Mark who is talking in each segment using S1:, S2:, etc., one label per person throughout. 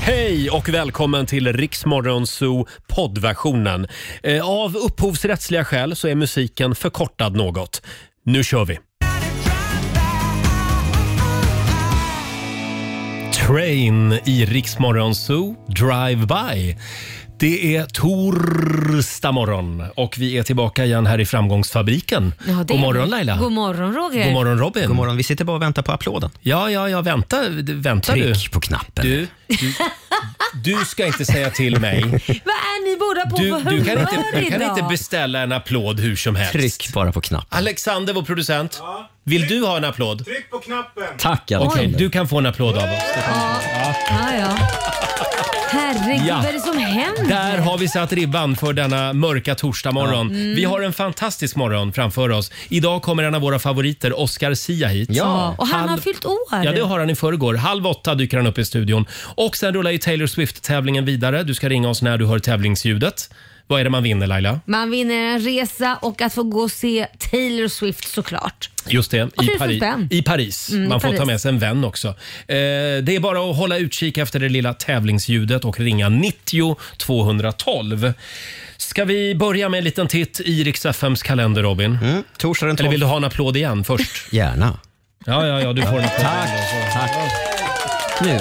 S1: Hej och välkommen till Riksmorgon Zoo poddversionen. Eh, Av upphovsrättsliga skäl så är musiken förkortad något. Nu kör vi! Train i Riksmorgon Zoo Drive-By. Det är torsdag morgon och vi är tillbaka igen här i framgångsfabriken.
S2: Ja, det är
S1: God morgon
S2: det.
S1: Laila!
S2: God morgon Roger.
S1: God morgon Robin!
S3: God morgon, vi sitter bara och väntar på applåden.
S1: Ja, ja, ja, vänta, vänta du.
S3: Tryck på knappen.
S1: Du, du, du ska inte säga till mig.
S2: Vad är ni båda på
S1: Du,
S2: för
S1: du, kan,
S2: humör
S1: inte, du kan
S2: idag?
S1: inte beställa en applåd hur som helst.
S3: Tryck bara på knappen.
S1: Alexander, vår producent. Vill du ha en applåd?
S4: Tryck på knappen!
S3: Tack
S1: Okej,
S3: Alexander.
S1: du kan få en applåd av oss.
S2: ja, ja. Herregud,
S1: Ja.
S2: vad är det som händer?
S1: Där har vi satt ribban för denna mörka torsdagmorgon.
S3: Mm.
S1: Vi har en fantastisk morgon framför oss. Idag kommer en av våra favoriter, Oscar Sia, hit.
S2: ja,
S3: Ja,
S2: och han har
S1: Halv-
S2: fyllt år.
S1: Ja, det har han i förrgår. Halv åtta dyker han upp i studion. Och sen rullar ju Taylor Swift-tävlingen vidare. Du ska ringa oss när du hör tävlingsljudet. Vad är det man vinner Laila?
S2: Man vinner en resa och att få gå och se Taylor Swift såklart.
S1: Just det, i,
S2: tusen
S1: Pari-
S2: spänn.
S1: i Paris.
S2: Mm, i
S1: Man får ta
S2: Paris.
S1: med sig en vän också. Eh, det är bara att hålla utkik efter det lilla tävlingsljudet och ringa 90 212. Ska vi börja med en liten titt i Rix FMs kalender, Robin?
S3: Mm, torsdag den
S1: Eller
S3: 12.
S1: vill du ha en applåd igen först?
S3: Gärna.
S1: Ja, ja, ja, du får en applåd.
S3: Tack, tack. Nu,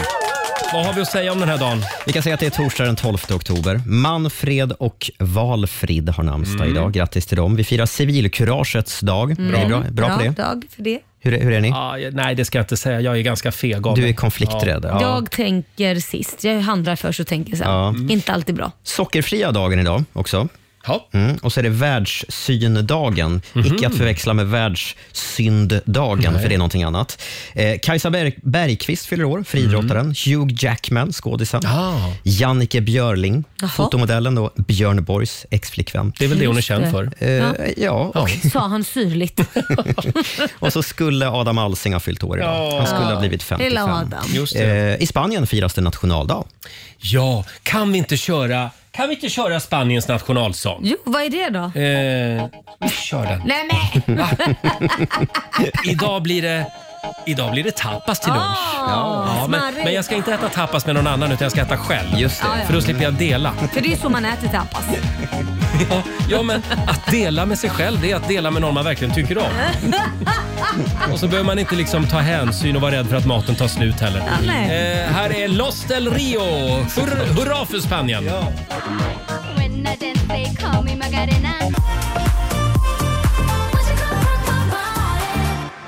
S1: Vad har vi att säga om den här dagen?
S3: vi kan säga att det är torsdag den 12 oktober. Manfred och Valfrid har namnsdag
S1: Mm.
S3: idag. Grattis till dem. Vi firar civilkuragets dag. Är det bra, bra på det?
S2: Mm. dag för det.
S3: Hur, är- hur är ni?
S1: Ah, jag- nej, det ska jag inte säga. Jag är ganska feg av
S3: Du
S1: mig.
S3: är konflikträdd. Ja.
S2: Jag tänker sist. Jag handlar först och tänker sen. Mm. Inte alltid bra.
S3: Sockerfria dagen idag också.
S1: Ja. Mhm.
S3: Mm. Och så är det världssyndagen. Icke att förväxla med världssynddagen, för det är någonting annat. Eh, Kajsa Berg- Bergqvist fyller år, friidrottaren.
S1: Mhm.
S3: Hugh Jackman, skådisen.
S1: Ah.
S3: Jannike Björling,
S2: Jaha.
S3: fotomodellen och Björn Borgs exflickvän.
S1: Det är väl det hon är
S2: Just
S1: känd
S2: det.
S1: för.
S3: Eh, ja. och,
S2: Sa han syrligt.
S3: och så skulle Adam Alsing ha fyllt år idag.
S1: Ja.
S3: Han skulle ha blivit
S2: Lilla
S3: 55.
S2: Adam.
S1: Just det.
S3: Eh, I Spanien firas det nationaldag.
S1: Ja, kan vi inte köra, kan vi inte köra Spaniens nationalsång?
S2: Jo, vad är det då?
S1: Eh, vi kör den.
S2: Nej men!
S1: Idag blir det, idag blir det tapas till lunch.
S2: Ja,
S1: men, men jag ska inte äta tapas med någon annan utan jag ska äta själv. Ah,
S3: Just det.
S2: Ja, ja.
S1: För då slipper jag dela.
S2: För det är så man äter tapas.
S1: Ja, ja, men att dela med sig själv det är att dela med någon man verkligen tycker om. Och så behöver man inte liksom ta hänsyn och vara rädd för att maten tar slut heller.
S2: Ja, nej.
S1: Eh, här är Los del Rio! Hur, hurra för Spanien!
S5: When I dance, they call me Macarena. Where'd you come from, my boy?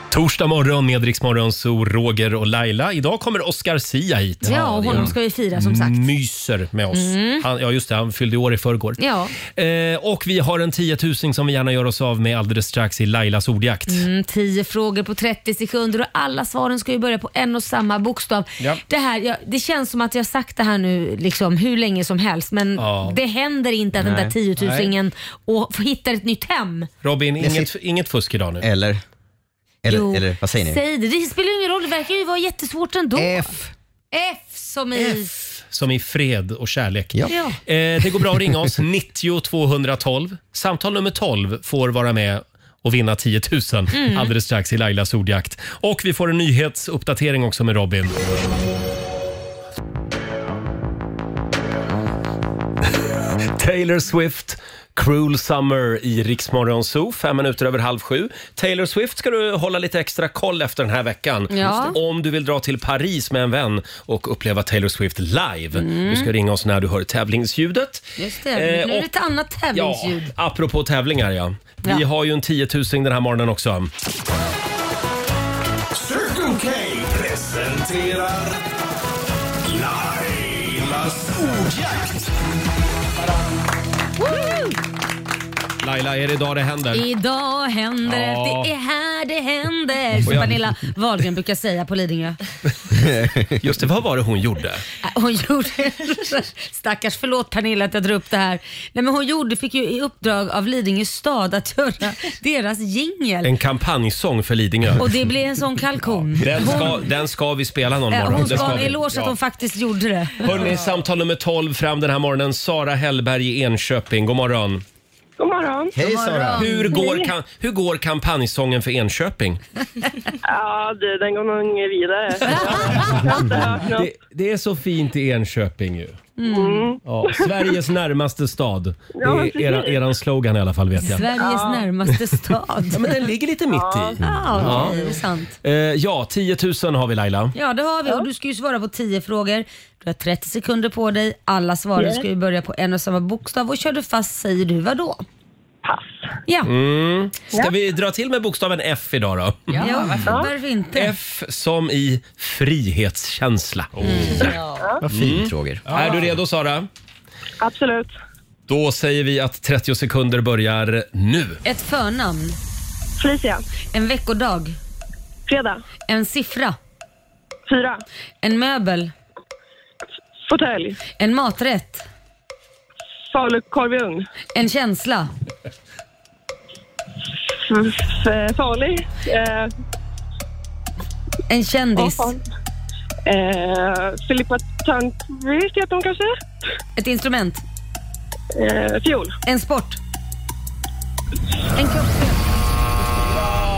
S1: Torsdag morgon med Rix Morgon, så Roger och Laila. Idag kommer Oscar Sia hit.
S2: Ja, och honom ska vi fira som sagt. Mm.
S1: myser med oss. Han, ja, just det. Han fyllde år i förrgår.
S2: Ja.
S1: Eh, och vi har en tiotusing som vi gärna gör oss av med alldeles strax i Lailas ordjakt.
S2: Mm, 10 frågor på 30 sekunder och alla svaren ska ju börja på en och samma bokstav.
S1: Ja.
S2: Det, här, jag, det känns som att jag har sagt det här nu liksom, hur länge som helst men
S1: Ja.
S2: det händer inte att den där
S3: Nej.
S2: tiotusingen och hittar ett nytt hem.
S1: Robin,
S3: Jag
S1: inget, inget fusk idag nu.
S3: Eller? Eller,
S2: Jo,
S3: eller vad säger ni?
S2: Säg det. Det spelar ju ingen roll, det verkar ju vara jättesvårt ändå.
S3: F.
S2: F som i...
S1: Som i fred och kärlek.
S3: Ja.
S2: Ja.
S1: Eh, det går bra att ringa oss, 90 212. Samtal nummer 12 får vara med och vinna 10 000
S2: Mm.
S1: alldeles strax i Lailas ordjakt. Och vi får en nyhetsuppdatering också med Robin. Taylor Swift, Cruel Summer i Riksmorgon Zoo, fem minuter över halv sju. Taylor Swift ska du hålla lite extra koll efter den här veckan.
S2: Ja.
S1: Om du vill dra till Paris med en vän och uppleva Taylor Swift live. Du
S2: Mm.
S1: ska ringa oss när du hör tävlingsljudet.
S2: Just det,
S1: Eh,
S2: nu är
S1: och-
S2: det ett annat tävlingsljud.
S1: Ja, apropå tävlingar ja. Vi
S2: Ja.
S1: har ju en 10 000 den här morgonen också.
S4: Circle K presenterar Lailas ordjakt.
S2: Woo!
S1: Laila, är det idag det händer?
S2: Idag händer det,
S1: Ja.
S2: det är här det händer, som
S1: jag-
S2: Pernilla Wahlgren brukar säga på Lidingö.
S1: Just det, vad var det hon gjorde?
S2: Äh, Hon gjorde, stackars, förlåt Pernilla att jag drar upp det här. Nej, men hon gjorde, fick ju i uppdrag av Lidingö stad att göra deras jingel.
S1: En kampanjsång för Lidingö.
S2: Och det blev en sån kalkon.
S1: Den ska,
S2: hon,
S1: den ska vi spela någon
S2: äh,
S1: morgon.
S2: hon
S1: Det
S2: ska ha en
S1: vi.
S2: eloge att
S1: Ja.
S2: hon faktiskt gjorde det. Mm.
S1: Hörni, samtal nummer 12 fram den här morgonen. Sara Hellberg i Enköping, god morgon.
S6: God morgon.
S3: Hej Sara!
S1: Hur går, kan, hur går kampanjsången för Enköping?
S6: Ja, du, den går nog vidare. Jag har inte hört något.
S1: Det, det är så fint i Enköping ju.
S2: Mm.
S1: Ja, Sveriges närmaste stad. Det
S6: Ja,
S1: är
S6: precis.
S1: era, eran slogan i alla fall vet jag.
S2: Sveriges närmaste stad.
S1: Ja, men den ligger lite mitt i.
S2: Ja, det är sant.
S1: Eh, ja, 10 000 har vi Laila.
S2: Ja, det har vi och du ska ju svara på 10 frågor. Du har 30 sekunder på dig. Alla svaren ska ju börja på en och samma bokstav och kör du fast säger du vad då?
S6: Pass.
S2: Ja,
S1: Mm. Ska vi dra till med bokstaven F idag då?
S2: ja, varför, varför inte?
S1: F som i frihetskänsla.
S3: Oh. Vad fint
S2: Mm.
S3: Roger.
S1: Är du redo Sara?
S6: Absolut.
S1: Då säger vi att 30 sekunder börjar nu.
S2: Ett förnamn,
S6: Felicia.
S2: en veckodag,
S6: Fredag.
S2: en siffra,
S6: Fyra.
S2: en möbel,
S6: Fåtölj.
S2: en maträtt,
S6: Falukorv i ugn.
S2: en känsla,
S6: F- f- Farlig. Eh,
S2: en kändis,
S6: fan. eh, Filippa Törnqvist heter hon kanske?
S2: ett instrument,
S6: Eh, fiol.
S2: en sport, en kroppsdel.
S1: Ja.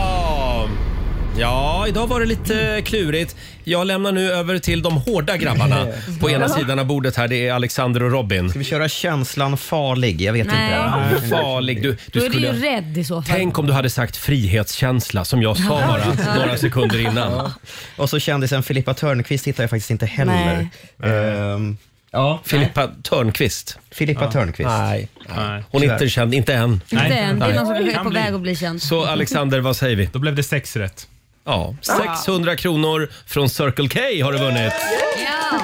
S1: Ja, idag var det lite klurigt. Jag lämnar nu över till de hårda grabbarna på ena sidan av bordet här. Det är Alexander och Robin.
S3: Ska vi köra känslan farlig? Jag vet
S2: Nej.
S3: inte.
S1: Farlig. Du,
S2: Då
S1: du
S2: är du ju
S1: skulle...
S2: rädd i så fall.
S1: Tänk om du hade sagt frihetskänsla som jag sa bara några sekunder innan.
S3: Och så kändisen Filippa Törnqvist hittar jag faktiskt inte heller. Ehm, ja,
S1: Filippa Törnqvist.
S3: Filippa Törnqvist.
S1: Nej.
S7: Nej.
S1: Hon är inte känd, inte än.
S2: Inte
S7: Nej.
S2: än. Det är någon som
S7: Nej.
S2: är
S7: Kan
S2: på
S7: bli.
S2: väg att bli känd.
S1: Så Alexander, vad säger vi?
S7: Då blev det sex rätt.
S1: Ja, 600 kronor från Circle K har du vunnit.
S2: Ja.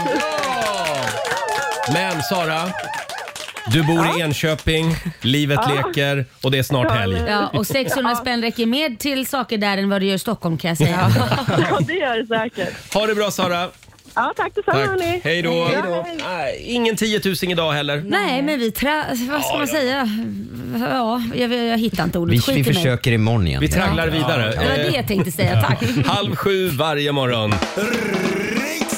S1: Men Sara, du bor i Enköping, livet leker och det är snart helg.
S2: Ja, och 600 spänn räcker mer till saker där än vad det gör i Stockholm kan jag säga.
S6: Ja, det gör det säkert.
S1: Ha det bra Sara!
S6: Ja, tack detsamma
S1: Tack.
S6: hörni.
S1: Hej då! Nej, Ingen 10 000 idag heller.
S2: Nej, men vi tra- Vad ska man säga? Ja, jag, jag hittar inte
S3: Vi,
S2: ordet.
S3: vi
S2: Skit i mig.
S3: försöker imorgon igen.
S1: Vi tragglar vidare.
S2: Det var det
S1: Eh,
S2: jag tänkte säga. Tack.
S1: Halv sju varje morgon.
S4: Riksmorgon,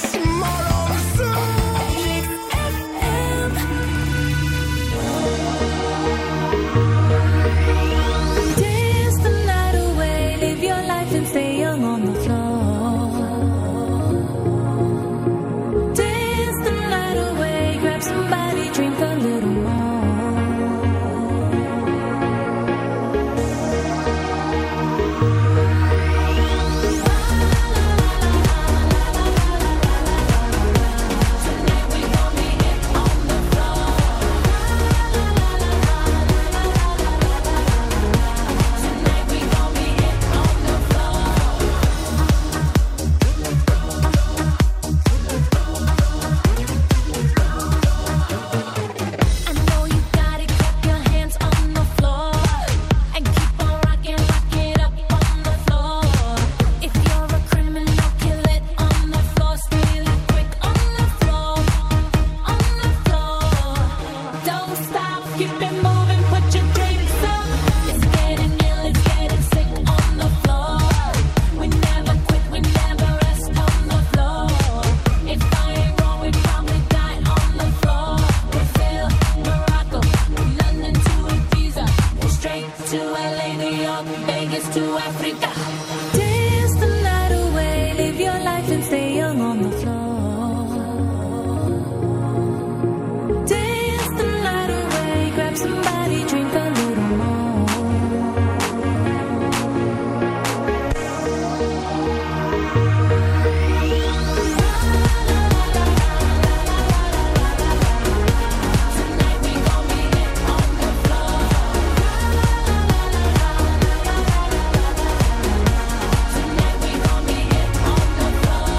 S8: To LA, New York, Vegas, to Africa. Dance the night away, live your life and stay young on the floor. Dance the night away, grab somebody, drink a little more. Tonight we gon' be it on the floor.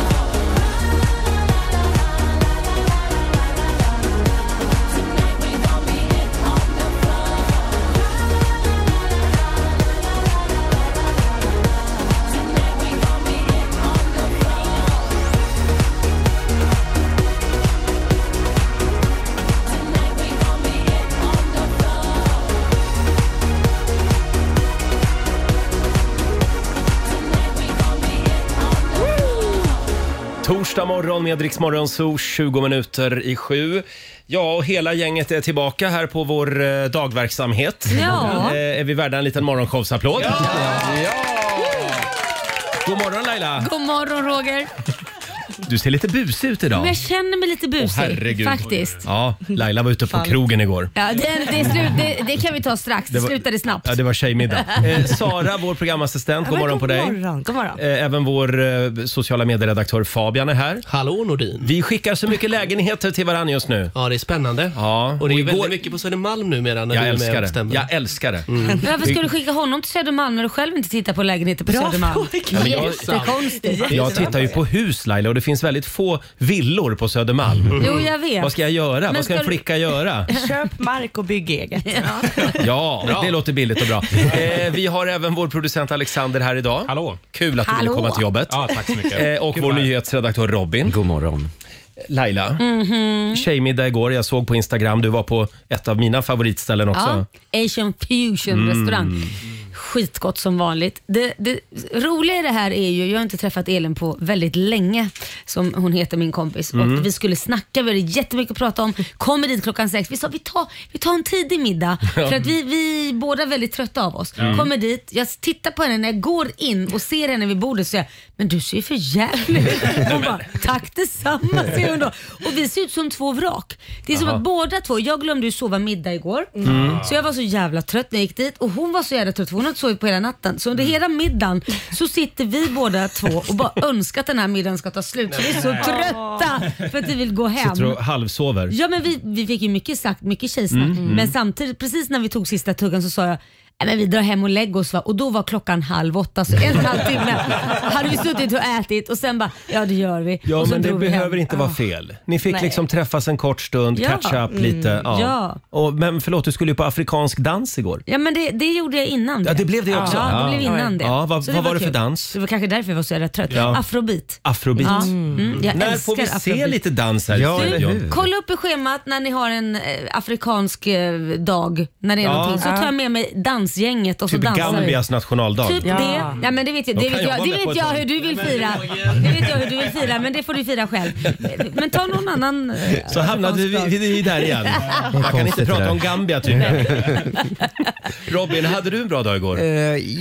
S1: Torsdag morgon med Rix Morgon Zoo, 20 minuter i sju. Ja, och hela gänget är tillbaka här på vår eh, dagverksamhet.
S2: Ja.
S1: Eh, är vi värda en liten morgonshowsapplåd? Ja! God morgon Laila!
S2: God morgon Roger.
S1: Du ser lite busig ut idag.
S2: Men jag känner mig lite
S1: Åh,
S2: busig
S1: herregud.
S2: faktiskt.
S1: Ja, Laila var ute på krogen igår.
S2: Ja, det, det, är slut, det, det kan vi ta strax. Det
S1: var-
S2: slutade snabbt.
S1: Ja, det var tjejmiddag. Eh, Sara, vår programassistent, god morgon på dig.
S7: Morgon. God morgon.
S1: Eh, Även vår eh, sociala medieredaktör Fabian är här.
S9: Hallå Nordin!
S1: Vi skickar så mycket lägenheter till varandra just nu.
S9: Ja, det är spännande.
S1: Ja,
S9: Och det är
S1: och
S9: igår...
S1: igår-
S9: väldigt mycket på Södermalm numera när
S1: Jag
S9: du är med
S1: älskar
S9: och
S1: det.
S9: bestämmer. Mm.
S1: Jag älskar det.
S2: Varför ska du skicka honom till Södermalm när du själv inte tittar på lägenheter på Södermalm?
S1: Ja, men jag-
S2: Jättekonstigt.
S1: Jag tittar ju på hus Laila och det finns väldigt få villor på Södermalm.
S2: Jo, jag vet.
S1: Vad ska jag göra? Vad ska
S2: ska
S1: en
S2: du-
S1: flicka göra?
S7: Köp mark och bygg eget.
S1: Ja, det låter billigt och bra. Eh, vi har även vår producent Alexander här idag.
S10: Hallå.
S1: Kul att du ville
S2: Hallå.
S1: komma till jobbet.
S10: Ja, tack så mycket.
S1: Eh, och vår nyhetsredaktör Robin.
S3: God morgon.
S1: Laila,
S2: Mhm.
S1: tjejmiddag igår. Jag såg på Instagram, du var på ett av mina favoritställen också. Mm.
S2: Ja, Asian fusion restaurang. Skitgott som vanligt. Det, det roliga i det här är ju, jag har inte träffat Elin på väldigt länge, som hon heter min kompis. Och vi skulle snacka, vi hade jättemycket att prata om. Kommer dit klockan sex. Vi sa vi tar, vi tar en tidig middag, för att vi, vi är båda är väldigt trötta av oss. Kommer dit, jag tittar på henne när jag går in och ser henne vid bordet och säger jag, men du ser ju för jävlig ut. Hon bara, tack detsamma säger hon då. Och vi ser ut som två vrak. Det är som att båda två, jag glömde ju sova middag igår. Så jag var så jävla trött när jag gick dit och hon var så jävla trött för hon hade inte sovit på hela natten. Så under hela middagen så sitter vi båda två och bara önskar att den här middagen ska ta slut. Så vi är så trötta för att vi vill gå hem.
S1: Sitter och halvsover.
S2: Ja men vi, vi fick ju mycket sagt, mycket tjejsnack.
S1: Mm.
S2: Men samtidigt, precis när vi tog sista tuggan så sa jag "Nej, men vi drar hem och lägger oss va. Och då var klockan halv åtta, så en och en halv timme hade vi suttit och ätit och sen bara, ja det gör vi.
S1: Ja,
S2: och så
S1: men det
S2: drog vi hem.
S1: behöver inte vara fel. Ni fick liksom träffas en kort stund,
S2: Ja. Mm.
S1: catch up lite. Ja.
S2: Ja.
S1: Och, men förlåt, du skulle ju på afrikansk dans igår.
S2: Ja men det, det gjorde jag innan
S1: Ja, det blev det också.
S2: Ja, det blev innan det.
S1: Ja, vad-
S2: Så
S1: vad var det för
S2: kul.
S1: dans?
S2: Det var kanske därför jag var så jävla trött.
S1: Ja.
S2: Afrobeat.
S1: Afrobeat.
S2: Ja. Mm, jag
S1: När
S2: älskar
S1: får vi se
S2: afrobeat.
S1: lite dans här
S3: Ja,
S1: i
S3: eller
S1: studion?
S3: hur?
S2: Kolla upp i schemat när ni har en eh, afrikansk eh, dag, när det är
S1: Ja.
S2: någonting. Så tar jag med mig dansgänget och
S1: Typ
S2: så dansar vi.
S1: Gambias nationaldag.
S2: Typ
S7: Ja.
S2: det. Ja, men det vet jag, det
S1: kan
S2: vet
S1: jag
S2: jag,
S1: vara
S2: det
S1: med på
S2: vet
S1: ett
S2: jag
S1: sånt.
S2: hur du vill fira. Det vet jag hur du vill fira, men det får du fira själv. Men ta någon annan. eh,
S1: Så hamnade vi, vi, vi där igen. Man kan inte
S3: konstigt det
S1: prata
S3: där.
S1: om Gambia typ? tydligen. Robin, hade du en bra dag igår?
S3: Eh,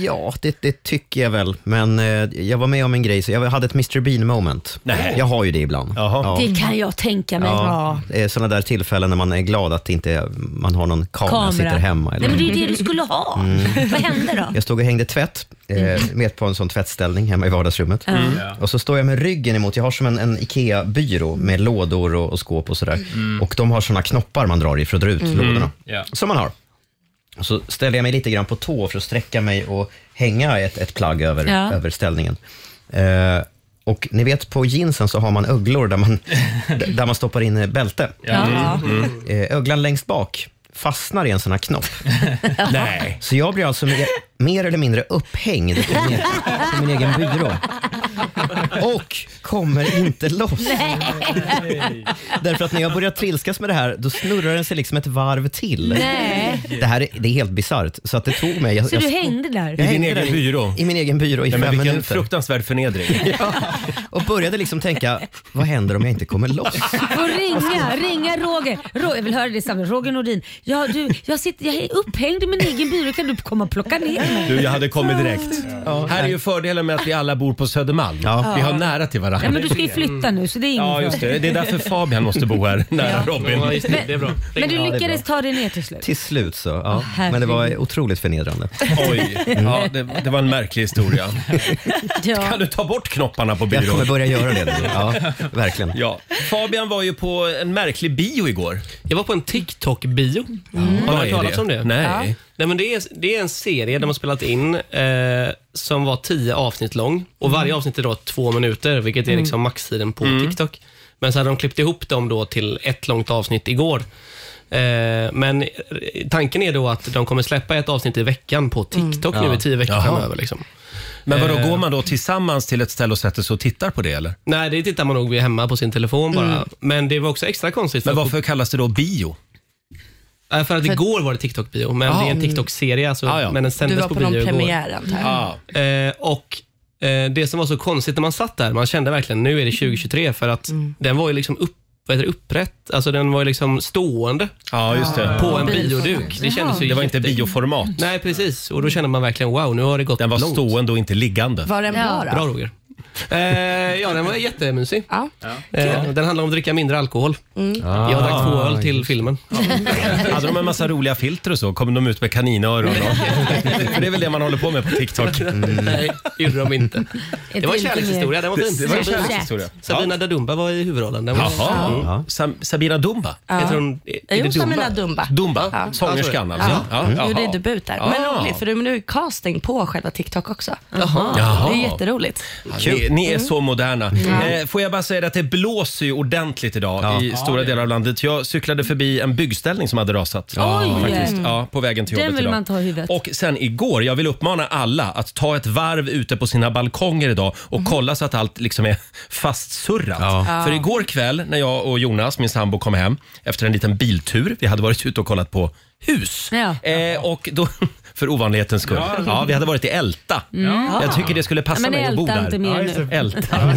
S3: ja, det, det tycker jag väl. Men eh, jag var med om en grej, så jag hade ett Mr Bean moment.
S1: Nej.
S3: Jag har ju det ibland.
S1: Jaha.
S2: Det kan jag tänka mig.
S3: Ja, eh, sådana där tillfällen när man är glad att inte man har någon kamera,
S2: Kamera.
S3: sitter hemma. Eller
S2: Nej, men det är ju det du skulle ha.
S1: Mm.
S2: Vad hände då?
S3: Jag stod och hängde tvätt
S2: Mm.
S3: eh, med på en sån tvättställning hemma i vardagsrummet.
S1: Mm.
S3: Och så står jag med ryggen emot, jag har som en, en IKEA-byrå med lådor och, och skåp och sådär.
S1: Mm.
S3: Och de har såna knoppar man drar i för att dra ut
S2: Mm.
S3: lådorna.
S10: Ja.
S3: Som man har. Och så ställer jag mig lite grann på tå för att sträcka mig och hänga ett, ett plagg över,
S2: Ja.
S3: över ställningen. Eh, och ni vet på jeansen så har man öglor där man, d- där man stoppar in eh, bälte.
S2: Ja.
S3: Eh, öglan längst bak fastnar i en sån här knopp.
S1: Nej.
S3: Så jag blir alltså mer, mer eller mindre upphängd i min, i min egen byrå. Och kommer inte loss. Därför att när jag börjar trilskas med det här, då snurrar den sig liksom ett varv till.
S2: Nej.
S3: Det här är, det är helt bisarrt. Så att det tog mig... Jag,
S2: Så du
S3: jag-
S2: hängde där?
S1: I
S3: jag
S1: din
S3: hängde
S1: egen
S3: där
S1: byrå?
S3: I min egen byrå i
S1: Nej, men
S3: fem
S1: vilken
S3: minuter.
S1: fruktansvärd förnedring.
S3: Och började liksom tänka, vad händer om jag inte kommer loss?
S2: Får ringa, ringa Roger. Roger. Jag vill höra det samtidigt. Roger Nordin. Ja, du, jag, sitter, jag är upphängd i min egen byrå. Kan du komma och plocka ner mig?
S1: Du, jag hade kommit direkt. Här är ju fördelen med att vi alla bor på Södermalm. Vi har nära till varandra.
S2: Ja, men du ska ju flytta nu så det är ingen
S1: Ja, just
S2: fara.
S1: det. Det är därför Fabian måste bo här nära
S9: Ja,
S1: Robin.
S9: just det. Det är bra.
S2: Men du lyckades ta dig ner till slut.
S3: Till slut så. Ja.
S2: herregud.
S3: Men det var otroligt förnedrande.
S1: Oj, ja, det, det var en märklig historia. Kan
S2: Ja.
S1: du ta bort knopparna på
S3: Jag kommer
S1: byrån?
S3: börja göra det nu. Ja, verkligen.
S1: Ja. Fabian var ju på en märklig bio igår. Mm.
S9: Jag var på en TikTok-bio. Har
S1: Vad
S9: du
S1: är
S9: hört talas om det?
S1: Nej.
S9: Nej, men det, är, det är en serie de har spelat in eh, som var tio avsnitt lång. Och
S1: Mm.
S9: Varje avsnitt är då två minuter, vilket är liksom maxtiden på TikTok. Men så hade de klippt ihop dem då till ett långt avsnitt igår. Eh, men eh, tanken är då att de kommer släppa ett avsnitt i veckan på TikTok nu i tio veckor
S1: Mm. Jaha.
S9: framöver. Liksom. Eh,
S1: Men vadå, går man då tillsammans till ett ställe och sätter sig och tittar på det eller?
S9: Nej, det tittar man nog vid hemma på sin telefon bara. Men det var också extra konstigt.
S1: Men
S9: att-
S1: varför kallas det då bio?
S9: Nej, för att igår var det TikTok-bio, men det är en TikTok-serie, alltså,
S1: Ah, ja. Ah.
S9: men den
S7: Du
S9: sändes
S7: var
S9: på,
S7: på någon
S9: bio igår.
S7: premiär antar jag.
S1: Ja.
S9: Eh, och eh, det som var så konstigt när man satt där, man kände verkligen nu är det
S7: Mm.
S9: 2023 för att den var ju liksom upp, vad heter det, upprätt, alltså den var ju liksom stående
S1: Ja, just det.
S9: på en bioduk. Det kändes ju
S1: Det var inte
S9: jätte-
S1: bioformat.
S9: Nej, precis. Och då kände man verkligen wow, nu har det gått
S1: Den var
S9: långt.
S1: stående och inte liggande.
S7: Var den
S2: Ja.
S7: bra då?
S9: Bra Roger. Eh, ja, den var jättemysig.
S7: Ja. Mm.
S9: Eh, den handlar om att dricka mindre alkohol. Jag drack två öl till filmen.
S1: Ah, Hade de en massa roliga filter och så? Kom de ut med kaninöron? och- För det är väl det man håller på med på TikTok.
S9: Nej, gjorde de inte. Det var en
S2: inte
S9: kärlekshistoria. Den var fin.
S1: Det var en
S2: Säkert.
S1: kärlekshistoria. Ja.
S9: Sabina Dadumba var i huvudrollen. Den var, Mm.
S1: Jaha. Sam- Sabina Dumba?
S9: Heter hon, är
S7: Jo,
S9: det
S7: Sabina Dumba.
S1: Dumba,
S7: Ja.
S1: sångerskan alltså?
S7: Ja.
S1: Ja. Jaha.
S7: Gjorde debut där. Men
S1: Ah.
S7: roligt, för det- men nu är casting på själva TikTok också.
S1: Jaha.
S7: Det är jätteroligt. Mm.
S1: Ni, ni
S2: Mm.
S1: är så moderna. Eh, får jag bara säga att det blåser ju ordentligt idag i stora delar av landet. Jag cyklade förbi en byggställning som hade rasat.
S2: Oj!
S1: Faktiskt. Ja, på vägen till
S2: Den
S1: jobbet
S2: vill
S1: idag.
S2: man ta i huvudet.
S1: Och sen igår, jag vill uppmana alla att ta ett varv ute på sina balkonger idag och
S2: Mhm.
S1: kolla så att allt liksom är fastsurrat. För igår kväll när jag och Jonas, min sambo, kom hem efter en liten biltur. Vi hade varit ute och kollat på hus.
S2: Ja.
S1: Eh, och då, för ovanlighetens skull. Ja. vi hade varit i Älta.
S2: Mm.
S1: Mm. Jag tycker det skulle passa
S2: Ja, men
S1: mig att bo
S2: älta
S1: där.
S2: inte mer nu.
S1: Älta.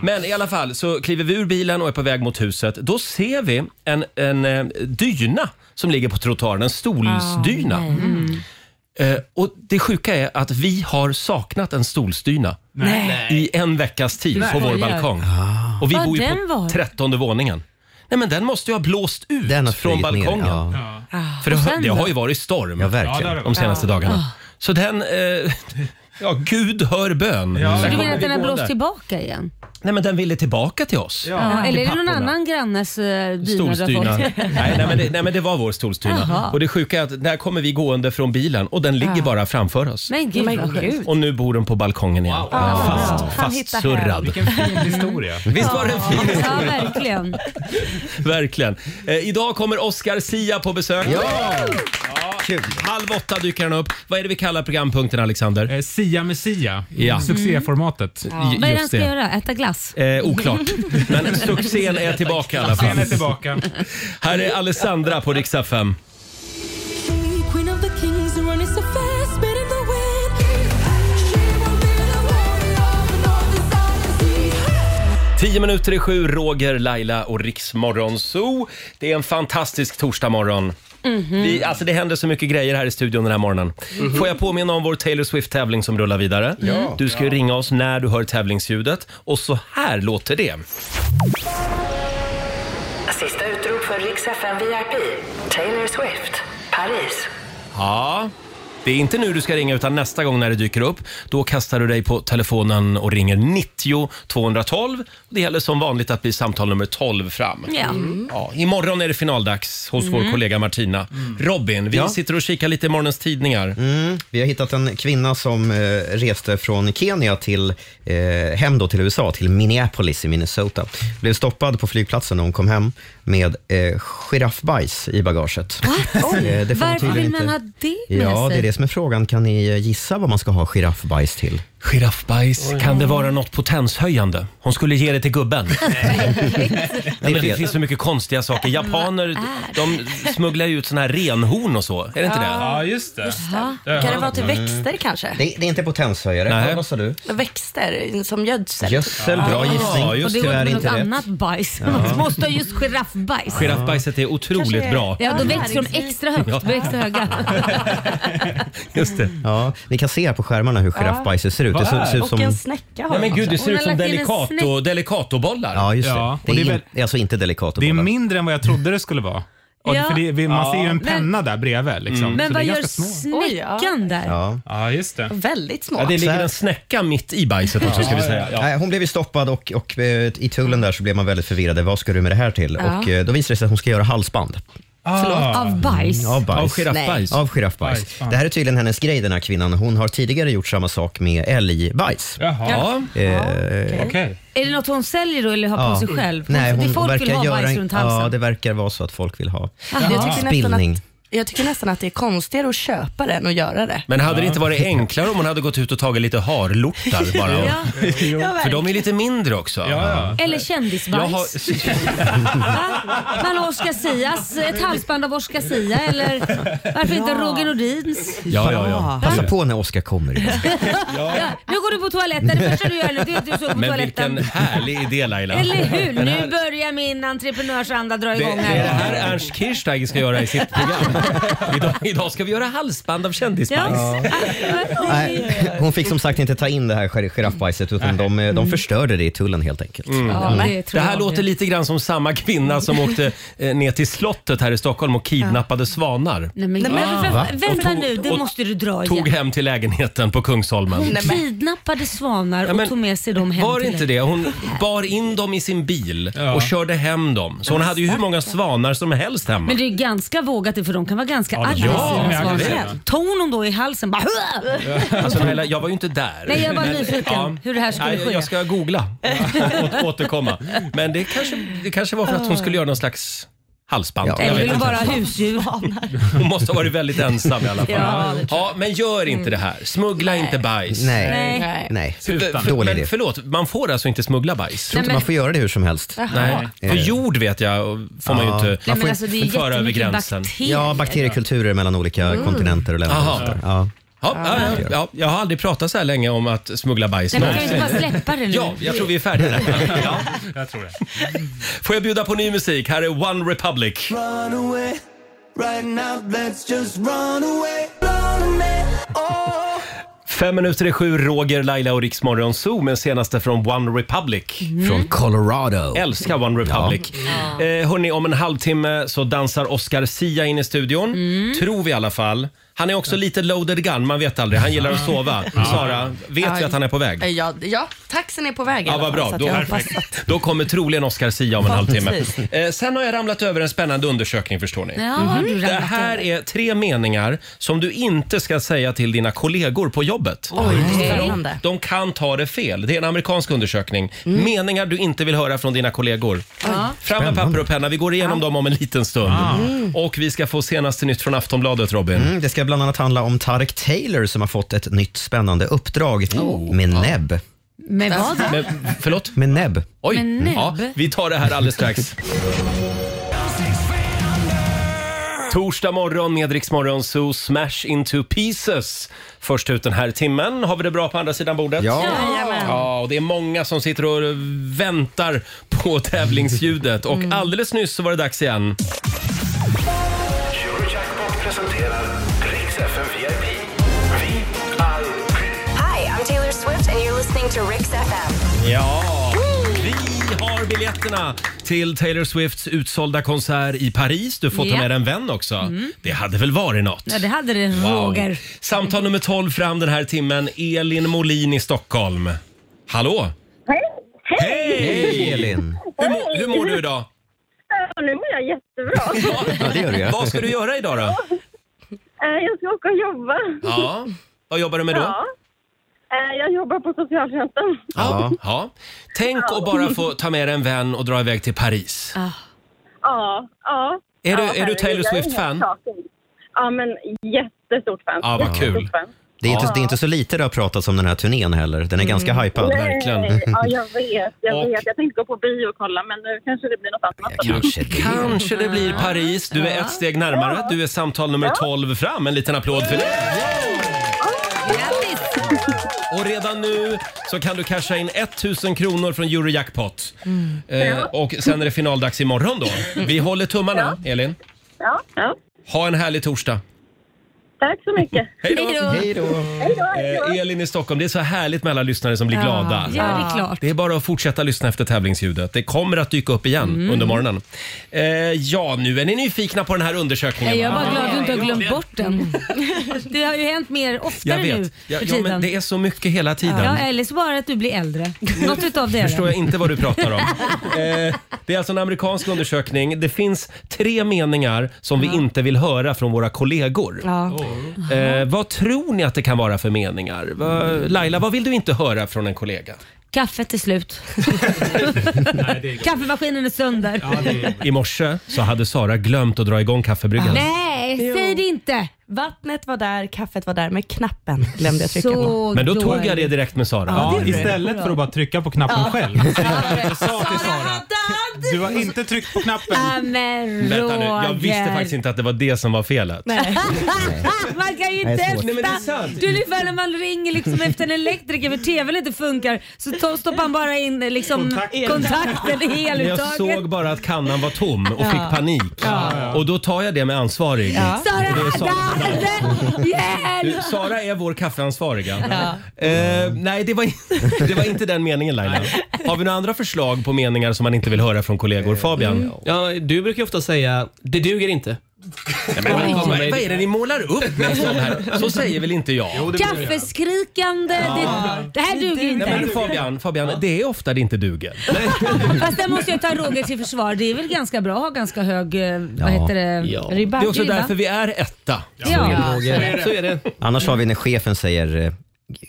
S1: Men i alla fall så kliver vi ur bilen och är på väg mot huset. Då ser vi en, en eh, dyna som ligger på trottoaren, en
S2: Ah,
S1: stolsdyna.
S2: Mm.
S1: Eh, och det sjuka är att vi har saknat en stolsdyna i en veckas tid på vår
S2: Skojar.
S1: balkong. Och vi
S2: Vad
S1: bor ju
S2: Ah. den
S1: på
S2: var?
S1: trettonde våningen. Nej men den måste ju ha blåst ut
S3: Den har
S1: från
S3: flugit ner.
S1: balkongen.
S3: Ja,
S1: För det, har-
S2: sen
S1: det har
S2: då? Ah.
S1: ju varit storm
S3: ja verkligen.
S1: de senaste dagarna. Så den... Eh, ja, Gud hör bön. Så
S2: Du
S1: kommer
S2: menar
S1: vi
S2: att den har
S1: gå
S2: blåst
S1: där.
S2: tillbaka igen?
S1: Nej men den ville tillbaka till oss.
S2: Ja, eller är det någon
S1: papporna.
S2: annan grannes eh, dyna du
S1: Stolstyna.
S2: har fått?
S1: nej, nej, men det, nej men det var vår stolstyna.
S2: Jaha.
S1: Och det sjuka är att där kommer vi gående från bilen och den ligger bara framför oss.
S2: Men gud vad sjukt.
S1: Och nu bor den på balkongen igen. Fast, fastsurrad.
S10: Vilken fin historia.
S1: Visst var det en fin
S2: Ja, verkligen.
S1: Verkligen. Eh, idag kommer Oscar Sia på besök.
S3: Kul.
S1: Halv åtta dyker han upp. Vad är det vi kallar programpunkten Alexander?
S10: Eh, Sia med Sia.
S1: Ja.
S10: Succéformatet.
S1: J-
S2: Vad är det han
S1: just
S2: ska
S1: det.
S2: göra? Äta glass?
S1: Eh, oklart. Men succén är tillbaka i alla fall.
S10: Den är tillbaka.
S1: Här är Alessandra på riksdag 5.
S8: Queen of the kings, running so fast, spinning the wind. She will be the warrior of the northern side of the sea.
S1: Tio minuter i sju, Roger, Laila och Riksmorgon Zoo. Det är en fantastisk torsdagmorgon.
S8: Mm.
S1: Vi, alltså det händer så mycket grejer här i studion den här morgonen. Får jag påminna om vår Taylor Swift-tävling som rullar vidare? Du ska ju ringa oss när du hör tävlingsljudet. Och så här låter det.
S11: Sista utrop för Rix FM VIP. Taylor Swift, Paris.
S1: Ja, det är inte nu du ska ringa utan nästa gång när det dyker upp. Då kastar du dig på telefonen och ringer 90 212. Det gäller som vanligt att bli samtal nummer 12 fram.
S2: Ja.
S1: Ja, imorgon är det finaldags hos
S2: Mm.
S1: vår kollega Martina. Robin, vi
S3: Ja.
S1: sitter och kikar lite i morgonens tidningar.
S3: Mm, Vi har hittat en kvinna som eh, reste från Kenya till, eh, hem då till USA, till Minneapolis i Minnesota. Blev stoppad på flygplatsen när hon kom hem med eh, giraffbajs i bagaget. Eh, det får hon
S2: Varför
S3: tydligen
S2: vill man
S3: inte-
S2: ha det med
S3: Ja, det
S2: sig?
S3: är det som är frågan. Kan ni eh, gissa vad man ska ha giraffbajs till?
S1: Giraffbajs, kan det vara något potenshöjande? Hon skulle ge det till gubben. Ja, men det
S3: fel.
S1: finns så mycket konstiga saker. Japaner de smugglar ju ut såna här renhorn och så. Är det inte det?
S10: Ja, just det.
S7: Kan det vara till växter kanske?
S3: Det, det är inte potenshöjare.
S1: Nej.
S3: Ja, Vad sa du?
S7: Växter som gödsel?
S3: Gödsel, bra gissning.
S1: Ja, just
S2: och det
S3: tyvärr
S2: var något
S3: inte rätt.
S2: annat bajs. Man måste ha just giraffbajs.
S1: Giraffbajset är otroligt bra.
S2: Ja, då växer de extra högt. blir Extra höga.
S1: Just det.
S3: Ja, ni kan se här på skärmarna hur giraffbajset ser ut. Det ser, ser ut
S7: Och
S3: som...
S7: en snäcka har
S1: Nej, men
S7: de
S1: gud, det
S7: också.
S1: ser ut
S2: har
S1: som
S2: lagt in en
S1: delicato,
S2: snäck.
S1: delicatobollar.
S3: Ja, just det.
S10: Ja,
S3: det, är
S10: och det är
S3: in,
S10: väl-
S3: det är alltså inte delikat att
S10: Det är
S3: bolla.
S10: mindre än vad jag trodde det skulle vara. Och
S2: Ja.
S10: för det, vi- man ser ju en
S2: Men-
S10: penna där bredvid. Liksom.
S1: Mm.
S2: Men
S10: Så det
S2: vad
S10: är
S2: gör
S10: ganska små.
S7: Oj, ja.
S2: snäckan där?
S3: Ja.
S10: Ja, just det.
S7: Väldigt små.
S1: Ja, det
S3: Så
S1: ligger
S3: här-
S1: en snäcka mitt i bajset också ska vi säga. Ja.
S3: Nej, hon blev ju stoppad och, och eh, i tullen där så blev man väldigt förvirrad. Vad ska du med det här till? Och eh, då visade det sig att hon ska göra halsband Mm,
S2: Av bajs?
S3: av
S1: Av
S3: bajs.
S1: giraffbajs.
S3: Av giraffbajs.
S10: Bajs, fan.
S3: det här är tydligen hennes grej den här kvinnan. Hon har tidigare gjort samma sak med älgbajs.
S10: Jaha,
S1: Ja.
S3: Eh,
S10: okej.
S2: Är det något hon säljer då eller har på sig själv?
S3: Nej,
S2: Det
S3: hon
S2: folk vill ha bajs
S3: en,
S2: runt halsen.
S3: Ja, det verkar vara så att folk vill ha
S7: Jag tycker nästan
S3: spillning.
S7: att jag tycker nästan att det är konstigare att köpa det än att göra det.
S1: Men hade det inte varit enklare om man hade gått ut och tagit lite harlortar bara?
S7: Ja.
S1: För de är lite mindre också.
S2: Eller
S1: Jag
S2: kändisbajs.
S1: har,
S2: Man har Oscar Sias, ett halsband av Oscar Sia eller varför inte Roger Nordins?
S3: Ja, ja, ja. Passa på när Oskar kommer.
S2: Ja, nu går du på toaletten, det första du gör är att du- du står på
S1: men
S2: toaletten.
S1: vilken härlig idé Laila.
S2: Eller hur?
S1: Den här-
S2: Nu börjar min entreprenörsanda dra
S1: Det, det
S2: igång
S1: är det här
S2: här.
S1: Ernst Kirchsteiger ska göra i sitt program. idag, idag ska vi göra halsband av kändisbajs.
S2: Ja.
S3: Nej, hon fick som sagt inte ta in det här gir- giraffbajset utan de, de förstörde det i tullen helt enkelt.
S1: Mm.
S3: Mm.
S2: Mm. det tror
S1: det här
S2: jag.
S1: låter lite grann som samma kvinna som åkte eh, ner till slottet här i Stockholm och kidnappade svanar.
S2: Nej, men, men, vä-
S1: Va?
S2: vänta
S1: Och tog-
S2: nu, det
S1: och
S2: måste du dra
S1: Tog
S2: igen.
S1: hem till lägenheten på Kungsholmen.
S2: Hon kidnappade svanar och tog med sig dem hem
S1: Var det
S2: till
S1: inte det? Hon bar in dem i sin bil och körde hem dem. Så hon hade ju hur många svanar som helst hemma.
S2: Men det är ju ganska vågat för de kan vara ganska
S1: Ja,
S2: aggressiva.
S1: ja, men
S2: svanar.
S1: aggressiva.
S2: Tog hon dem då i halsen bara...
S1: Alltså, Laila, jag var ju inte där.
S2: Nej, jag var
S1: Men-
S2: nyfiken hur det här skulle
S1: Nej,
S2: ske.
S1: Jag ska googla och återkomma. Men det kanske, det kanske var för att hon skulle göra någon slags halsband. Jag
S2: Eller
S1: vet
S2: vill hon
S1: inte.
S2: vara husdjur?
S1: Hon måste ha varit väldigt ensam i alla fall.
S2: Ja,
S1: Ja,
S2: det tror
S1: men gör inte det här. Smuggla inte bajs.
S3: Mm. Nej. Nej. Nej.
S1: För, för,
S3: Dålig
S1: men
S3: idé.
S1: förlåt, man får alltså inte smuggla bajs?
S3: tror inte man får göra det hur som helst.
S1: Nej,
S3: Eh,
S1: för jord vet jag och får man ju
S3: Ja.
S1: inte
S3: Nej, men
S1: man får
S2: alltså, det är
S1: inte föra över
S2: jättemycket
S1: gränsen.
S2: bakterier.
S3: Ja, bakteriekulturer mellan olika
S1: Mm.
S3: kontinenter och länder.
S1: Aha.
S3: Och sådär. ja.
S1: Ja, ja, ja, ja, jag har aldrig pratat så här länge om att smuggla bajs.
S2: Nej, men kan vi
S1: någonsin.
S2: inte bara släppa det nu?
S1: Ja, jag tror vi är färdiga där. ja. jag tror det. Får jag bjuda på ny musik? Här är One Republic.
S4: Run away, right now let's just run away, run away. Oh.
S1: Fem minuter i sju, Roger, Laila och Riksmorgon Zoo med senaste från One Republic.
S3: Mm. Från Colorado.
S1: Älskar One Republic. Eh, hörni, om en halvtimme så dansar Oscar Sia in i studion.
S7: Mm.
S1: Tror vi i alla fall. Han är också lite loaded gun, man vet aldrig. Han gillar att sova.
S7: Ja.
S1: Sara, vet vi att han är på väg?
S7: Eh, Ja, ja taxen är på väg i
S1: Ja,
S7: alla
S1: vad
S7: fall,
S1: bra.
S7: så att
S1: Då,
S7: jag hoppas att-
S1: då kommer troligen Oscar Sia om en
S7: Ja,
S1: halvtimme.
S7: precis.
S1: Eh, sen har jag ramlat över en spännande undersökning förstår ni. Mm-hmm.
S2: Ja, har du ramlat
S1: Det här är tre meningar som du inte ska säga till dina kollegor på jobbet.
S7: Oj,
S1: För
S7: spännande.
S1: De, de kan ta det fel. Det är en amerikansk undersökning. Meningar du inte vill höra från dina kollegor.
S2: Ja.
S1: Fram med papper och penna. Vi går igenom dem om en liten stund. Och vi ska få senaste nytt från Aftonbladet, Robin.
S3: Mm, det ska bland annat handla om Tarek Taylor som har fått ett nytt spännande uppdrag
S2: Oh.
S3: med näbb.
S2: Med vad?
S1: Med, förlåt?
S3: Med näbb.
S1: Oj!
S2: Med näbb?
S1: Ja, vi tar det här alldeles strax. Torsdag morgon med Rix Morgon Zoo, Smash into pieces. Först ut den här timmen. Har vi det bra på andra sidan bordet?
S3: Ja.
S1: ja och det är många som sitter och väntar på tävlingsljudet. Och alldeles nyss så var det dags igen.
S4: Eurojackpot presenterar Rix FM VIP. Vi är
S11: Hi, I'm Taylor Swift and you're listening to Rix FM.
S1: Ja! Vi har biljetterna till Taylor Swifts utsålda konsert i Paris. Du får ta
S2: Ja.
S1: med en vän också.
S2: Mm.
S1: Det hade väl varit något?
S2: Ja, det hade det, Roger.
S1: Samtal nummer 12 fram den här timmen. Elin Molin i Stockholm. Hallå!
S12: Hej!
S1: Hej! Elin! Hur, mår- hur mår du idag?
S12: Ja, nu mår jag jättebra.
S1: Ja,
S3: det gör du, ja.
S1: Vad ska du göra idag då?
S12: Eh, jag ska åka och jobba.
S1: Ja. Vad jobbar du med då?
S12: Ja. Eh, Jag jobbar på socialtjänsten.
S1: Ja. ja. Tänk att bara få ta med en vän och dra iväg till Paris.
S12: Ja. ja.
S1: Är du-
S12: ja,
S1: är du
S12: herregud,
S1: Taylor
S12: jag är
S1: Swift-fan?
S12: helt taken. Ja, men jättestort fan.
S1: Ja, vad
S12: Jättestort
S1: kul.
S12: fan.
S3: Det är, inte,
S12: Ja.
S3: det är inte så lite det har pratats om den här turnén heller. Den är
S10: Mm.
S3: ganska hypad.
S12: Mm. Nej, Ja, jag vet. Jag, vet. jag tänkte gå på bio och kolla, men nu kanske det blir något annat.
S1: Kanske det blir Paris. Du är ett steg närmare. Du är samtal nummer 12 fram. En liten applåd för det. Och redan nu så kan du casha in 1000 kronor från Eurojackpot. Eh, och sen är det finaldags imorgon då. Vi håller tummarna, Elin.
S12: Ja, ja.
S1: Ha en härlig torsdag.
S12: Tack så mycket.
S1: Hej då. Hej då. Eh, Elin i Stockholm, det är så härligt med alla lyssnare som blir
S2: Ja,
S1: glada.
S2: ja, det är klart.
S1: Det är bara att fortsätta lyssna efter tävlingsljudet. Det kommer att dyka upp igen
S2: Mm.
S1: under morgonen. Eh, ja, nu är ni nyfikna på den här undersökningen.
S2: Nej, jag är
S1: va?
S2: bara glad att du inte har glömt bort den.
S1: Mm.
S2: Det har ju hänt mer
S1: Jag
S2: oftare nu
S1: vet. Ja,
S2: för
S1: ja, men
S2: tiden.
S1: det är så mycket hela tiden.
S2: Ja, eller så bara att du blir äldre. Något utav det är
S1: förstår
S2: det.
S1: jag inte vad du pratar om. eh, det är alltså en amerikansk undersökning. Det finns tre meningar som vi inte vill höra från våra kollegor.
S2: Ja.
S1: Eh, vad tror ni att det kan vara för meningar? Va, Laila, vad vill du inte höra från en kollega?
S2: Kaffet är slut. Kaffemaskinen är sönder.
S1: I morse så hade Sara glömt att dra igång kaffebryggaren.
S2: Nej, säg inte!
S7: Ah. Vattnet var där, kaffet var där, men knappen glömde jag trycka på.
S1: Men då tog jag det direkt med Sara.
S10: Ja, istället för att bara trycka på knappen
S7: Ja.
S10: själv. Jag sa till Sara, du har inte tryckt på knappen.
S2: Ja, men
S1: Vänta nu, jag visste
S2: Roger.
S1: faktiskt inte att det var det som var felet.
S2: Nej. man kan ju inte
S1: Nej, det är svårt.
S2: efter.
S1: Nej, men det är sant.
S2: Du är ungefär när man ringer liksom efter en elektriker för tvn inte funkar så to- stoppar han bara in liksom
S1: Kontakten.
S2: kontakten i
S1: Men Jag
S2: eluttaget.
S1: såg bara att kannan var tom och
S2: Ja.
S1: fick panik. Och då tar jag det med ansvarig.
S2: Ja. Sara,
S1: Och det är
S2: Där!
S1: Du,
S2: Hjälp!
S1: Sara är vår kaffeansvariga.
S2: Ja.
S1: Eh, nej, det var, in- det var inte den meningen Laila. Har vi några andra förslag på meningar som man inte vill höra från kollegor? Fabian?
S2: Mm.
S9: Ja, du brukar ju ofta säga “det duger inte”.
S1: men vad- vad är det ni målar upp med sån här? Så säger väl inte jag?
S2: Kaffeskrikande. Det, det här duger inte.
S1: Nej, men Fabian, Fabian det är ofta det inte duger.
S2: Fast där måste jag ta Roger till försvar. Det är väl ganska bra att ha ganska hög eh, vad heter det? ribba.
S1: Det är också
S2: Ribba.
S1: därför vi är etta.
S2: Ja. Så är det, Roger. Så är det. Så är det.
S3: Annars har vi när chefen säger eh,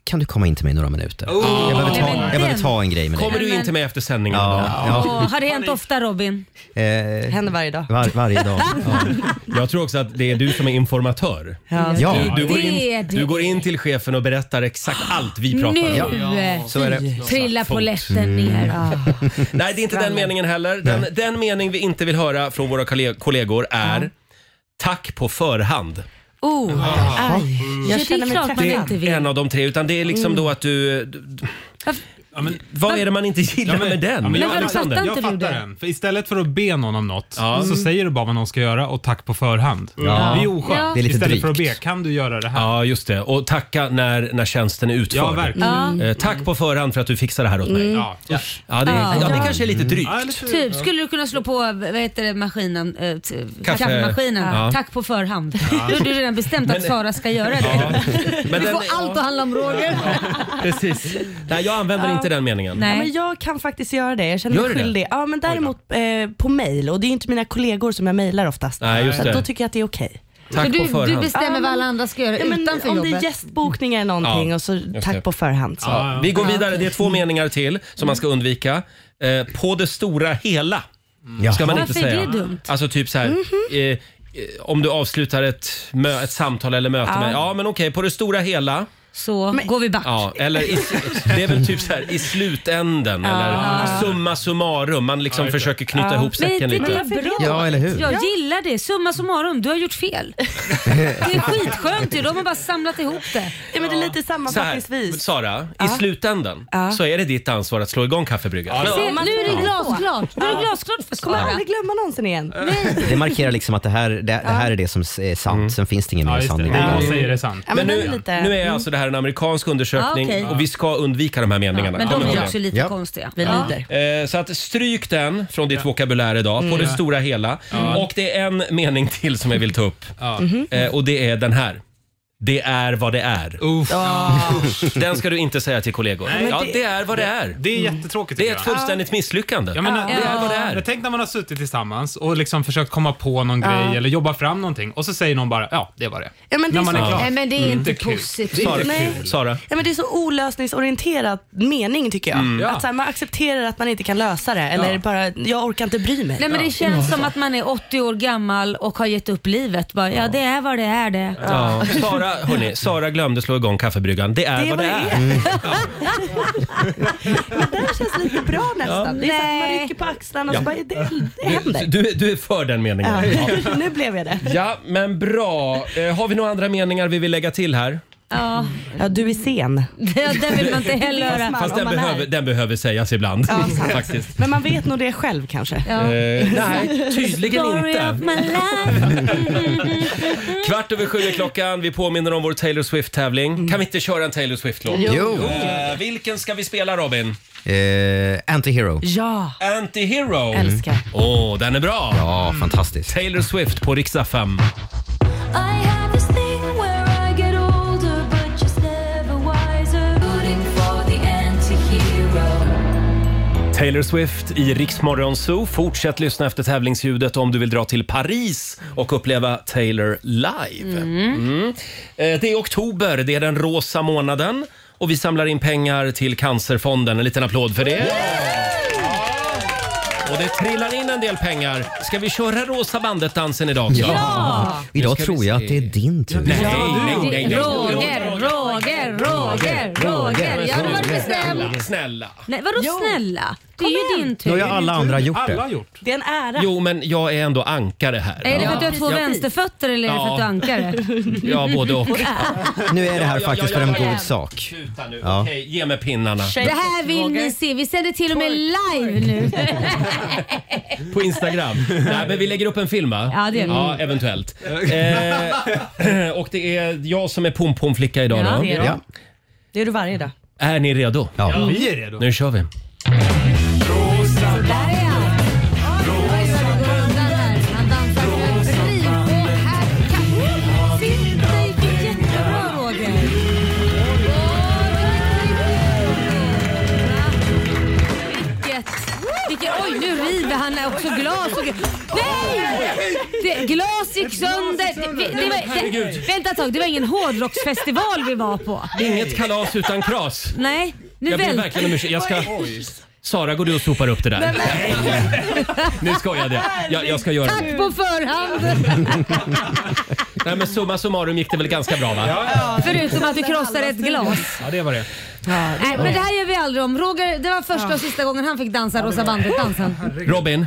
S3: kan du komma in till mig några minuter?
S1: Oh.
S3: Jag, behöver
S2: Nej,
S3: ta,
S2: men
S3: jag behöver
S2: den-
S3: ta en grej med dig.
S1: Kommer du in till mig efter sändningen?
S3: Ja. ja.
S2: Åh, har det hänt ofta Robin?
S3: Eh,
S7: Händer varje dag.
S3: var, varje dag.
S1: Jag tror också att det är du som är informatör.
S7: Ja.
S3: Ja.
S1: Du, du, går
S2: Det är
S1: in,
S2: det.
S1: du går in till chefen och berättar exakt allt vi pratar
S2: nu
S1: om. Så är det.
S2: trillar
S7: Mm.
S2: polletten ner.
S1: Nej, det är inte den meningen heller. Den, den mening vi inte vill höra från våra kolle- kollegor är tack på förhand.
S7: Oh, aj. Jag
S2: Ja, det är
S7: känner mig
S2: klart man
S7: träffad.
S2: inte
S1: En av de tre, utan det är liksom då att du... du- du- vad är det man inte gillar
S10: Ja, men-
S1: med den?
S10: ja, men jag-
S1: Alexander?
S10: jag fattar den. För istället för att be någon om något
S1: Ja.
S10: så säger du bara vad någon ska göra och tack på förhand.
S1: Ja.
S10: Det är oskönt.
S1: Ja. Det är lite
S10: istället för att be,
S1: drygt.
S10: kan du göra det här?
S1: Ja, just det. Och tacka när, när tjänsten är utförd.
S10: Ja, verkligen. Mm.
S1: Eh, tack på förhand för att du fixar det här åt mig.
S10: Mm.
S1: Ja,
S10: Ja. Mm.
S1: ja, det,
S2: Ja.
S1: ja, det kanske är lite drygt.
S2: Typ, skulle du kunna slå på vad heter det, maskinen, eh, t-
S1: Kaffe.
S2: kaffemaskinen?
S1: Ja.
S2: Tack på förhand. Då har du redan bestämt att
S1: Men-
S2: Sara ska göra det.
S1: Men
S2: du
S1: den-
S2: får allt att handla om Roger.
S1: Precis. Nej, jag använder
S7: Ja.
S1: inte den meningen.
S7: Ja, men jag kan faktiskt göra det. Jag känner
S1: Gör
S7: mig
S1: du det?
S7: skyldig. Ja, men däremot eh, på mail. Och det är ju inte mina kollegor som jag mailar oftast.
S1: Nej, just
S7: Så att
S1: det.
S7: då tycker jag att det är okej.
S1: Tack
S2: Så
S1: på
S2: du,
S1: förhand.
S2: du bestämmer
S7: Ja,
S2: vad
S7: men-
S2: alla andra ska göra
S7: Ja, men
S2: utanför
S7: om det
S2: jobbet.
S7: är gästbokning eller någonting
S1: Ja,
S7: och så
S1: just det.
S7: tack på förhand. Så.
S1: Ja, vi går vidare. Det är
S2: Mm.
S1: två meningar till som man ska undvika. Eh, på det stora hela ska man inte
S2: Mm. Varför
S1: säga.
S2: är det dumt? Mhm.
S1: Alltså typ så här. Eh, eh, om du avslutar ett, mö- ett samtal eller möte
S2: Ja.
S1: med, ja men okej, på det stora hela.
S2: Så går vi back.
S1: Ja, eller i, det är väl typ så här i slutänden
S2: Ja.
S1: eller summa summarum. Man liksom försöker knyta ihop säcken
S2: men,
S1: lite.
S2: Men det är bra. Jag gillar det. Summa summarum, du har gjort fel. Det är skitskönt ju. De har bara samlat ihop det.
S7: Ja, men det är lite
S1: Så här,
S7: sammanfattningsvis.
S1: Sara,
S7: Ja.
S1: i slutändan
S7: Ja.
S1: så är det ditt ansvar att slå igång kaffebryggan.
S2: Se, nu är det glasklart. Nu är det
S7: Ja.
S2: glasklart för
S7: Kommer
S2: Sara.
S7: aldrig glömma någonsin igen.
S3: Det markerar liksom att det här, det, det här är det som är sant. Sen finns det ingen mer sanning.
S10: Mm. Ja, jag säger det sant.
S7: Ja,
S1: Men
S7: men
S1: nu,
S7: den är lite-
S1: nu är alltså det här en amerikansk undersökning
S2: Ja, okej.
S1: och vi ska undvika de här meningarna.
S2: Men
S1: Kom
S2: de
S1: ihåg
S2: är
S1: det.
S2: också lite konstiga. Vi
S7: lider.
S1: Eh, Så att stryk den från ditt vokabulär idag, på
S2: Mm.
S1: det
S2: Ja.
S1: stora hela.
S10: Mm.
S1: Och det är en mening till som jag vill ta upp.
S2: Mhm.
S1: Eh, Och det är den här. Det är vad det är.
S10: Ah.
S1: Den ska du inte säga till kollegor.
S10: Nej, men
S1: ja,
S10: det-
S1: det är vad det är.
S10: Det är jättetråkigt.
S1: Det är
S10: tycker
S1: ett
S10: jag.
S1: fullständigt misslyckande.
S10: Ja, men,
S1: det är vad det är.
S10: Men tänk när man har suttit tillsammans och liksom försökt komma på någon
S2: Ja.
S10: grej eller jobba fram någonting och så säger någon bara ja, det var det.
S7: Ja, men det
S10: när
S7: är
S10: man
S7: så-
S10: är klar.
S7: Nej, men det är
S10: Mm.
S7: inte
S10: kul.
S7: positivt.
S10: Det är inte
S7: Nej.
S10: kul.
S1: Sara?
S7: Ja, men det är så olösningsorienterad mening tycker jag.
S1: Mm. Ja.
S7: Att så här, man accepterar att man inte kan lösa det eller
S1: Ja.
S7: bara, jag orkar inte bry mig.
S2: Nej, men det känns som att man är 80 år gammal och har gett upp livet. Bara, ja, det är vad det är det.
S1: Ja. Sara, hörni, Sara glömde slå igång kaffebryggan. Det är vad det är. Mm.
S7: Det känns lite bra nästan. Det är så att man rycker på axlarna och
S1: Ja.
S7: så bara, det, det
S1: Du,
S7: händer.
S1: du, du är för den meningen.
S7: Ja.
S1: Ja.
S7: Nu blev jag det.
S1: Ja, men bra. Eh, har vi några andra meningar vi vill lägga till här?
S2: Ja.
S7: Ja, du är sen.
S2: Ja, det vill man inte heller höra.
S1: Fast
S7: om
S1: den
S7: man
S1: behöver,
S7: är.
S1: den behöver sägas ibland.
S7: Ja, sant.
S1: Faktiskt.
S7: Men man vet nog det själv kanske.
S1: Ja. Eh, nej, tydligen
S2: Story
S1: inte.
S2: Of my life.
S1: Kvart över sju är klockan. Vi påminner om vår Taylor Swift-tävling.
S7: Mm.
S1: Kan vi inte köra en Taylor Swift-låt?
S3: Jo. Jo.
S1: Eh, vilken ska vi spela, Robin?
S3: Eh, Antihero.
S7: Ja.
S1: Anti-Hero.
S3: Älskar.
S1: Åh, den är bra.
S3: Ja, fantastiskt.
S1: Taylor Swift på riksdag 5.
S8: I have this thing where I get older, but just never wiser. Rooting for the anti-hero.
S1: Taylor Swift i Riksmorgon Zoo. Fortsätt lyssna efter tävlingsljudet om du vill dra till Paris och uppleva Taylor live. Mm. Eh, Det är oktober, det är den rosa månaden och vi samlar in pengar till Cancerfonden. En liten applåd för det. Och det trillar in en del pengar. Ska vi köra Rosa bandet-dansen idag också?
S3: Ja. Idag tror jag att det är din tur.
S1: Nej, nej, nej, nej.
S2: Roger, Roger, Roger, Roger. Jag hade varit snäll.
S1: Snälla.
S2: Nej, vadå snälla? Det är ju din tur.
S1: Nu har ju alla andra gjort det. Alla har gjort.
S2: Det är en ära.
S1: Jo, men jag är ändå ankare här.
S2: Är det för att du har två
S1: Jag-
S2: vänsterfötter eller är det för att du
S1: Ja.
S2: ankar?
S1: Ja, både och.
S3: Nu är det här
S1: Ja,
S3: faktiskt
S1: ja,
S3: för
S1: ja,
S3: en
S1: ja.
S3: god sak.
S1: Sluta nu.
S3: Ja.
S1: Okej, ge mig pinnarna.
S2: Det här vill ni se. Vi sänder till och med live nu.
S1: På Instagram. Nej, men vi lägger upp en film va?
S2: Ja, det gör vi.
S1: Ja, eventuellt. Eh, och det är jag som är pompomflicka idag
S7: Ja,
S1: då.
S7: det är du. Det är du varje dag.
S1: Är ni redo?
S7: Ja. Vi är redo.
S1: Nu kör vi.
S2: Vilket, vilket, oj, nu river han också glas. Och, nej! Det, glas gick sönder. Det, det, det, var-
S1: Herregud.
S2: det, vänta ett tag, det var ingen hårdrocksfestival vi var på.
S1: Inget kalas utan kras.
S2: Nej, nu
S1: jag ber
S2: väl-
S1: verkligen om ursäkt. Jag ska... Sara, går du och sopar upp det där? Nu skojade jag. jag. Jag ska göra det.
S2: Tack på förhand!
S1: Nej, men summa summarum gick det väl ganska bra va?
S2: Förutom att du krossar ett glas.
S1: Ja, det var det.
S2: Nej, men det här gör vi aldrig om. Roger, det var första och sista gången han fick dansa Rosa bandet-dansen.
S1: Robin,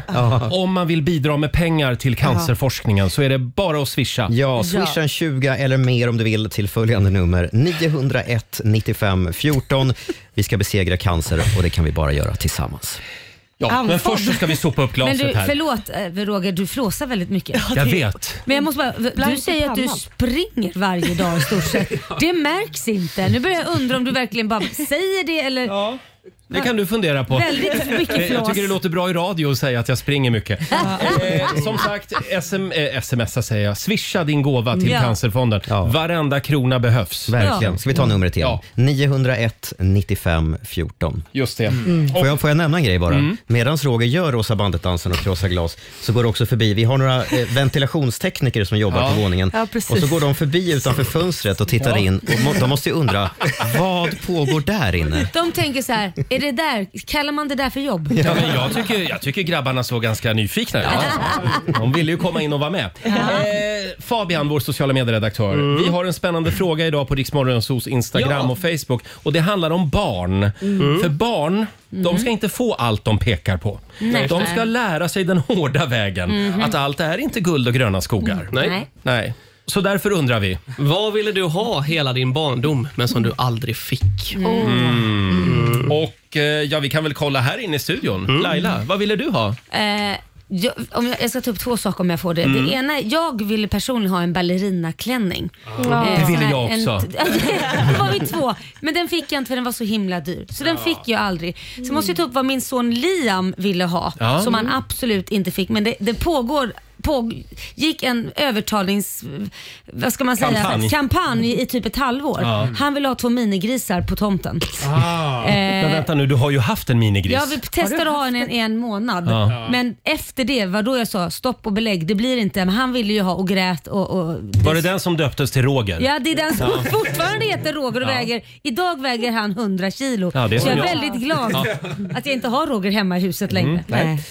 S1: om man vill bidra med pengar till cancerforskningen så är det bara att swisha.
S3: Ja, swisha en 20 eller mer om du vill till följande nummer 901 95 14. Vi ska besegra cancer och det kan vi bara göra tillsammans.
S1: Ja, men först så ska vi sopa upp
S2: Men
S1: glaset
S2: du,
S1: här.
S2: förlåt eh, Roger, du flåsar väldigt mycket.
S1: Jag vet.
S2: Men jag måste bara, du
S7: Blank i
S2: säger att du
S7: pannan.
S2: springer varje dag i stort sett. Det märks inte. Nu börjar jag undra om du verkligen bara säger det eller...
S1: Det kan du fundera på.
S2: Väldigt mycket
S1: Eh, Jag
S2: flås.
S1: tycker det låter bra i radio att säga att jag springer mycket. Eh, som sagt, SM, eh, smsa säger jag. Swisha din gåva till
S3: Ja.
S1: Cancerfonden. Varenda krona behövs.
S3: Verkligen. Ska vi ta numret igen?
S1: Ja.
S3: 901 95 14.
S1: Just det.
S3: Får, jag, får jag nämna en grej bara?
S1: Mm.
S3: Medan Roger gör Rosa bandet-dansen och krossar glas så går det också förbi, vi har några eh, ventilationstekniker som jobbar
S1: Ja.
S3: på våningen
S1: Ja,
S3: och
S1: precis.
S3: så går de förbi utanför fönstret och tittar
S1: Ja.
S3: in och må, de måste ju undra, vad pågår där inne?
S2: De tänker så här, är det där, kallar man det där för jobb?
S1: Ja, men jag, tycker, jag tycker grabbarna såg ganska nyfikna ut. De ville ju komma in och vara med. Eh, Fabian, vår sociala medieredaktör. Vi har en spännande fråga idag på Riksmorgonsos Instagram
S9: Mm. Ja.
S1: och Facebook. Och Det handlar om barn.
S9: Mm.
S1: För barn, de ska inte få allt de pekar på.
S9: Nej.
S1: De ska lära sig den hårda vägen.
S9: Mhm.
S1: Att allt är inte guld och gröna skogar.
S9: Nej.
S1: Nej. Så därför undrar vi.
S9: Vad ville du ha hela din barndom, men som du aldrig fick?
S1: Mm. Och eh, ja, vi kan väl kolla här inne i studion. Laila, vad ville du ha?
S2: Eh, jag, om jag, jag ska ta upp två saker om jag får det.
S1: Mm.
S2: Det ena, jag ville personligen ha en ballerinaklänning. Eh,
S1: Ah. Det ville
S2: sån här-
S1: jag också.
S2: En, då alltså, var vi två. Men den fick jag inte för den var så himla dyr. Så den
S1: Ja.
S2: fick jag aldrig. Så måste jag ta upp vad min son Liam ville ha.
S1: Ja.
S2: Som han absolut inte fick. Men det, det pågår pågick en övertalnings... Vad ska man säga?
S1: Kampanj.
S2: Kampanj i typ ett halvår.
S1: Ja. Ah.
S2: Han ville ha två minigrisar på tomten. Eh,
S1: Men vänta nu, du har ju haft en minigris.
S2: Ja, vi testade att ha en i en månad.
S1: Ja.
S2: Men efter det var då jag sa stopp och belägg, det blir inte. Men han ville ju ha och grät och... och
S1: Var det den som döptes till Roger?
S2: Ja, det är den som
S1: Ja.
S2: fortfarande heter Roger och
S1: Ja.
S2: väger... Idag väger han 100 kilo.
S1: Ja, det är
S2: så
S1: som
S2: jag är
S1: jag.
S2: väldigt glad
S1: Ja.
S2: att jag inte har Roger hemma i huset längre.
S1: Mm, nej.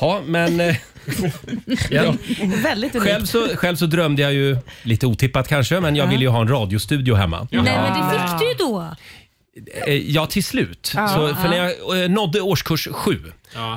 S1: Ja, men... eh, ja.
S2: Väldigt
S1: Själv, så, själv så drömde jag ju, lite otippat kanske, men jag ville ju ha en radiostudio hemma.
S2: Nej, men det fick du ju då.
S1: Eh, Ja, till slut.
S2: Ja.
S1: Så, för
S2: Ja.
S1: när jag eh, nådde årskurs sju,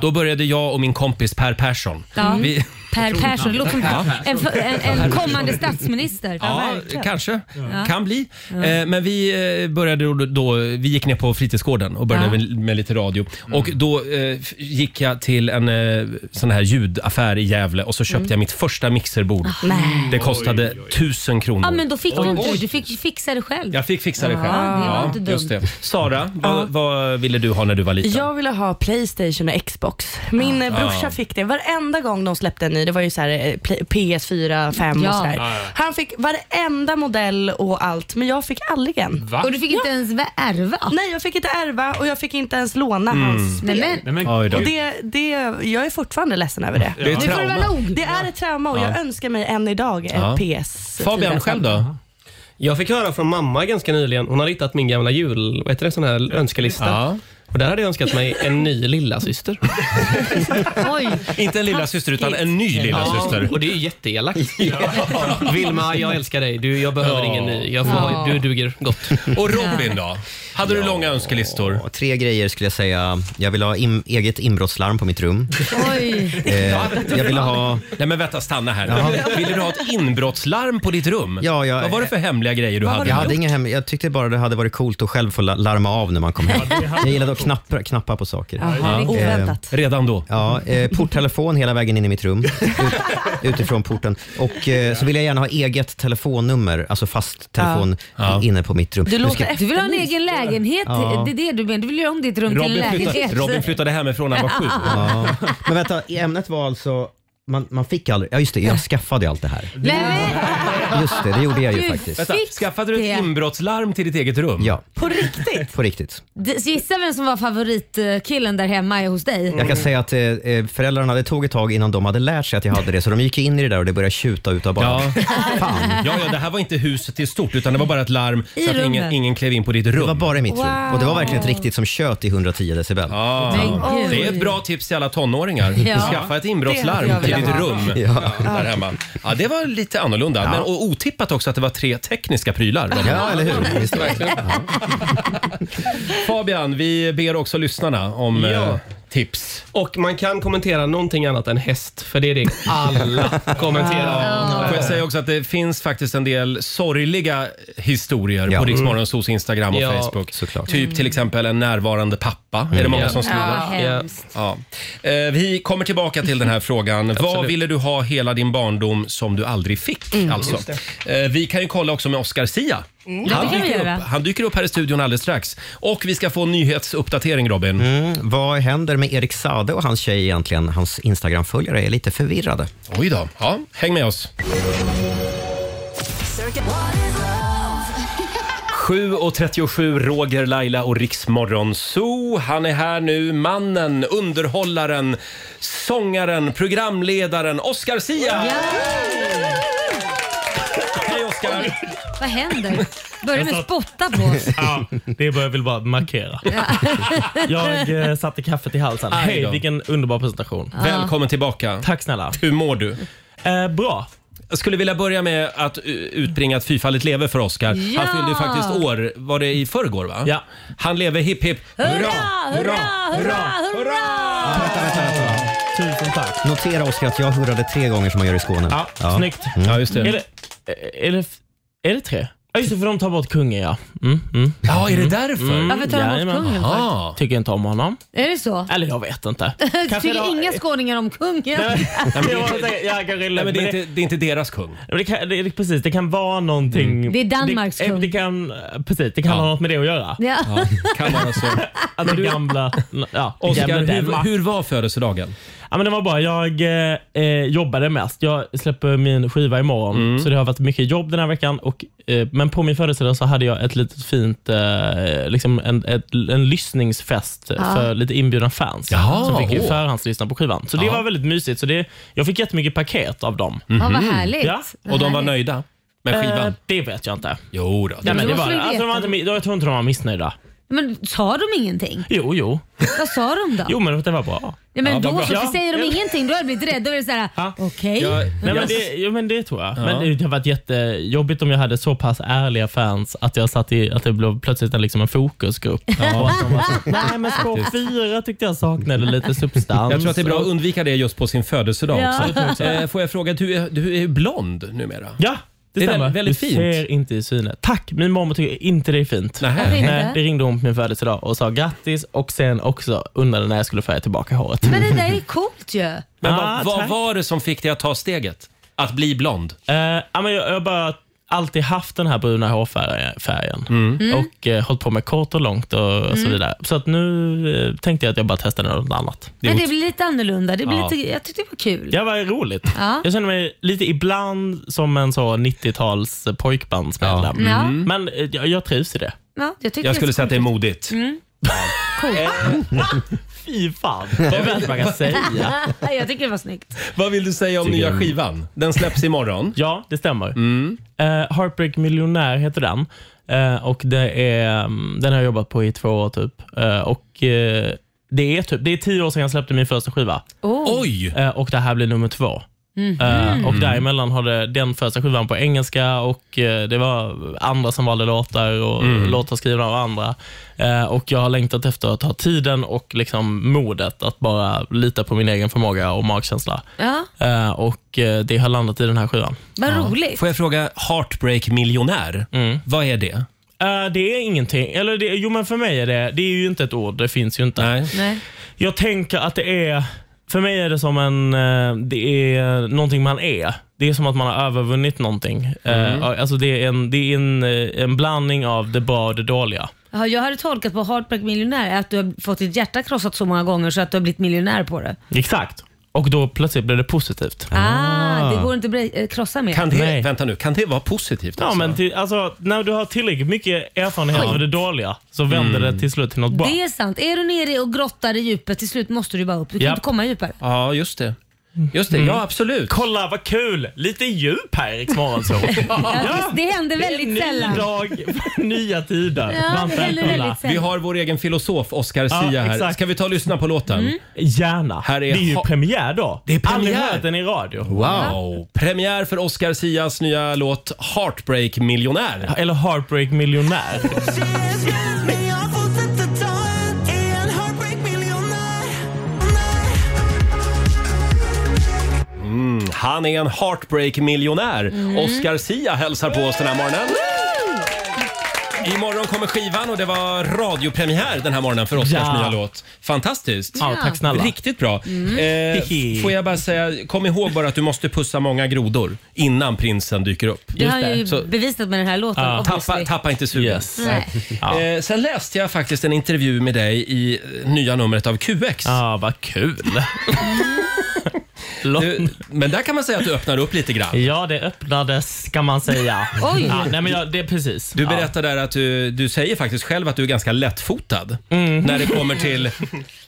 S1: då började jag och min kompis Per Persson.
S2: Ja.
S1: Mm. Vi-
S2: Per Persson, det låter som
S1: Ja.
S2: en, en, en kommande statsminister.
S1: Ja, kanske.
S2: Ja.
S1: Kan bli.
S2: Ja.
S1: Eh, Men vi eh, började då, då, vi gick ner på fritidsgården och började
S2: Ja. Mm.
S1: med, med lite radio. Och då eh, f- gick jag till en eh, sån här ljudaffär i Gävle och så köpte
S2: Mm.
S1: jag mitt första mixerbord.
S2: Ah, nej.
S1: Det kostade tusen kronor.
S2: Ja, men då fick du
S1: Oj.
S2: inte. Du fick fixa det själv.
S1: Jag fick fixa det
S2: Ja,
S1: själv.
S2: det var inte dumt.
S1: just det. Sara, vad, vad ville du ha när du var liten?
S7: Jag ville ha Playstation och Xbox. Min eh, brorsa
S1: Ah.
S7: fick det varenda gång de släppte en ny. Det var ju så här, eh, Play- PS4, 5
S2: Ja.
S7: och sådär.
S2: Ah, ja.
S7: Han fick varenda modell och allt, men jag fick aldrig en.
S1: Va?
S2: Och du fick inte ens ärva?
S7: Nej, jag fick inte ärva och jag fick inte ens låna
S1: Mm.
S7: hans spel.
S2: Nej,
S1: men- Nej, men- Oj då.
S7: och det, det, jag är fortfarande ledsen över det.
S1: Det är ett Nu får det vara trauma.
S7: Det är ett trauma och
S9: Ja.
S7: jag önskar mig än idag en
S2: Eh,
S9: Ja.
S7: PS4.
S1: då?
S9: Jag fick höra från mamma ganska nyligen. Hon har hittat min gamla jul... Vad heter det? Sån här önskelista. Och där hade jag önskat mig en ny lilla syster.
S1: Inte en lilla syster utan en ny lilla syster.
S9: Och det är ju jätteelakt. Vilma, jag älskar dig. Du, jag behöver ingen ny. Jag får, ha- Du duger gott.
S1: Och Robin då? Hade du långa önskelistor?
S3: Tre grejer skulle jag säga. Jag vill ha im- eget inbrottslarm på mitt rum.
S2: Oj.
S3: Eh, jag ville ha...
S1: Nej men vänta, stanna här. Ville du ha ett inbrottslarm på ditt rum?
S3: Ja, jag...
S1: Vad var det för hemliga grejer du hade?
S3: Jag hade inga hem... Jag tyckte bara det hade varit coolt att själv få la- larma av när man kom hem.
S2: Mm.
S3: Jag gillade att knappa, knappa på saker. Eh,
S1: Jaha, oväntat. Redan då?
S3: Ja, eh, porttelefon hela vägen in i mitt rum. Ut, utifrån porten. Och eh, så vill jag gärna ha eget telefonnummer, alltså fast telefon inne på mitt rum.
S7: Du
S3: Nu
S7: låter
S3: ska-
S2: Du vill ha en egen lägenhet,
S3: Ja.
S2: det är det du menar. Du vill göra om ditt rum till en lägenhet.
S1: flyttade hemifrån när han var sju.
S3: Ja. Men vänta, ämnet var alltså, man, man fick aldrig, ja just det, jag skaffade allt det här.
S2: Nej, men,
S3: Just det, det gjorde jag ju
S2: Du
S3: faktiskt.
S2: Vänta, fick
S1: skaffade du
S2: det.
S1: ett inbrottslarm till ditt eget rum?
S3: Ja.
S2: På riktigt?
S3: På riktigt.
S2: Gissa vem som var favoritkillen där hemma hos dig?
S3: Jag
S1: Mm.
S3: kan säga att eh, eh, föräldrarna, det tog ett tag innan de hade lärt sig att jag hade det, så de gick in i det där och det började tjuta utav barnen.
S1: Ja, ja, det här var inte huset i stort utan det var bara ett larm
S3: I
S1: så att ingen,
S3: rummet.
S1: ingen klev in på ditt rum.
S3: Det var bara i mitt rum.
S1: Wow.
S3: Och det var verkligen ett riktigt som tjöt i 110 decibel.
S1: Ja.
S2: Oj.
S1: Det är ett bra tips till alla tonåringar.
S2: Ja.
S1: Skaffa ett
S2: Det
S1: inbrottslarm
S2: hade
S1: till
S2: jag
S1: ditt
S2: velat
S1: rum
S2: ha.
S1: ja.
S2: Ja.
S1: där hemma. Ja, det var lite annorlunda. Men, och otippat också att det var tre tekniska prylar.
S3: Ja, eller hur? Visst
S1: verkligen. Fabian, vi ber också lyssnarna om eh, tips.
S9: Och man kan kommentera någonting annat än häst, för det är det alla kommenterar.
S1: Får jag säga också att det finns faktiskt en del sorgliga historier
S9: Ja. Mm.
S1: på Riksmorgonsos Instagram och
S9: Ja,
S1: Facebook. Typ till exempel en närvarande pappa. Är det många
S9: Ja.
S1: som
S9: Ja,
S1: skriver?
S9: hemskt.
S1: Ja. Eh, Vi kommer tillbaka till den här frågan. Vad
S9: Absolut.
S1: ville du ha hela din barndom som du aldrig fick?
S9: Mm.
S1: Alltså.
S9: Just
S1: Eh, Vi kan ju kolla också med Oscar Sia.
S9: Mm. Ja, det kan vi
S1: dyker
S9: göra.
S1: upp, han dyker upp här i studion alldeles strax. Och vi ska få en nyhetsuppdatering Robin.
S3: Mm, vad händer med Erik Sade och hans tjej egentligen? Hans Instagram-följare är lite förvirrade.
S1: Oj då. Ja, häng med oss. 7.37, Roger, Laila och Riksmorgon Zoo. Han är här nu, mannen, underhållaren, sångaren, programledaren Oscar Sia! Hej Oscar!
S2: Vad händer? Börja med
S13: Jag
S2: att
S13: sa-
S2: spotta på oss.
S13: Ja, det bör jag väl bara markera. Jag eh, satte kaffet i halsen.
S1: Aj då.
S13: Hej, vilken underbar presentation.
S1: Ja. Välkommen tillbaka.
S13: Tack snälla. Eh,
S1: Hur mår du?
S13: bra.
S1: Jag skulle vilja börja med att eh, utbringa att fyfallet lever för Oscar.
S13: Ja!
S1: Han fyllde ju faktiskt år, var det i förrgår va?
S13: Ja.
S1: Han lever hipp hipp
S2: Hurra, hurra, hurra, hurra!
S13: Tusen tack.
S3: Notera Oskar att jag hurrade tre gånger som man gör i Skåne.
S13: Ja, Snyggt.
S3: Mm.
S13: Är det, Eh, är, det, är det tre? Ja, just det, för de tar bort kungen ja. Mm, mm.
S1: Ja, är det därför?
S2: Varför tar de bort
S13: jajamän.
S2: kungen för?
S13: Aha. Tycker inte om honom.
S2: Är det så?
S13: Eller jag vet inte. Kanske det
S2: Tycker
S13: var-
S2: inga skåningar om kungen?
S1: Nej, men det,
S13: Jag
S1: är inte, Nej, men det, är inte, det är inte deras kung.
S13: Men Det kan, det, det- precis, det kan vara någonting.
S2: Det är Danmarks
S13: det, eh, det kan, eh, Precis, det kan ha något med det att göra.
S2: Ja. Ja,
S1: kan vara så.
S13: Att det gamla, ja, det
S1: Oscar,
S13: gamla
S1: hur,
S13: Danmark.
S1: hur var födelsedagen?
S13: Ja, men det var bra. Jag eh, eh, jobbade mest. Jag släpper min skiva imorgon,
S1: Mm.
S13: så det har varit mycket jobb den här veckan. Och, eh, men på min födelsedag så hade jag ett litet fint, eh, liksom en, ett, en lyssningsfest
S1: Ja.
S13: för lite inbjudna fans
S1: Jaha,
S13: som fick
S1: åh.
S13: förhandslyssna på skivan. Så det
S1: Ja.
S13: var väldigt mysigt. Så det, jag fick jättemycket paket av dem.
S1: Mhm. Ja, vad härligt.
S13: Ja. Eh,
S1: Vad Och de var härligt. nöjda med skivan?
S13: det vet jag inte.
S1: Jo då.
S13: Ja, men det
S2: måste
S13: var,
S2: vi
S13: alltså, de var
S2: veta.
S13: inte, jag tror inte de var missnöjda.
S2: Men sa de ingenting?
S13: Jo, jo.
S2: Vad sa de då?
S13: Jo, men det var bra.
S2: Ja, men
S13: Ja, vad
S2: då
S13: bra.
S2: så, för
S13: Ja.
S2: säger de ingenting då har jag blivit rädd. Då är det såhär, okej.
S13: Nej, men det, jo, men det tror jag.
S1: Ja.
S13: Men det, det har varit jättejobbigt om jag hade så pass ärliga fans att, jag satt i, att det blev plötsligt en, liksom en fokusgrupp. Och att de var så, Nej, men spår fyra tyckte jag saknade lite substans.
S1: Jag tror att det är bra att undvika det just på sin födelsedag
S13: Ja. Jag tror
S1: också.
S13: också.
S1: Eh, Får jag fråga, du är, du är ju blond numera.
S13: Ja, det,
S1: Det är
S13: stämmer.
S1: vä- väldigt
S13: du
S1: fint.
S13: ser inte i synet. Tack! Min mamma tycker inte det är fint.
S1: Varför inte?
S13: Nej, det ringde hon på min födelsedag och sa grattis och sen också undrade när jag skulle färga tillbaka håret.
S2: Men det där är coolt ju.
S1: Men
S13: Ah,
S1: vad, vad
S13: tack.
S1: var det som fick dig att ta steget? Att bli blond?
S13: Eh, ja, men jag jag har bara alltid haft den här bruna hårfärgen
S1: Mm.
S13: och eh, hållit på med kort och långt och så
S2: Mm.
S13: vidare. Så att nu eh, tänkte jag att jag bara testade något annat.
S2: Men det blir lite annorlunda. Det blir
S13: Ja.
S2: lite, jag tyckte det var kul.
S13: Ja, vad roligt.
S2: Ja.
S13: Jag känner mig lite ibland som en så 90-tals pojkbandsmedlem.
S2: Ja. Mm.
S13: Men eh, jag, jag trivs i det.
S2: Ja, jag, tyckte
S1: att det är modigt.
S2: Mm. Coolt.
S13: Fy fan, det vet inte vad jag kan säga.
S2: jag tycker det var snyggt.
S1: Vad vill du säga om
S13: Tycker
S1: nya
S13: jag.
S1: skivan? Den släpps imorgon.
S13: Ja, det stämmer. Mm. Eh, Heartbreak Millionär heter den. Eh, och det är, mm, den har jag jobbat på i två år typ. Eh, och eh, det är typ, det är tio år sedan jag släppte min första skiva. Eh,
S2: Oh.
S1: Oj!
S13: och det här blir nummer två.
S2: Mhm.
S8: Mm.
S13: Eh, och däremellan har det, den första skivan på engelska och eh, det var andra som valde låtar och
S1: Mm.
S13: låtar skrivna av andra. Eh, och jag har längtat efter att ha tiden och liksom modet att bara lita på min egen förmåga och magkänsla.
S2: Ja,
S13: Eh, och eh, det har landat i den här skivan.
S2: vad roligt.
S1: Får jag fråga, Heartbreak miljonär, vad är det?
S13: Mm. Eh, det är ingenting. Eller det, jo, men för mig är det, det är ju inte ett ord. Det finns ju inte.
S2: Nej.
S13: Jag tänker att det är, för mig är det som en, eh, det är någonting man är. Det är som att man har övervunnit någonting. Eh,
S2: Mm.
S13: Alltså det är, en, det är en, eh, en blandning av det bra och det dåliga.
S2: Ja, jag hade tolkat på Heartbreak Miljonär att du har fått ditt hjärta krossat så många gånger så att du har blivit miljonär på det.
S13: Exakt. Och då plötsligt blir det positivt.
S2: Ah, det går inte att bre- eh, krossa mer.
S13: Kan det- Nej.
S1: Vänta nu, kan det vara positivt?
S13: Ja, men till, alltså, när du har tillräckligt mycket erfarenhet
S2: Oj.
S13: av det dåliga så vänder
S1: Mm.
S13: det till slut till något bra.
S2: Det är sant. Är du nere och grottar i djupet till slut måste du bara upp. Du kan
S13: Japp.
S2: inte komma djupare.
S1: Ja, just det. Just det,
S13: Mm.
S1: ja absolut.
S13: Kolla vad kul! Lite djup här i Riksmorgon så.
S2: Ja, det händer väldigt
S13: ny
S2: sällan.
S13: dag, nya tider.
S2: Ja, Varmt det händer välkomna. väldigt sällan.
S1: Vi har vår egen filosof Oscar
S13: Ja,
S1: Sia här.
S13: exakt.
S1: Ska vi ta och lyssna på låten?
S2: Mm.
S13: Gärna.
S1: Här
S13: Det är ju premiär då.
S1: Det är
S13: Aldrig
S1: premiär.
S13: hört den i radio.
S1: Wow! Premiär för Oscar Sias nya låt Heartbreak miljonär.
S13: Eller Heartbreak miljonär.
S1: Mm, han är en heartbreak-miljonär.
S2: Mm.
S1: Oscar Sia hälsar på oss den här morgonen. Imorgon kommer skivan och det var radiopremiär den här morgonen för Oscars
S13: Ja.
S1: nya låt. Fantastiskt!
S13: Ja, tack snälla.
S1: Riktigt bra.
S13: Mm.
S1: Eh, får jag bara säga, kom ihåg bara att du måste pussa många grodor innan prinsen dyker upp.
S2: Det har jag ju
S1: Så,
S2: bevisat med den här låten.
S13: Ah.
S1: ja,
S2: obviously.
S1: tappa, tappa inte sugen.
S2: Nej.
S1: Eh, sen läste jag faktiskt en intervju med dig i eh, nya numret av QX.
S13: Ja, ah, vad kul!
S1: du, men där kan man säga att du öppnar upp lite grann.
S13: Ja, det öppnades kan man säga.
S1: Oj.
S13: Ja, nej, men jag, det är precis.
S1: Du
S13: Ja.
S1: berättar där att du, du säger faktiskt själv att du är ganska lättfotad
S13: Mm.
S1: när det kommer till...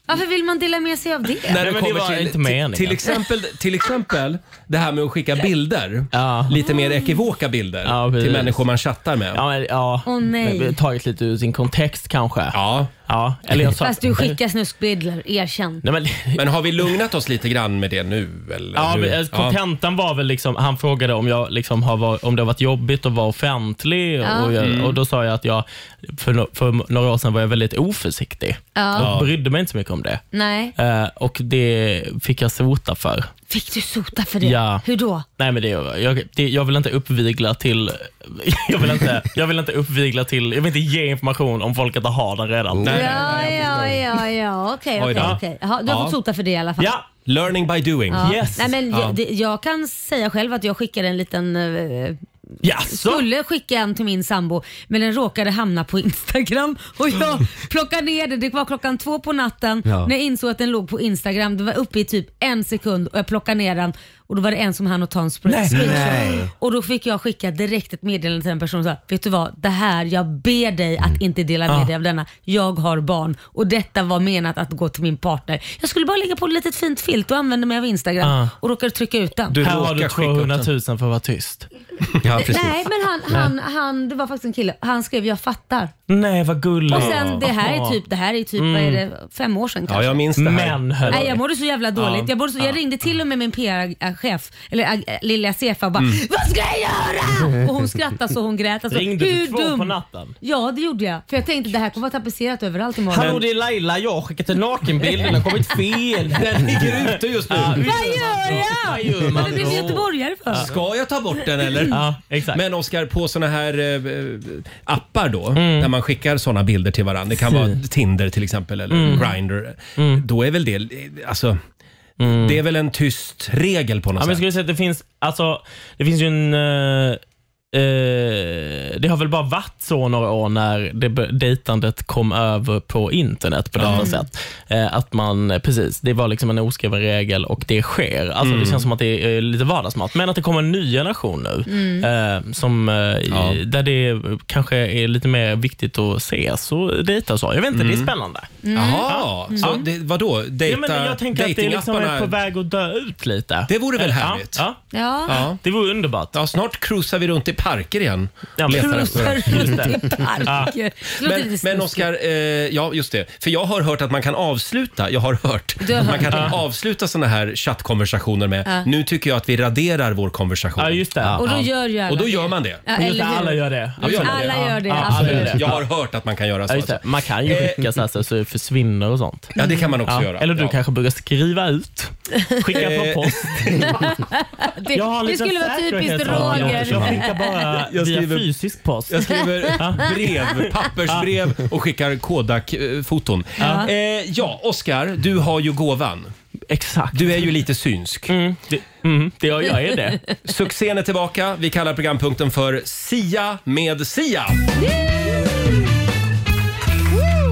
S2: Varför vill man dela med sig av det?
S1: när det kommer till, till, till, exempel, till exempel det här med att skicka bilder. Lite mer ekivoka bilder till
S13: precis.
S1: människor man chattar med.
S13: Ja, men, ja.
S2: Åh, nej.
S13: Men Taget lite ur sin kontext kanske.
S1: Ja.
S13: ja. Eller jag sa,
S2: Fast du skickar snuskbilder, erkänn.
S13: Nej, men,
S1: men har vi lugnat oss lite grann med det nu? Eller
S13: Ja,
S1: hur?
S13: men, eh, kontentan var väl liksom, han frågade om, jag liksom har varit, om det har varit jobbigt att vara offentlig
S2: Ja.
S13: och, jag,
S2: Mm.
S13: och då sa jag att jag, för, no- för några år sedan var jag väldigt oförsiktig.
S2: Ja.
S13: Jag brydde mig inte så mycket om det.
S2: Nej.
S13: Eh, och det fick jag sota för.
S2: Fick du sota för det?
S13: Ja.
S2: Hur då?
S13: Nej, men det, jag, det, jag vill inte uppvigla till... Jag vill inte, jag vill inte uppvigla till... Jag vill inte ge information om folk inte har den redan.
S2: ja, ja, ja, ja, okej,
S13: Oj då.
S2: okej, okej. Jaha, Du har
S13: Ja.
S2: fått sota för det i alla fall.
S13: Ja.
S1: Learning by doing.
S2: Ja. Nej, men jag, det, jag kan säga själv att jag skickade en liten eh, Skulle skicka en till min sambo men den råkade hamna på Instagram och jag plockade ner den. Det var klockan två på natten
S8: Ja.
S2: när jag insåg att den låg på Instagram. Det var uppe i typ en sekund och jag plockade ner den och då var det en som hann att ta en spr-
S8: Nej.
S2: screenshot.
S8: Nej.
S2: Och då fick jag skicka direkt ett meddelande till den personen och sa, vet du vad, det här, jag ber dig
S8: Mm.
S2: att inte dela med
S8: Ja.
S2: dig av denna. Jag har barn och detta var menat att gå till min partner. Jag skulle bara lägga på ett litet fint filt och använda mig av Instagram
S13: Ja.
S2: och råkade trycka ut den.
S13: här har du 200 000 för att vara tyst.
S1: Ja,
S2: Nej men han, han, han, det var faktiskt en kille, han skrev jag fattar.
S13: Nej, vad gulligt.
S2: Och sen det här är typ, det här är typ, vad är
S13: Mm.
S2: det, fem år sedan kanske.
S13: Ja, jag minns det här. Men, hörru.
S2: Nej, jag mådde så jävla dåligt.
S13: Ja.
S2: Jag, mådde så, jag
S13: Ja.
S2: ringde till och med min PR-chef, eller äh, lilla Sefa och bara
S13: Mm.
S2: Vad ska jag göra? Och hon skrattade så hon grät. Alltså,
S13: Ringde du
S2: hur
S13: två
S2: dum?
S13: på natten?
S2: Ja det gjorde jag. För jag tänkte det här kommer vara tapetserat överallt imorgon.
S13: Hallå, det är Laila. Jag har skickat en nakenbild. Den har kommit fel. Den ligger ute just nu.
S2: Vad gör jag? Varför blev jag göteborgare för?
S1: Ska jag ta bort den eller?
S13: Ja,
S1: Men Oskar, på såna här eh, appar då,
S13: Mm.
S1: när man skickar såna bilder till varandra. Det kan vara Tinder till exempel eller
S13: Mm.
S1: Grindr. Då är väl det, eh, alltså, det är väl en tyst regel på något
S13: Mm. Ja, men jag skulle
S1: sätt?
S13: säga att det finns, alltså, det finns ju en... eh, eh, det har väl bara varit så några år när det, be- dejtandet kom över på internet på detta
S9: Ja.
S13: sätt. Eh, att man, eh, precis, det var liksom en oskriven regel och det sker. Alltså,
S9: Mm.
S13: Det känns som att det är eh, lite vardagsmat. Men att det kommer en ny generation nu, eh, som, eh, i- där det kanske är lite mer viktigt att ses och dejta och så. Jag vet inte, det är
S1: Mm.
S13: spännande.
S1: Jaha,
S13: Ja.
S1: så
S13: Ja.
S1: det, vadå? Dejta,
S13: ja, men jag tänker att det liksom är
S1: dejtingapparna-
S13: på väg att dö ut lite.
S1: Det vore väl
S13: Eh,
S1: härligt?
S13: Ja, ja.
S2: Ja.
S1: Ja.
S13: Det vore underbart.
S1: Ja, snart cruisar vi runt i parker igen.
S13: Ja, men-
S1: Letar efter-
S13: Cruisar runt i
S2: parker.
S1: Ja.
S2: Det låter
S1: Men,
S2: lite snuskigt.
S1: men Oskar, eh, ja just det. För jag har hört att man kan avsluta, jag har hört,
S2: Du har
S1: att man
S2: hört.
S1: kan
S2: Ja.
S1: avsluta sådana här chattkonversationer med
S2: Ja.
S1: nu tycker jag att vi raderar vår konversation. Ja, just det.
S2: Och då gör ju alla
S1: Och då gör
S2: det.
S1: man det.
S2: Ja, eller Ungefär hur? alla gör det.
S1: Då gör man
S2: Alla
S1: det.
S2: gör det,
S1: Ja,
S2: absolut.
S1: alla gör det. Jag har
S13: Ja.
S1: hört att man kan göra
S13: Ja,
S1: så.
S13: just det. Man kan ju
S1: Eh,
S13: skicka så, här, så det försvinner och sånt.
S1: Ja, det kan man också göra.
S13: Eller du
S1: Ja.
S13: kanske börjar skriva ut. Skicka
S1: Eh,
S13: på post.
S2: det,
S13: Jag har en
S2: det
S13: liten
S2: skulle vara typiskt
S13: säkerhetsavdelning. Jag skickar
S2: Roger.
S13: bara
S1: Jag skriver-
S13: via fysisk post.
S1: Jag
S13: Ja.
S1: skriver brev, pappersbrev och skickar Kodak-foton.
S13: Ja.
S1: Ja, eh, ja Oskar, du har ju gåvan.
S13: Exakt.
S1: Du är ju lite synsk. Mm,
S13: det, mm, det jag, jag är det.
S1: Succén är tillbaka. Vi kallar programpunkten för Sia med Sia.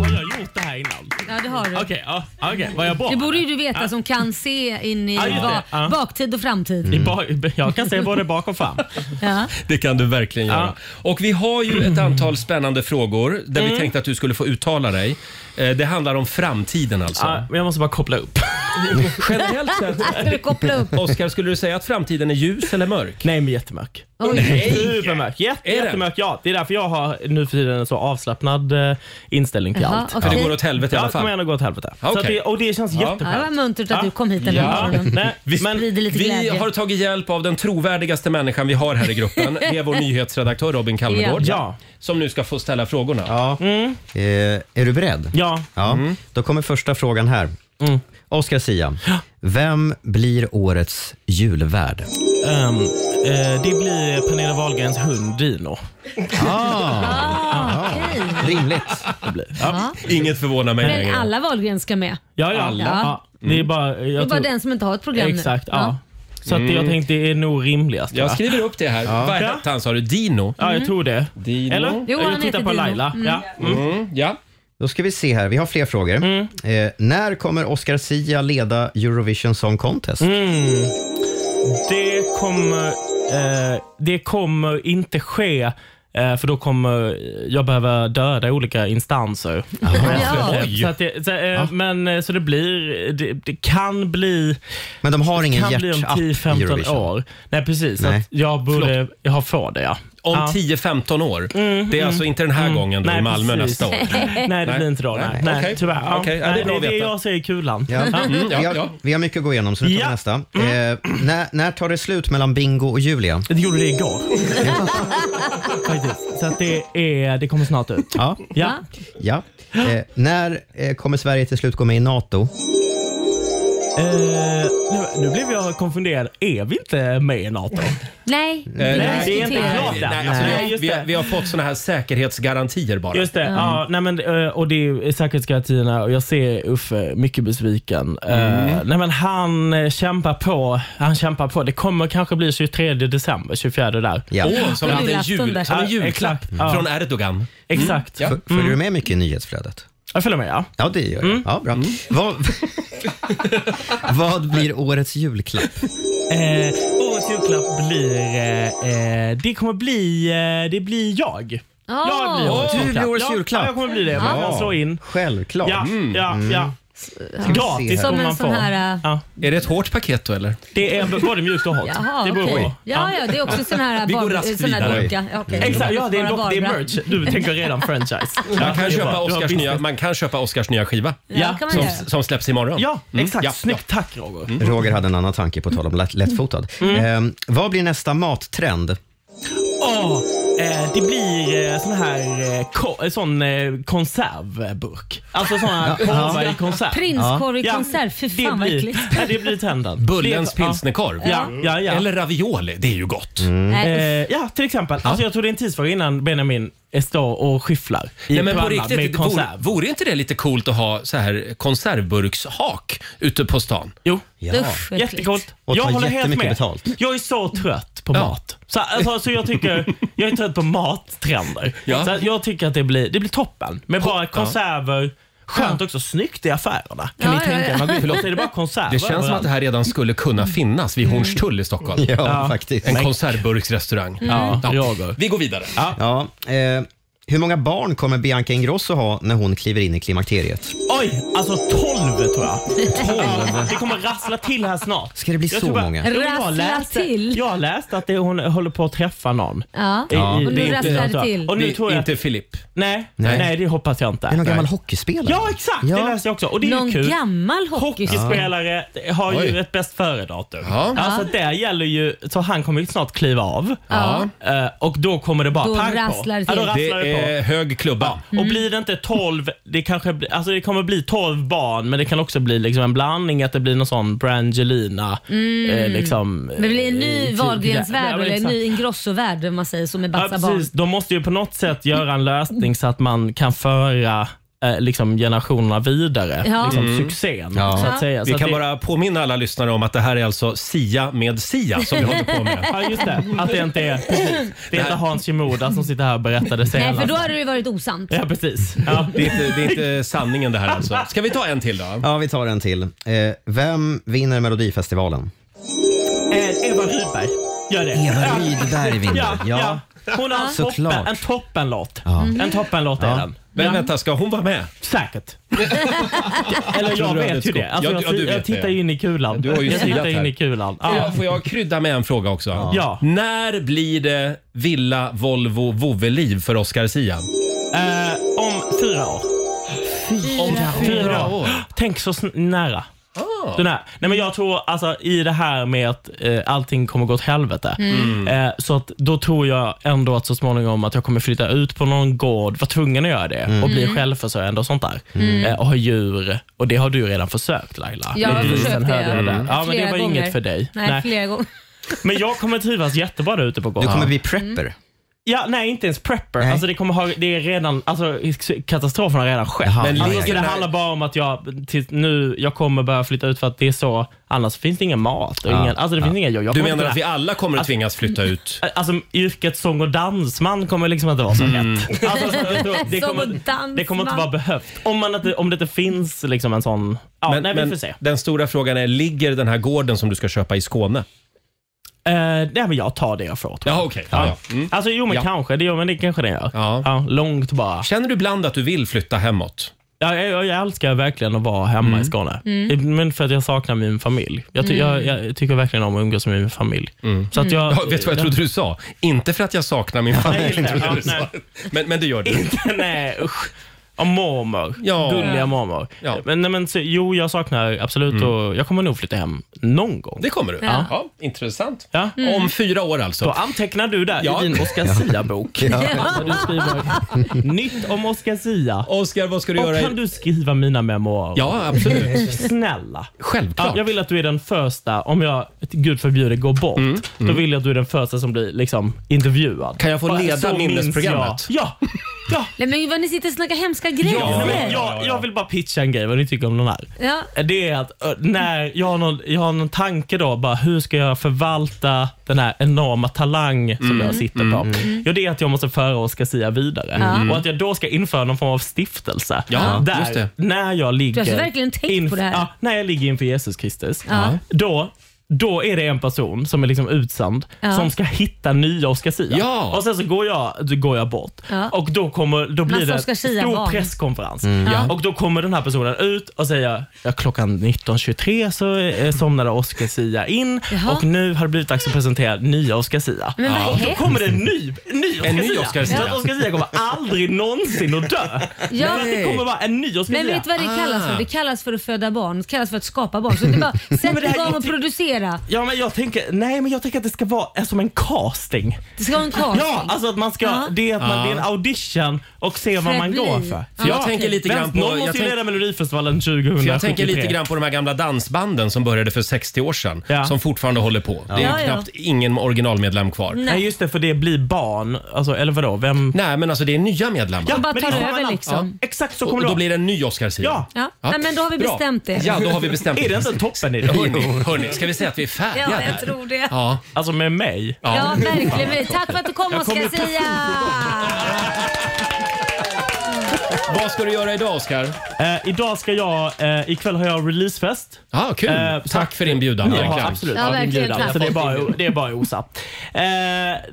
S13: Har jag gjort det här innan?
S2: Ja, det har du.
S13: Okej, ja, okej, var jag bra?
S2: Det borde ju du veta
S13: Ja.
S2: som kan se in i
S13: Ja, just det.
S2: ba-
S13: Ja.
S2: baktid och framtid.
S13: I ba- Jag kan se både bak och fram.
S2: Ja.
S1: Det kan du verkligen göra. Och vi har ju ett antal spännande frågor där vi
S13: Mm.
S1: tänkte att du skulle få uttala dig. Eh, Det handlar om framtiden alltså.
S13: Ja, men jag måste bara koppla upp.
S1: Generellt sett.
S2: Ska du koppla upp?
S1: Oskar, skulle du säga att framtiden är ljus eller mörk?
S13: Nej, men jättemörk.
S2: Oj.
S13: Supermörk. Jätte,
S1: Är den?
S13: jättemörk, ja. Det är därför jag har nu för tiden en så avslappnad eh, inställning till
S2: Jaha,
S13: allt.
S2: okej. För det går åt
S1: helvete i alla
S13: Ja,
S1: fall.
S13: det kommer ändå gå åt helvete.
S1: Ja,
S13: Så att
S1: okej.
S13: det, och det känns
S1: Ja.
S13: jätteskönt.
S2: Ja, det var muntert att du kom hit den här
S1: Ja.
S2: morgonen.
S13: Nej,
S1: Vi,
S2: Sprider lite
S1: vi
S2: glädje.
S1: har tagit hjälp av den trovärdigaste människan vi har här i gruppen. Det är vår nyhetsredaktör Robin Kalmegård.
S3: Ja.
S1: Som nu ska få ställa frågorna.
S3: Ja.
S13: Mm.
S3: Eh, är du beredd?
S13: Ja. Mm.
S3: ja. Då kommer första frågan här. Oscar Sia, vem blir årets julvärd?
S13: Ehm, eh, det blir Pernilla Wahlgrens hund Dino.
S3: Ah. Rimligt.
S13: Det blir.
S2: Ja.
S1: Inget förvånar mig
S2: Men alla Wahlgren ska med.
S13: Ja, ja.
S2: Alla.
S13: ja. Det är
S1: Mm.
S13: bara, jag
S2: Det är bara
S13: tror-
S2: den som inte har ett program nu.
S13: Exakt, ja. Så att det- jag
S1: Mm.
S13: tänkte det är nog rimligast.
S1: Jag
S13: va?
S1: skriver upp det här.
S13: Ja.
S1: Vad
S13: Ja.
S1: hette han sa du? Dino? Mm.
S13: Ja, jag tror det.
S1: Dino.
S13: Eller?
S2: Mm. Jo, han
S13: jag tittar
S2: heter
S13: på
S2: Dino.
S13: Laila.
S2: Mm.
S13: Ja. Mm.
S1: ja.
S3: Då ska vi se här, vi har fler frågor. Eh, när kommer Oscar Sia leda Eurovision Song Contest?
S13: Mm. Det kommer, eh, det kommer inte ske eh, för då kommer jag behöva döda olika instanser.
S3: Ja.
S13: Eh, Så, att det, så, eh, men, eh, så det blir, det, det kan bli...
S3: Men de har ingen
S13: kan bli om
S3: hjärtapp i
S13: 10-15
S3: Eurovision.
S13: år. Nej, precis.
S3: Nej.
S13: Att jag borde jag har få det, ja.
S1: Om
S13: ja. Mm.
S1: 10-15 år. det är alltså inte den här gången då i Malmö nästa år.
S13: Nej, det blir inte då. Nej, nej.
S1: Okej.
S13: tyvärr. Ja.
S1: Okej, ja, det
S13: nej,
S1: är bra att
S13: det är det
S1: veta.
S13: jag säger i kulan.
S3: Ja.
S13: Mm,
S3: vi, har, vi har mycket att gå igenom, så nu tar
S13: Ja. Mm.
S3: vi nästa. Eh, när, när tar det slut mellan Bingo och Julia?
S13: Det gjorde det igår. Faktiskt. Så att det, är, det kommer snart ut.
S3: Ja.
S13: Ja.
S3: ja. Eh, när eh, kommer Sverige till slut gå med i NATO?
S13: Eh, nu, nu blev jag konfunderad. Är vi inte med i
S3: Mm.
S13: NATO?
S2: Nej,
S1: Eh,
S13: det
S2: det
S13: är inte
S2: diskuterar.
S13: klart än.
S1: Nej, alltså, vi,
S13: Nej,
S1: har,
S13: just
S1: vi,
S13: det.
S1: har, vi har fått såna här säkerhetsgarantier bara.
S13: Just det.
S2: Mm.
S13: Ja, nej men, eh, och det är säkerhetsgarantierna och jag ser Uffe mycket besviken. Eh,
S1: Mm.
S13: Nej men han eh, kämpar på. Han kämpar på. Det kommer kanske bli 23 december, 24 där.
S3: Ja.
S1: Åh, som, en liten
S2: Julafton där.
S1: jul, som en
S13: Ja,
S1: julklapp
S13: exakt. Ja.
S1: Mm. från Erdogan.
S13: Exakt. Mm.
S1: Ja.
S3: F- Följer du med mycket i nyhetsflödet?
S13: Jag följer med ja. Mm.
S3: Ja, det gör jag. Ja, bra. Vad, vad blir årets julklapp?
S13: Eh, årets julklapp blir... Eh, eh, det kommer bli... Eh, det blir jag.
S2: Ah.
S13: Jag blir årets
S3: Du
S13: julklapp.
S3: blir årets
S13: Ja,
S3: julklapp.
S13: Ja, jag kommer bli det.
S3: Ja.
S13: Man kan slå in.
S3: Självklart.
S13: Ja, ja, ja.
S3: vi se här.
S13: Gratis kommer
S2: Mm. Som en
S13: man
S2: sån
S13: få.
S2: här... äh,
S13: Ja.
S1: Är det ett hårt paket då eller?
S13: Det är både mjukt och hårt.
S2: Jaha,
S13: det beror
S2: okej.
S13: på.
S2: Ja, ja, det är också sån här...
S1: Vi går
S2: bar-
S1: raskt
S2: sån här
S1: vidare.
S2: docka. Ja, okej.
S13: Exakt, ja det är,
S2: Bara
S13: dock, det är
S2: Barbara.
S13: merch. Du tänker redan franchise. Ja,
S1: Man
S13: det
S1: kan,
S13: är
S1: köpa
S13: bra. Du har
S1: Oscars
S13: business.
S1: nya, man kan köpa Oscars nya skiva
S13: Ja,
S2: kan man
S1: som,
S2: göra.
S1: som släpps imorgon.
S13: Ja,
S1: Mm.
S13: exakt.
S1: Ja, Mm.
S13: Snyggt. Tack Roger.
S3: Roger hade en annan tanke på tal om lätt, lättfotad.
S13: Mm.
S3: Eh, vad blir nästa mattrend?
S13: Åh, eh, det blir eh, sån här eh, ko- eh, sån, eh, konservburk. Alltså sån här korvar i konserv.
S2: Prinskorv i
S13: Ja.
S2: konserv. Fy
S13: Det
S2: fan vad
S13: blir,
S2: äckligt.
S13: ja, det blir trenden.
S1: Bullens
S13: Det- ja.
S1: pilsnerkorv.
S13: Ja, ja, ja.
S1: Eller ravioli, det är ju gott.
S13: Eh,
S2: Mm. Nej,
S13: ja, till exempel. Alltså, jag tror det är en tidsfråga innan Benjamin eh, står och skyfflar i
S1: Nej, men på
S13: pannan
S1: riktigt,
S13: med
S1: det vore,
S13: konserv.
S1: vore inte det lite coolt att ha så här konservburkshak ute på stan?
S13: Jo,
S2: usch vad äckligt.
S13: jättegott.
S3: Och
S13: jag
S3: ta
S13: håller helt
S3: jättemycket
S13: med.
S3: betalt.
S13: Jag är så trött på
S1: Ja.
S13: mat. Så, alltså, så jag, tycker, jag är trött på mattrender.
S1: Ja.
S13: Så att jag tycker att det blir, det blir toppen. Med bara konserver. Skönt också, snyggt i affärerna. Kan
S2: Ja,
S13: ni
S2: ja,
S13: tänka
S2: ja.
S13: er? Man går förlåt, är det bara konserver
S1: Det känns som att det här redan skulle kunna finnas vid Hornstull i Stockholm.
S3: Ja, faktiskt.
S1: En konservburksrestaurang.
S13: Ja, jag går.
S1: Vi går vidare.
S3: Ja, eh, Hur många barn kommer Bianca Ingrosso ha när hon kliver in i klimakteriet?
S13: Oj, alltså 12 tror jag. 12. Det kommer rassla till här snart.
S3: Ska det bli
S13: jag
S3: så
S13: tror bara-
S3: många?
S13: Jo, jag
S2: Rassla
S13: läste-
S2: till.
S13: Jag läste att det, hon håller på att träffa någon.
S2: Ja.
S13: I- i-
S2: Och nu
S13: det är inte-
S2: rasslar det till.
S13: Och nu tror jag
S1: Inte Filip.
S13: Nej,
S1: Nej.
S13: nej. det hoppas jag inte.
S1: Är det någon gammal Nej.
S3: hockeyspelare?
S13: Ja, exakt. Det läste jag också. Och det är
S2: Någon
S13: ju kul.
S2: gammal hockeyspelare.
S13: Hockeyspelare har ju
S2: Oj.
S13: ett bäst före-datum.
S2: Ja.
S13: Alltså det gäller ju, så han kommer ju snart kliva av.
S1: Ja.
S13: Eh, Och då kommer det bara
S2: Då
S13: pang på.
S2: rasslar det
S13: Ja, då
S2: till. Mm.
S13: rasslar
S1: Det är hög klubba.
S13: Och blir det inte 12, det kanske blir, alltså det kommer bli 12 barn men det kan också bli liksom en blandning att det blir någon sån Brangelina.
S2: Mm.
S13: Eh, liksom,
S2: Men det blir en ny
S13: eh,
S2: Wahlgrens-värld
S13: Ja, men
S2: eller en
S13: exakt.
S2: ny Ingrosso-värld om man säger så med
S13: Ja,
S2: Batsa barn.
S13: precis. De måste ju på något sätt göra en lösning så att man kan föra eh, liksom generationerna vidare.
S2: Ja.
S13: Liksom
S1: Mm.
S13: succén. Så att säga.
S1: Vi
S13: så att
S1: kan
S13: det-
S1: bara påminna alla lyssnare om att det här är alltså Sia med Sia som vi håller på med.
S13: Ja, just det. Att det inte är, precis. Det är inte Hans Shimoda som sitter här och berättar det
S2: Nej,
S13: senast.
S2: för då hade det ju varit osant.
S13: alltså. Ja, precis. Ja.
S1: Det är, inte, det är inte sanningen det här alltså. Ska vi ta en till då?
S3: Ja, vi tar en till. Eh, vem vinner Melodifestivalen?
S13: Eh, Eva Rydberg gör det.
S3: Eva
S13: Ja.
S3: Rydberg vinner,
S13: Ja,
S3: ja.
S13: ja. Hon har en
S3: Såklart.
S13: toppen, en toppenlåt.
S3: Ja.
S13: Mm. En toppenlåt är den.
S1: Men
S13: Ja.
S1: vänta, ska hon vara med?
S13: Säkert. Eller
S1: tror
S13: jag
S1: du hade
S13: vet ju
S1: skott.
S13: det. Alltså,
S1: Ja,
S13: jag,
S1: ja, du
S13: jag
S1: vet
S13: tittar
S1: det.
S13: ju in i kulan.
S1: Du har ju
S13: jag
S1: silat
S13: tittar
S1: här.
S13: in i kulan.
S1: Får
S13: Ja.
S1: jag- Får jag krydda med en fråga också?
S13: Ja.
S1: När blir det villa, Volvo, vovveliv för Oscar Sia?
S13: Eh, om fyra år. Om fyra år. Tänk så sn- nära.
S1: Ah.
S13: Den här. Nej, men jag tror alltså, i det här med att eh, allting kommer gå åt helvete.
S1: Mm.
S13: Eh, så att, då tror jag ändå att så småningom att jag kommer flytta ut på någon gård, vara tvungen att göra det och bli
S2: Mm.
S13: självförsörjande och sånt där.
S2: Mm.
S13: Eh, och ha djur. Och det har du ju redan försökt Laila.
S2: Jag har
S13: Mm.
S2: försökt
S13: Sen hörde
S2: det.
S13: jag
S2: Mm.
S13: Ja, men det
S2: Flera
S13: var
S2: gånger.
S13: inget för dig.
S2: Nej, flera gånger.
S13: Men jag kommer trivas jättebra där ute på gården.
S3: Du kommer bli prepper.
S13: Ja, nej inte ens prepper.
S3: Nej.
S13: Alltså det kommer ha, det är redan, alltså katastrofen har redan skett.
S3: Jaha,
S13: men
S3: nej.
S13: alltså, det
S3: nej.
S13: handlar bara om att jag, till, nu, jag kommer börja flytta ut för att det är så, annars finns det ingen mat och
S1: Ja.
S13: ingen, alltså det finns
S1: Ja.
S13: inga jobb. Jag
S1: Du
S13: kommer
S1: menar
S13: inte
S1: att vi
S13: kunna-
S1: alla kommer att tvingas flytta ut?
S13: Alltså yrket sång och dansman kommer liksom inte vara så
S1: Mm.
S13: lätt. Alltså, så jag tror- det,
S2: Sång och
S13: kommer,
S2: dansman.
S13: det kommer inte vara behövt. Om, man inte, om det inte finns liksom en sån, ja, nej vi får se.
S1: den stora frågan är, ligger den här gården som du ska köpa i Skåne?
S13: Eh, nej men jag tar det jag får. tror jag.
S1: Ja, okej. Ja, ja. Mm.
S13: Alltså jo men
S1: Ja.
S13: kanske, det, gör- men det kanske den gör.
S1: Ja.
S13: långt bara.
S1: Känner du ibland att du vill flytta hemåt?
S13: Ja, jag, jag älskar verkligen att vara hemma i Skåne.
S1: Mm.
S13: Men för att jag saknar min familj. Jag, ty-
S1: Mm.
S13: jag, jag tycker verkligen om att umgås med min familj. Så att jag,
S1: Ja, vet du vad jag trodde du sa? Inte för att jag saknar min familj.
S13: Nej,
S1: trodde jag
S13: ja,
S1: du sa. men, men det gör du.
S13: nej, usch. Om mormor.
S1: Ja.
S13: Gulliga mormor. Men, nej, men, så, jo, jag saknar absolut och jag kommer nog flytta hem någon gång.
S1: Mm. Det kommer du?
S13: Ja.
S1: Ja, intressant.
S13: Ja.
S1: Mm. Om fyra år alltså.
S13: Då antecknar du där
S1: Ja.
S13: i din Oscar Sia-bok.
S1: Ja.
S13: Där Du skriver nytt om Oscar Sia.
S1: Oscar, vad ska du
S13: och
S1: göra i-
S13: Kan du skriva mina memoarer?
S1: Ja, absolut.
S13: Snälla.
S1: Självklart.
S13: jag vill att du är den första, om jag, gud förbjude, går bort. Då vill jag att du är den första som blir liksom, intervjuad.
S1: Mm, Kan jag få
S13: Bara,
S1: leda
S13: så minns
S1: minnesprogrammet?
S13: jag. Ja!
S2: Nej, men vad ni sitter och snackar hemska grejer.
S13: ja, nej, men jag, jag vill bara pitcha en grej, vad ni tycker om den här.
S2: Ja.
S13: Det är att ö, när jag, har någon, jag har någon tanke då, bara, hur ska jag förvalta den här enorma talang som
S9: Mm.
S13: jag sitter på? Ja, det är att jag måste föra Oscar Sia vidare
S2: Mm.
S13: och att jag då ska införa någon form av stiftelse.
S2: Ja,
S13: där,
S1: just det.
S13: När jag ligger,
S2: alltså verkligen tänkt
S13: inf-
S2: på det här.
S13: Ja, när jag ligger inför Jesus Kristus,
S2: Ja.
S13: då då är det en person som är liksom utsänd
S2: Ja.
S13: som ska hitta nya Oscar Sia.
S1: Ja.
S13: Och sen så går jag, då går jag bort
S2: Ja.
S13: och då, kommer, då blir
S2: Massa
S13: det
S2: Oscar
S13: en
S2: Sia barn.
S13: stor presskonferens.
S2: Mm. Ja.
S13: Och Då kommer den här personen ut och säger ja, klockan 19.23 så eh, somnade Oscar Sia in
S2: Jaha.
S13: och nu har det blivit dags att presentera nya Oscar Sia.
S2: Men vad
S13: och då
S2: hemskt.
S13: kommer det en ny, ny Oscar
S1: En ny
S13: Sia.
S1: Oscar Sia.
S13: Så att Oscar Sia kommer aldrig någonsin att dö.
S2: Ja.
S13: Men det kommer vara en ny Oscar
S2: Men
S13: Sia.
S2: vet du vad det kallas för? Det kallas för att föda barn, det kallas för att skapa barn. Så det är bara sätt
S13: Ah. men det här
S2: igång och
S13: låter-
S2: producera.
S13: Ja, men jag tänker, nej, men jag tänker att det ska vara eh, som en casting.
S2: Det ska vara en casting.
S13: Ja, alltså att man ska,
S2: Ja.
S13: det, är att man,
S1: Ja.
S13: det är en audition och se
S1: För
S13: vad
S1: att
S13: man
S1: bli.
S13: går för.
S1: För jag tänker lite
S13: Vem-
S1: grann på-
S13: Någon
S1: jag
S13: måste ju
S1: tänk-
S13: leda Melodifestivalen 2073.
S1: För jag tänker lite grann på de här gamla dansbanden som började för 60 år sedan. Som fortfarande håller på. Det är ju
S13: Ja, ja.
S1: knappt ingen originalmedlem kvar.
S13: Nej. just det, för det blir barn. Alltså, eller vadå? Vem?
S1: Nej, men alltså det är nya medlemmar.
S13: Ja,
S2: bara
S13: men
S2: tar
S13: det är
S2: över
S13: annan-
S2: liksom.
S13: Ja. Exakt så
S1: Och
S13: kommer
S1: då
S13: vara.
S1: blir det en ny Oscar Sia.
S13: Ja.
S2: Ja. Nej, men då har vi
S1: Bra.
S2: bestämt det.
S1: Ja, då har vi bestämt
S13: Är det inte en toppen idé?
S1: Hörni, hörni, ska vi säga att vi är färdiga
S2: Ja,
S1: där?
S2: jag tror det. Ja,
S1: Ja.
S13: Alltså med mig?
S2: verkligen. Tack för att du kom
S13: Jag
S2: Oscar
S13: kommer
S2: Sia.
S1: Vad ska du göra idag, Oskar?
S13: Eh, idag ska jag, eh, ikväll har jag releasefest. Eh,
S1: Ah, kul. Tack för inbjudan,
S13: Ja,
S1: verkligen.
S13: absolut.
S1: Ja,
S13: Ja,
S1: verkligen,
S13: inbjudan.
S1: tack.
S13: Så det är bara, det är bara att osa. Eh,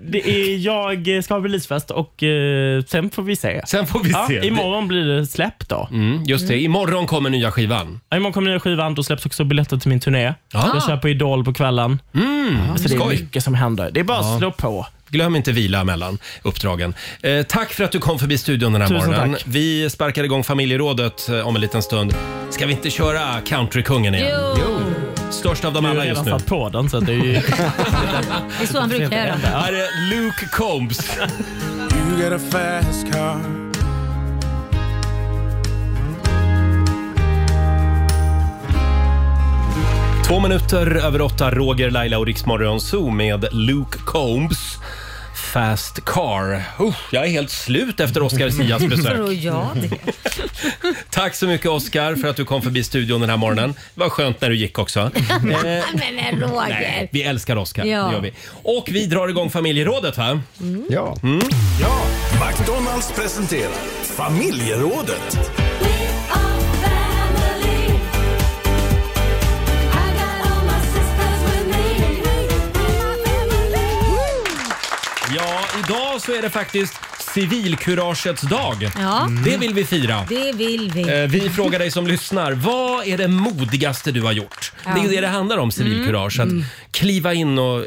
S13: det är, jag ska ha releasefest och eh, sen får vi se.
S1: Sen får vi
S13: ja,
S1: se.
S13: Imorgon blir det släpp då.
S1: Mm, just det, imorgon kommer nya skivan.
S13: Ja, imorgon kommer nya skivan. Då släpps också biljetter till min turné.
S1: Ja.
S13: Jag kör på Idol på kvällen.
S1: Mm,
S13: Så det är
S1: skoj.
S13: mycket som händer. Det är bara att slå på.
S1: Glöm inte vila mellan uppdragen. Eh, tack för att du kom förbi studion den här
S13: Tusen
S1: morgonen.
S13: tack.
S1: Vi sparkar igång familjerådet eh, om en liten stund. Ska vi inte köra countrykungen igen? Störst av dem
S13: Du har
S1: alla
S13: ju
S1: just
S13: redan
S1: nu.
S13: satt på den, så att det är ju...
S2: Det är så han brukar göra.
S1: Här är Luke Combs.
S4: You got a fast car.
S1: Två minuter över åtta, Roger, Laila och Riksmorgon Zoo med Luke Combs. Fast Car. Uh, jag är helt slut efter Oscar Sias besök.
S2: Tror jag det.
S1: Tack så mycket Oscar för att du kom förbi studion den här morgonen. Det var skönt när du gick också. Eh,
S2: Men Roger.
S1: Nej, vi älskar Oscar.
S2: Ja.
S1: Det gör vi. Och vi drar igång familjerådet va? Ja. Mm.
S14: Ja, McDonalds presenterar familjerådet.
S1: Ja, idag så är det faktiskt civilkuragets dag.
S2: Ja.
S1: Det vill vi fira.
S2: Det vill vi.
S1: Eh, Vi frågar dig som lyssnar, vad är det modigaste du har gjort?
S2: Ja. Mm.
S1: Det är ju det det handlar om, civilkurage. Att kliva in och eh,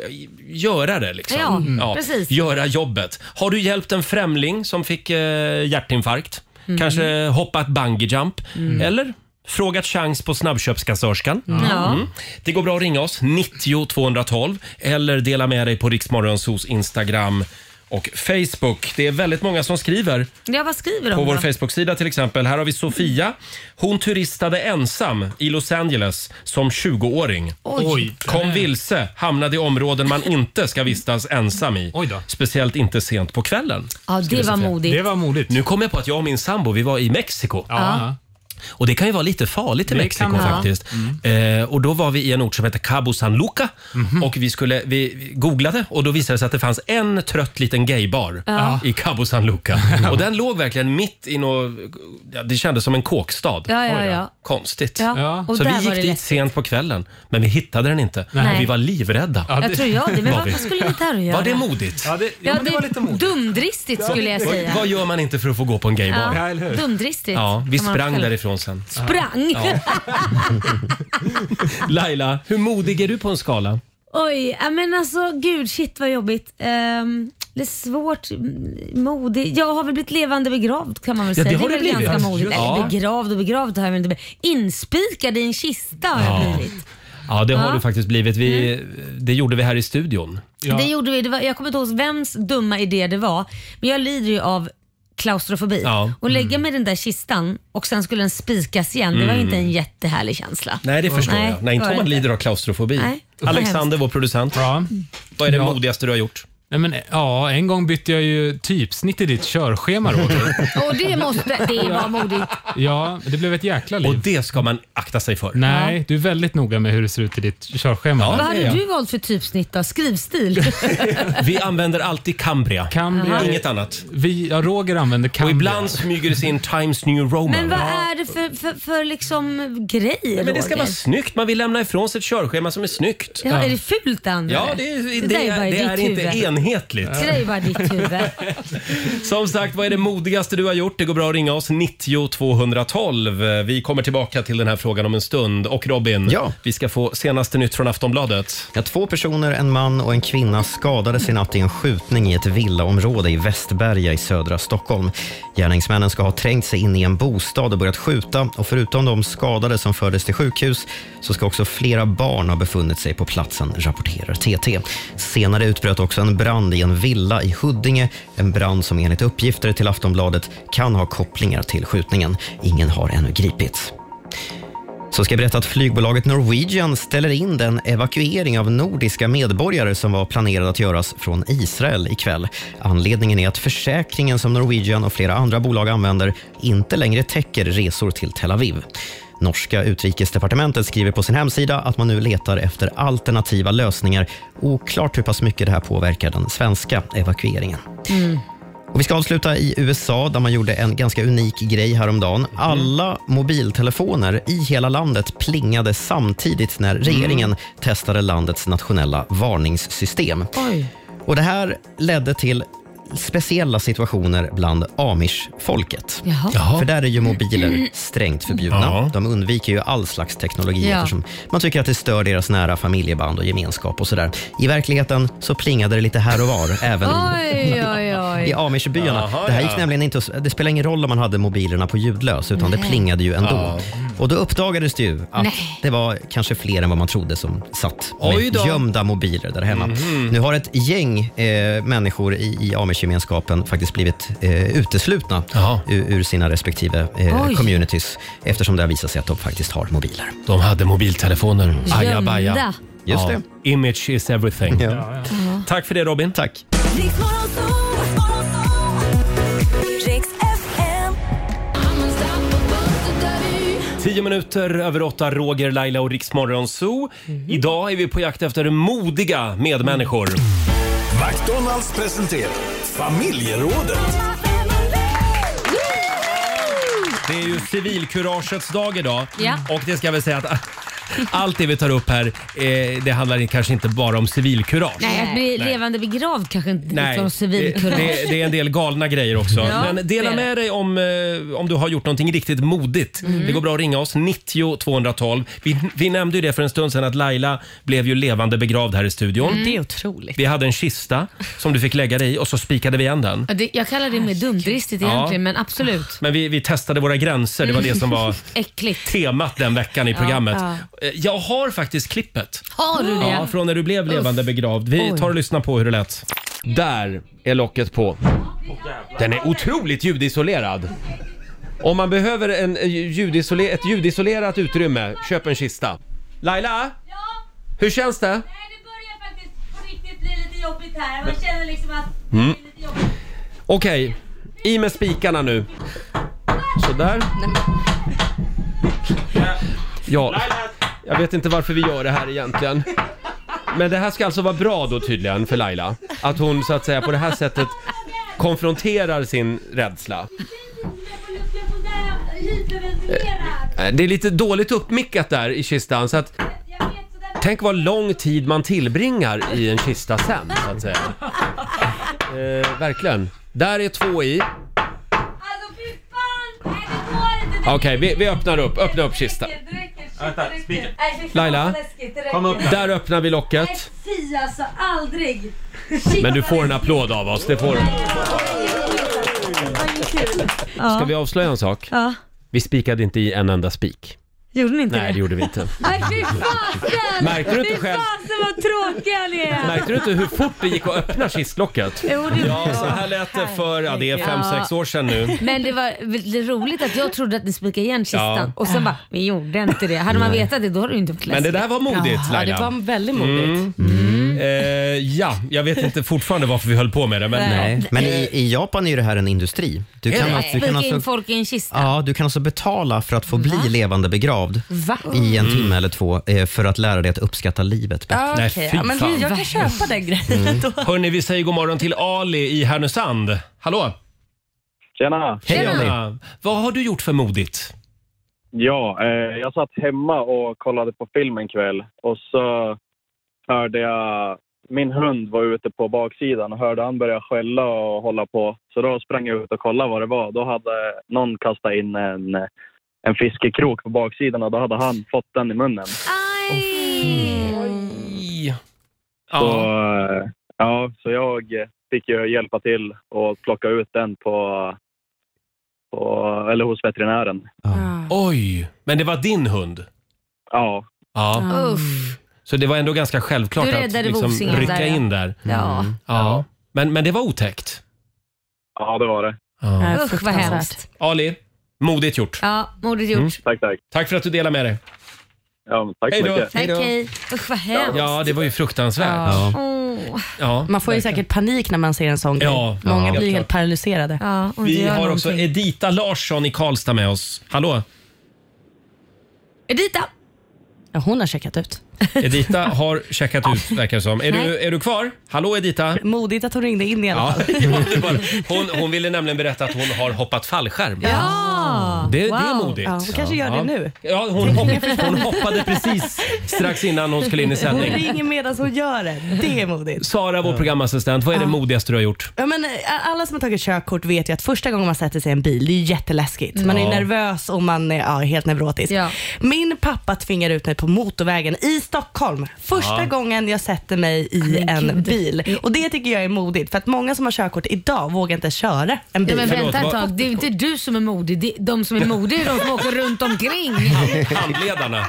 S1: göra det. Liksom.
S2: Ja, Mm. precis.
S1: Göra jobbet. Har du hjälpt en främling som fick eh, hjärtinfarkt?
S2: Mm.
S1: Kanske hoppat bungee jump
S2: Mm.
S1: Eller frågat chans på snabbköpskassörskan? Mm.
S2: Ja.
S1: Det går bra att ringa oss, 90 212 eller dela med dig på Riksmorgonsos Instagram och Facebook. Det är väldigt många som skriver
S2: Ja, vad skriver de
S1: på vår
S2: då?
S1: Facebook-sida till exempel. Här har vi Sofia. Hon turistade ensam i Los Angeles som 20-åring.
S2: Oj.
S1: Kom vilse, hamnade i områden man inte ska vistas ensam i. Speciellt inte sent på kvällen.
S2: Ja, det
S1: skulle jag
S2: var
S1: säga.
S2: modigt.
S1: var modigt. Nu kom jag på att jag och min sambo, vi var i Mexiko.
S2: Ja.
S1: Och det kan ju vara lite farligt i
S2: Det
S1: Mexiko
S2: kan Mm. det.
S1: faktiskt. Eh, och då var vi i en ort som heter Cabo San Luca
S2: Mhm.
S1: och vi, skulle, vi vi googlade och då visade det sig att det fanns en trött liten gaybar
S2: Ja.
S1: i Cabo San Luca. Och den låg verkligen mitt i något, ja, det kändes som en kåkstad.
S2: Ja, ja, ja.
S1: Konstigt.
S2: Ja, Ja. och
S1: Så vi
S2: där
S1: gick
S2: var det
S1: dit
S2: läskigt.
S1: sent på kvällen, men vi hittade den inte.
S2: Nej.
S1: Och vi var livrädda.
S2: Jag tror jag det. Men
S1: Var vi.
S2: varför skulle det där att göra?
S1: Var det modigt? Ja, det,
S2: dumdristigt skulle jag säga.
S1: Vad gör man inte för att få gå på en gaybar?
S2: Ja, Ja, eller hur? dumdristigt.
S1: Ja, vi
S2: Kan man
S1: sprang
S2: själv-
S1: därifrån sen.
S2: Sprang?
S1: Ja. Laila, hur modig är du på en skala?
S2: Oj, ja, men alltså gud shit vad jobbigt. Ehm, det är svårt, m- modig. Jag har väl blivit levande begravd kan man väl
S1: Ja, det
S2: säga.
S1: har
S2: är
S1: du
S2: väl
S1: blivit.
S2: ganska modigt.
S1: Ja.
S2: Eller begravd och begravd har jag väl inte blivit. Inspikad i en kista har jag
S1: Ja.
S2: blivit.
S1: Ja, det har
S2: Ja. Mm.
S1: du faktiskt blivit. Vi, Det gjorde vi här i studion.
S2: Det gjorde vi. Det var, jag kommer inte ihåg vems dumma idé det var, men jag lider ju av klaustrofobi.
S1: Ja.
S2: Och lägga mig i den där kistan och sen skulle den spikas igen, det var
S1: Mm.
S2: inte en jättehärlig känsla.
S1: Nej, det förstår jag. Nej, inte
S2: var
S1: om man
S2: det
S1: lider av klaustrofobi.
S2: Nej, vad
S1: Alexander,
S2: hemskt.
S1: vår producent. Vad är det modigaste du har gjort?
S10: Nej, men, ja, en gång bytte jag ju typsnitt i ditt körschema, Roger.
S2: Och det måste, det var modigt.
S10: Ja, det blev ett jäkla liv. Och
S1: det ska man akta sig för.
S10: Nej, du är väldigt noga med hur det ser ut i ditt körschema.
S2: Vad hade du valt för typsnitt då? Skrivstil?
S1: Vi använder alltid Cambria.
S10: Cambria.
S1: Inget annat.
S10: Vi, ja, Roger använder Cambria.
S1: Och ibland smyger det sig in Times New Roman.
S2: men vad är det för, för, för liksom grej
S1: Nej, men det ska
S2: Roger?
S1: vara snyggt. Man vill lämna ifrån sig ett körschema som är snyggt.
S2: ja, Är det fult Anders?
S1: Ja, det, är- det,
S2: där
S1: är-
S2: bara i
S1: det
S2: ditt
S1: är inte
S2: huvud.
S1: enhetligt.
S2: Det där är bara ditt huvud.
S1: Som sagt, vad är det modigaste du har gjort? Det går bra att ringa oss, 90 212. Vi kommer tillbaka till den här frågan om en stund. Och Robin, vi ska få senaste nytt från Aftonbladet.
S3: Ja, två personer, en man och en kvinna skadades i natt i en skjutning i ett villaområde i Västberga i södra Stockholm. Gärningsmännen ska ha trängt sig in i en bostad och börjat skjuta och förutom de skadade som fördes till sjukhus så ska också flera barn ha befunnit sig på platsen, rapporterar TT. Senare utbröt också en brand i en villa i Huddinge, en brand som enligt uppgifter till Aftonbladet kan ha kopplingar till skjutningen. Ingen har ännu gripits. Så ska jag berätta att flygbolaget Norwegian ställer in den evakuering av nordiska medborgare som var planerad att göras från Israel ikväll. Anledningen är att försäkringen som Norwegian och flera andra bolag använder inte längre täcker resor till Tel Aviv. Norska utrikesdepartementet skriver på sin hemsida att man nu letar efter alternativa lösningar. Oklart hur pass mycket det här påverkar den svenska evakueringen.
S8: Mm.
S3: Och Och vi ska avsluta i USA där man gjorde en ganska unik grej häromdagen. Alla mobiltelefoner i hela landet plingade samtidigt när regeringen testade landets nationella varningssystem. Och Det här ledde till speciella situationer bland amish-folket.
S8: Jaha. Jaha.
S3: För där är ju mobiler strängt förbjudna.
S8: Ja.
S3: De undviker ju all slags teknologi
S8: Ja.
S3: eftersom man tycker att det stör deras nära familjeband och gemenskap och sådär. I verkligheten så plingade det lite här och var, även
S2: Oj, oj,
S3: i
S2: oj.
S3: amishbyarna.
S2: Jaha,
S3: det här gick
S2: ja.
S3: nämligen inte att, det spelar ingen roll om man hade mobilerna på ljudlös utan det
S2: Nej.
S3: plingade ju ändå.
S2: Ja.
S3: Och då uppdagades det ju att
S2: Nej.
S3: det var kanske fler än vad man trodde som satt
S1: Oj
S3: med
S1: då.
S3: gömda mobiler där hemma.
S1: Mhm.
S3: Nu har ett gäng eh, människor i, i amishgemenskapen faktiskt blivit eh, uteslutna ur, ur sina respektive eh,
S1: Oj.
S3: communities eftersom det har visat sig att de faktiskt har mobiler.
S1: De hade mobiltelefoner.
S3: Gömda.
S1: Ajabaja.
S3: Just
S1: Ja. Image is everything. Tack för det Robin.
S3: Tack.
S1: Tio minuter över åtta, Roger, Laila och Riksmorgon Zoo.
S2: Mm.
S1: Idag är vi på jakt efter modiga medmänniskor.
S14: McDonalds presenterar familjerådet.
S1: Det är ju civilkuragets dag idag.
S2: Ja.
S1: Och det ska jag väl säga att allt det vi tar upp här, eh, det handlar kanske inte bara om civilkurage.
S2: Nej, att bli levande begravd kanske inte
S1: Nej,
S2: riktigt var civilkurage.
S1: Det, det, det är en del galna grejer också.
S2: Ja,
S1: Men
S2: det är
S1: dela
S2: det. Mm.
S1: med dig om, eh, om du har gjort någonting riktigt modigt. Det går bra att ringa oss, 90 212. Vi, vi nämnde ju det för en stund sedan att Laila blev ju levande begravd här i studion.
S2: Mm.
S7: Det är otroligt.
S1: Vi hade en kista som du fick lägga dig i och så spikade vi igen den.
S2: Ja, det- Jag kallar det mer dumdristigt
S1: Ah, Ja.
S2: egentligen, men absolut.
S1: Men vi, vi testade våra gränser, det var det som var
S2: Äckligt.
S1: temat den veckan i
S2: Ja,
S1: programmet.
S2: ja.
S1: Eh, Jag har faktiskt klippet.
S2: Har du det?
S1: Ja, från när du blev levande begravd. Vi
S2: Oj.
S1: tar och lyssnar på hur det lät. Där är locket på. Den är otroligt ljudisolerad. Om man behöver en eh, ljudisole- ett ljudisolerat utrymme, köp en kista. Laila? Hur känns det?
S15: riktigt blir lite jobbigt här. Man känner liksom att...
S1: Mm. Okej, i med spikarna nu. Sådär. Ja, jag vet inte varför vi gör det här egentligen. Men det här ska alltså vara bra då tydligen för Laila. Att hon så att säga på det här sättet konfronterar sin rädsla. Eh, Det är lite dåligt uppmickat där i kistan så att Tänk vad lång tid man tillbringar i en kista sen, så att säga. Eh, verkligen. Där är två i.
S2: Alltså,
S1: Okej, vi, vi öppnar upp. Öppna upp kistan.
S15: Vänta, spika.
S1: Laila, där öppnar vi locket.
S15: Fy alltså, aldrig.
S1: Men du får en applåd av oss, det får du. Ska
S2: Ja.
S1: vi avslöja en sak?
S2: Ja.
S1: Vi spikade inte i en enda spik.
S2: Gjorde ni inte
S1: Nej, det
S2: det?
S1: gjorde vi inte.
S15: Nej fy fasen!
S1: Märkte du inte
S15: Fy
S1: själv-
S15: fasen vad tråkiga ni är!
S1: Märkte du inte hur fort det gick att öppna kistlocket?
S2: Jo, det
S1: Ja,
S2: var-
S1: så här lät det för, ja det är fem,
S2: Ja.
S1: sex år sedan nu.
S2: Men det var det är roligt att jag trodde att ni spikade igen kistan
S1: Ja.
S2: och sen bara, vi gjorde inte det. Hade man
S1: Nej.
S2: vetat det då hade du inte fått
S1: Men det där var modigt Laila. Mm. Eh, ja, jag vet inte fortfarande varför vi höll på med det. Men,
S2: Nej.
S3: Men i, i Japan är ju det här en industri. Du kan, alltså, du kan
S2: Spika in
S3: alltså
S2: folk i en kista.
S3: Ja, du kan alltså betala för att få bli
S2: Mm.
S3: levande begravd
S7: Va?
S3: i
S1: Mm.
S3: en timme eller två eh, för att lära dig att uppskatta livet bättre.
S7: Ja, okej. ja, men vi- jag kan köpa den grejen
S1: Mm.
S2: Mm.
S7: då.
S1: Hörni, vi säger god morgon till Ali i Härnösand. Hallå!
S16: Tjena!
S1: Hej
S16: Tjena.
S1: Ali! Vad har du gjort för modigt?
S16: Ja, eh, jag satt hemma och kollade på film en kväll och så hörde jag min hund var ute på baksidan och hörde han börja skälla och hålla på. Så då sprang jag ut och kollade vad det var. Då hade någon kastat in en, en fiskekrok på baksidan och då hade han fått den i munnen. Så, eh, ja, så jag fick ju hjälpa till och plocka ut den på, på, eller hos veterinären.
S1: Oj! Men det var din hund?
S16: Ja.
S1: ja. Så det var ändå ganska självklart
S2: Du
S1: att
S2: räddade
S1: liksom
S2: vosingen
S1: rycka
S2: där, ja.
S1: in där.
S2: Ja.
S1: Mm. ja. Men, men det var otäckt.
S16: Ja, det var det.
S1: Ja.
S2: Usch vad hemskt.
S1: Ali, modigt gjort.
S2: Ja, modigt gjort.
S1: Mm.
S16: Tack, tack.
S1: Tack för att du delade med dig.
S16: Ja, tack
S1: hej då.
S2: Tack hej. Usch vad hemskt.
S1: Ja, det var ju fruktansvärt.
S2: Ja.
S1: Ja.
S7: Man får ju säkert panik när man ser en sån grej.
S1: Ja, ja.
S7: Många blir
S1: Helt
S7: ju
S1: klart.
S7: helt paralyserade.
S1: Vi har också Edita Larsson i Karlstad med oss. Hallå!
S2: Edita!
S7: Ja, hon har checkat ut.
S1: Edita har checkat ut verkar det som. Är du,
S7: Nej.
S1: är du kvar? Hallå Edita?
S7: Modigt att hon ringde in i alla
S1: Ja,
S7: fall.
S1: underbar. hon, hon ville nämligen berätta att hon har hoppat fallskärm.
S7: Ja!
S1: Det, det är modigt.
S7: Ja, hon kanske gör
S1: Ja.
S7: det nu.
S1: Ja, hon, hopp, hon hoppade precis strax innan hon skulle in i
S7: Hon
S1: sändning.
S7: ringer medan hon gör det. Det är modigt.
S1: Sara, vår programassistent, vad är det
S7: Ja.
S1: modigaste du har gjort?
S7: Ja, men, eh, alla som har tagit körkort vet ju att första gången man sätter sig i en bil, det är ju jätteläskigt. Man
S1: Ja.
S7: är nervös och man är ja, helt neurotisk. Min pappa tvingar ut mig på motorvägen i Stockholm. Första
S8: Ja.
S7: gången jag sätter mig i
S8: Men
S7: en
S8: gud.
S7: bil. Och det tycker jag är modigt, för att många som har körkort idag vågar inte köra en
S2: Ja,
S7: bil.
S2: men vänta ett tag, det är ju inte du som är modig. Det är de som är modiga är de som åker runt omkring.
S1: Handledarna.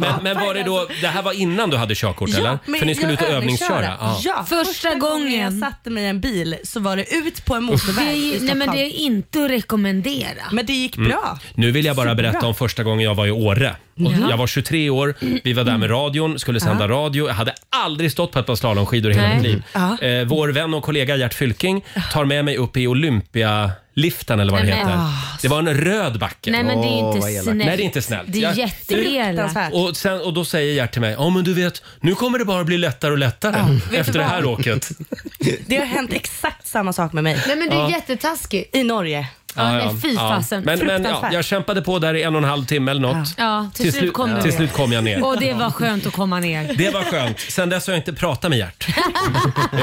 S1: Men, men var det då, det här var innan du hade körkort eller?
S7: men
S1: För ni skulle
S7: jag
S1: ut och
S7: övningskörde.
S1: övningsköra?
S7: Ja. första, gången jag satte mig i en bil så var det ut på en motorväg
S2: Det är ju-
S7: i
S2: nej, men det är
S7: Stockholm.
S2: inte att rekommendera.
S7: Men det gick
S1: Mm.
S7: bra.
S1: Nu vill jag bara
S7: Superbra.
S1: berätta om första gången jag var i Åre. Och
S7: Ja.
S1: Jag var 23 år, vi var där med radion, skulle sända
S7: Ja.
S1: radio. Jag hade aldrig stått på ett par slalomskidor i hela
S7: Nej.
S1: mitt liv.
S7: Ja.
S1: Eh, vår vän och kollega Gert Fylking tar med mig upp i Olympialiften eller vad det
S2: Nej, men-
S1: heter. Det var en röd backe.
S2: Nej, men det är ju inte Åh, vad elakt. snällt.
S1: Nej, det är inte snällt.
S2: Det är
S1: Jag-
S2: jätteelakt.
S1: och, sen, och då säger Gert till mig, ja men du vet, nu kommer det bara bli lättare och lättare
S7: vet du
S1: efter det
S7: vad?
S1: här åket.
S7: Det har hänt exakt samma sak med mig.
S2: Nej men det är
S1: Ja.
S2: jättetaskigt.
S7: I Norge.
S1: Ja, ja.
S2: nej, fy
S1: Ja.
S2: fasen.
S1: Men, men ja,
S2: Fruktansvärt.
S1: jag kämpade på där i en och en halv timme eller något.
S2: Ja, till, slut
S1: slut-
S2: kom du
S1: till
S2: ner.
S1: slut kom jag ner.
S2: Och det var skönt att komma ner.
S1: Det var skönt. Sen dess har jag inte pratat med Gert.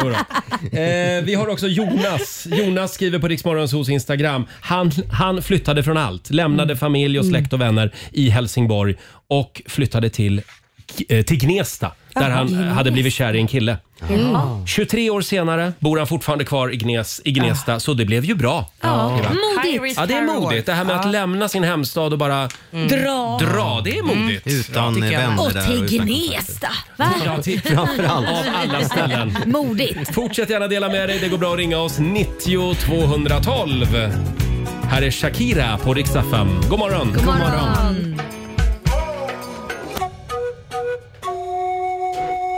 S1: Jo då. Eh, vi har också Jonas. Jonas skriver på Riksmorgons hos Instagram. Han, han flyttade från allt. Lämnade familj och släkt och vänner i Helsingborg och flyttade till, eh, till Gnesta där han eh, hade blivit kär i en kille.
S2: Mm.
S1: 23 år senare bor han fortfarande kvar i, Gnes, i Gnesta, så det blev ju bra.
S2: Ja,
S1: skriver han.
S2: modigt.
S1: Ja, det är modigt. Det här med att lämna sin hemstad och bara
S2: Mm. Dra.
S1: dra det är modigt.
S3: Utan
S1: tycker jag.
S3: vänner
S2: Och
S3: där liksom. och
S2: till
S3: utan
S2: Gnesta. Va?
S1: Ja, till- framförallt. Av alla ställen.
S2: Modigt.
S1: Fortsätt gärna dela med dig. Det går bra att ringa oss 90 212. Här är Shakira på Rix FM. God morgon!
S2: God morgon.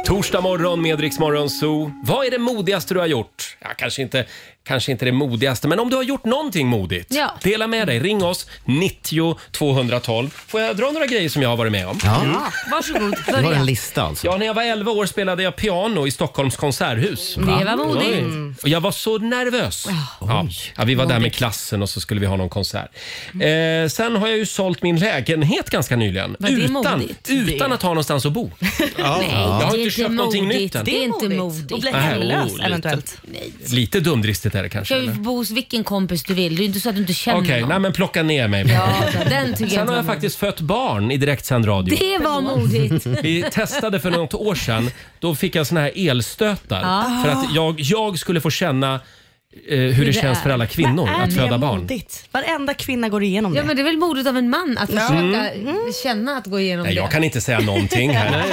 S1: Torsdag morgon med Rix Morgon Zoo. Vad är det modigaste du har gjort? Ja, kanske inte, kanske inte det modigaste, men om du har gjort någonting modigt.
S2: Ja.
S1: Dela med dig. Ring oss 90 212. Får jag dra några grejer som jag har varit med om? Mm. Ja.
S2: Varsågod, börja.
S1: lista alltså. Ja, när jag var 11 år spelade jag piano i Stockholms konserthus.
S2: Det var modigt.
S1: Oj.
S2: Mm.
S1: Och jag var så nervös. Ja. Ja, vi var där med klassen och så skulle vi ha någon konsert. Eh, sen har jag ju sålt min lägenhet ganska nyligen.
S2: Var det
S1: utan
S2: modigt?
S1: utan att ha någonstans att bo.
S2: Nej,
S1: Jag har inte
S2: det är
S1: köpt någonting
S2: modigt.
S1: nytt än.
S2: Det är inte modigt.
S7: Och bli
S1: Nej,
S7: hemlös
S1: oh, lite.
S7: eventuellt.
S1: Lite dumdristigt är det
S2: Du
S1: kanske.
S2: kan ju
S1: eller?
S2: bo hos vilken kompis du vill. Det är inte så att du inte känner
S1: Okej,
S2: någon.
S1: nej men plocka ner mig.
S2: Ja, den tycker jag
S1: Sen
S2: inte
S1: har
S2: var
S1: jag faktiskt fött barn i direktsänd radio.
S2: Det var modigt.
S1: Vi testade för något år sedan. Då fick jag såna här elstötar.
S2: Ah.
S1: För att jag, jag skulle få känna eh, hur, det, känns
S7: är.
S1: för alla kvinnor
S7: Men är
S1: att föda
S7: det
S1: barn.
S7: Modigt? Varenda kvinna går igenom
S2: Ja
S7: det.
S2: men det är väl modigt av en man att
S7: Ja.
S2: försöka
S3: Mm.
S2: känna att gå igenom
S1: Nej,
S2: det.
S1: jag kan inte säga någonting här.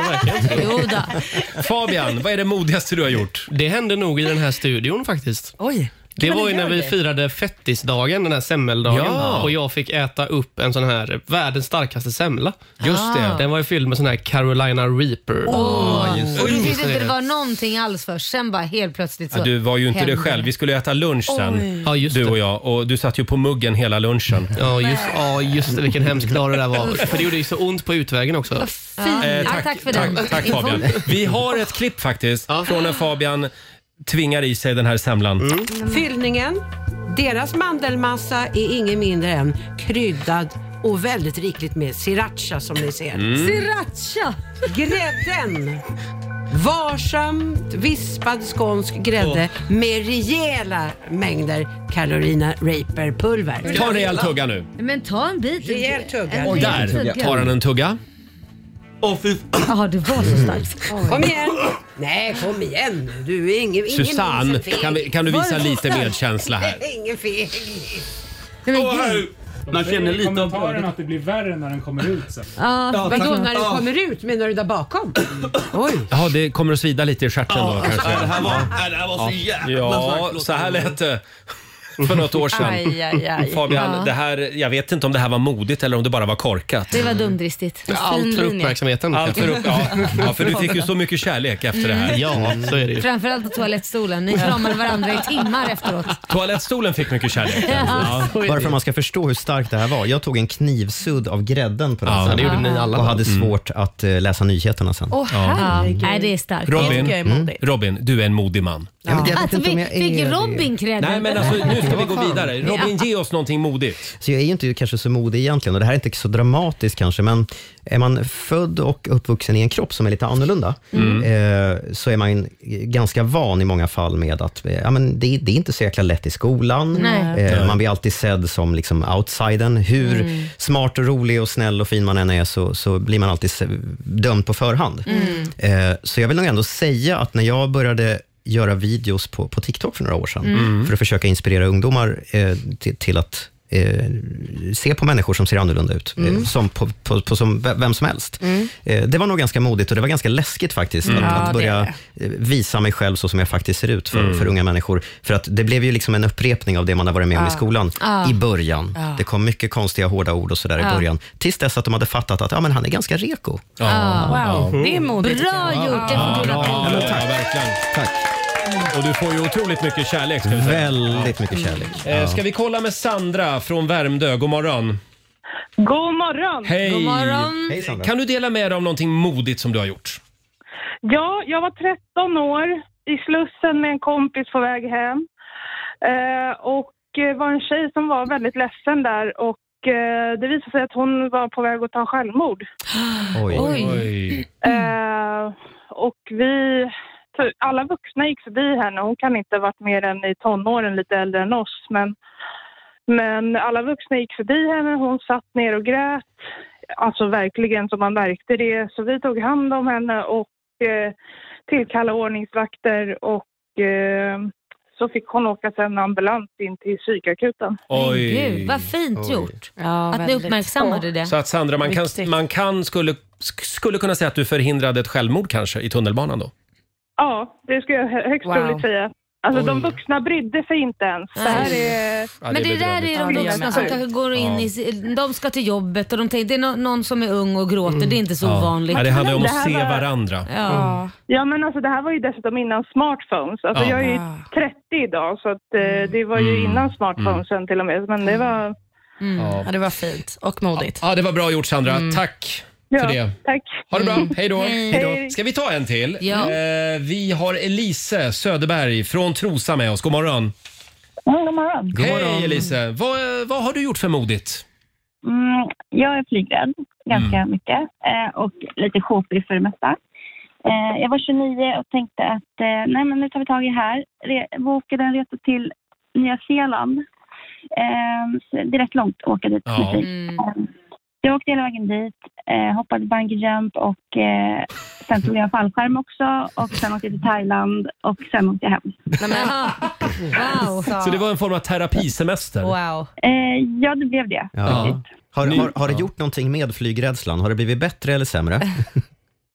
S2: Jo då.
S1: Fabian, vad är det modigaste du har gjort?
S9: Det hände nog i den här studion faktiskt.
S7: Oj.
S9: Det
S7: Men
S9: var ju
S7: gör
S9: när vi
S7: det.
S9: firade fettisdagen, den här semmeldagen.
S1: Ja.
S9: Och jag fick äta upp en sån här, världens starkaste semla.
S1: Just det.
S9: Den var ju fylld med sån här Carolina Reaper.
S2: Åh. Och
S3: Mm.
S2: du tyckte
S9: Så
S2: inte
S9: det-
S2: det var någonting alls först, sen bara helt plötsligt så.
S1: Ja, du var ju inte det
S2: hände
S1: själv. Vi skulle äta lunch
S2: Oj.
S1: sen, du och jag. Och du satt ju på muggen hela lunchen.
S9: Ja, just, ja, just det. Vilken hemsk dag det där var. För det gjorde ju så ont på utvägen också.
S2: Fin.
S1: Eh,
S2: Ja, tack, för den.
S1: Tack, tack Fabian.
S2: infon.
S1: Vi har ett klipp faktiskt från när Fabian tvingar i sig den här semlan.
S17: Mm. Fyllningen, deras mandelmassa är ingen mindre än kryddad och väldigt rikligt med sriracha som ni ser.
S1: Mm.
S17: Sriracha! Grädden! Varsamt vispad skånsk grädde med rejäla mängder Carolina Reaper-pulver.
S1: Ta en rejäl tugga nu.
S2: Men ta en bit. Rejäl tugga.
S1: Och där tar han en tugga.
S2: Ja, det var så starkt.
S17: Kom igen! Nej, kom igen nu. Du är ingen, ingen
S1: Susanne,
S17: feg.
S1: kan, vi, kan du
S17: Var
S1: visa
S17: är
S1: lite
S17: Susanne?
S1: medkänsla här?
S17: Ingen feg.
S10: Man känner lite av
S17: brödet.
S10: att det blir värre när den kommer ut sen.
S17: Ja, Vadå när
S10: Ja.
S17: den kommer ut? Menar du där bakom? Oj.
S1: Jaha, det kommer att svida lite i stjärten
S17: Ja,
S1: då
S17: alltså,
S1: kanske.
S17: det här var-
S1: Ja.
S9: det här var så jäkla starkt.
S1: Ja,
S9: Låt
S1: så här
S9: mig.
S1: lät det. för något år sedan.
S2: Aj, aj, aj.
S1: Fabian,
S2: Ja.
S1: det här, jag vet inte om det här var modigt eller om det bara var korkat.
S2: Det var dumdristigt.
S1: Allt för uppmärksamheten. Allt för upp, ja. ja, för du fick ju så mycket kärlek efter det här.
S2: Mm.
S1: Ja, så är
S2: Framförallt på toalettstolen. Ni kramade varandra i timmar efteråt.
S1: Toalettstolen fick mycket kärlek.
S2: Ja.
S3: Bara för att man ska förstå hur starkt det här var. Jag tog en knivsudd av grädden på den
S1: Ja,
S3: sen
S1: det gjorde ni alla.
S3: och hade
S1: Mm.
S3: svårt att eh, läsa nyheterna sen.
S2: Åh herregud. Nej, det är starkt.
S1: Robin, mm. Robin, du är en modig man.
S3: Ja, men jag vet
S2: Att
S3: inte om
S2: vi
S3: jag är
S2: fick
S3: det.
S2: Robin credden.
S1: Nej, men alltså, nu ska vi gå vidare. Robin,
S2: Ja.
S1: ge oss någonting modigt.
S3: Så jag är ju inte kanske så modig egentligen och det här är inte så dramatiskt kanske, men är man född och uppvuxen i en kropp som är lite annorlunda,
S1: Mm.
S3: eh, så är man ganska van i många fall med att eh, ja, men det, det är inte så jäkla lätt i skolan.
S18: Nej.
S3: Eh,
S18: Nej.
S3: man blir alltid sedd som liksom outsidern. Hur
S18: Mm.
S3: smart, och rolig, och snäll och fin man än är, så, så blir man alltid se- dömd på förhand.
S18: Mm.
S3: Eh, Så jag vill nog ändå säga att när jag började göra videos på, på TikTok för några år sedan,
S18: Mm.
S3: för att försöka inspirera ungdomar eh, till, till att eh, se på människor som ser annorlunda ut, eh,
S18: Mm.
S3: som på, på, på som ve- vem som helst.
S18: Mm.
S3: Eh, det var nog ganska modigt och det var ganska läskigt faktiskt,
S18: Mm. Ja,
S3: att,
S18: det
S3: att
S18: är
S3: börja
S18: det.
S3: eh, visa mig själv så som jag faktiskt ser ut för,
S18: Mm.
S3: för unga människor. För att det blev ju liksom en upprepning av det man har varit med om
S18: Ja.
S3: i skolan
S18: Ja.
S3: i början.
S18: Ja.
S3: Det kom mycket konstiga, hårda ord och sådär
S18: Ja.
S3: i början, tills dess att de hade fattat att ja, men han är ganska reko.
S7: Wow, det är modigt.
S2: Bra gjort. Det får du en applåd.
S1: Ja, verkligen.
S3: Tack.
S1: Och du får ju otroligt mycket kärlek. Ska vi säga.
S3: Väldigt mycket kärlek.
S1: Eh, Ska vi kolla med Sandra från Värmdö? God morgon.
S12: God morgon!
S1: Hej!
S12: God morgon.
S1: Hej, Sandra. kan du dela med dig av någonting modigt som du har gjort?
S12: Ja, jag var 13 år i Slussen med en kompis på väg hem. Eh, och eh, var en tjej som var väldigt ledsen där och eh, det visade sig att hon var på väg att ta självmord.
S3: Oj.
S12: Eh, och vi, för alla vuxna gick förbi henne. Hon kan inte ha varit mer än i tonåren, lite äldre än oss. Men, men alla vuxna gick förbi henne. Hon satt ner och grät. Alltså verkligen som man märkte det. Så vi tog hand om henne och eh, tillkallade ordningsvakter och eh, så fick hon åka sen ambulans in till psykakuten.
S1: Oj.
S2: Gud, vad fint
S1: Oj.
S2: gjort.
S12: Ja,
S2: att ni
S12: väldigt.
S2: uppmärksammade det.
S1: Så att Sandra, man, kan, man kan, skulle, skulle kunna säga att du förhindrade ett självmord kanske i tunnelbanan då?
S12: Ja, det skulle jag hö- högst
S1: Wow.
S12: troligt säga. Alltså de
S1: Oj.
S12: vuxna brydde sig inte ens. Det här är...
S1: Ja, det
S2: Men det
S1: är
S2: där är de
S12: bedrövligt.
S2: vuxna som kanske går in i... De ska till jobbet och de tänker det är nå- någon som är ung och gråter. Det är inte så
S1: Mm. Ja.
S2: ovanligt.
S1: Ja, det handlar ju om
S12: Det
S1: att
S12: här
S1: se
S12: var-
S1: varandra.
S2: Ja.
S12: Ja men alltså det här var ju dessutom innan smartphones. Alltså
S1: Ja. Mm.
S12: jag är ju
S7: Ah.
S12: 30 idag så att, eh,
S7: Mm.
S12: det var ju innan smartphonesen till och med. Men det var... Mm.
S1: Ja.
S7: det var fint och modigt.
S1: Ja, det var bra gjort Sandra. Tack
S12: Ja,
S1: för det.
S12: tack.
S1: Ha det bra.
S12: Mm.
S1: Hej då.
S12: Hej.
S1: Hej då. Ska vi ta en till?
S12: Ja.
S1: Eh, vi har Elise Söderberg från Trosa med oss. God morgon.
S19: Ja, god morgon.
S1: Hej Elise. Vad, vad har du gjort för modigt?
S19: Mm, jag är flygrädd ganska
S1: Mm.
S19: mycket eh, och lite shopig för det mesta. Eh, jag var 29 och tänkte att eh, nej, men nu tar vi tag i det här. Re- bokade en resa till Nya Zeeland. Eh, så det är rätt långt att åka dit.
S1: Ja.
S19: med flyg. Eh, Jag åkte hela vägen dit, eh, hoppade bungee jump och eh, sen tog jag en fallskärm också och sen åkte jag till Thailand och sen åkte jag hem.
S2: Wow.
S1: Så det var en form av terapisemester?
S2: Wow.
S19: Eh, ja, det blev det.
S3: Ja. Har, har, har det gjort någonting med flygrädslan? Har det blivit bättre eller sämre?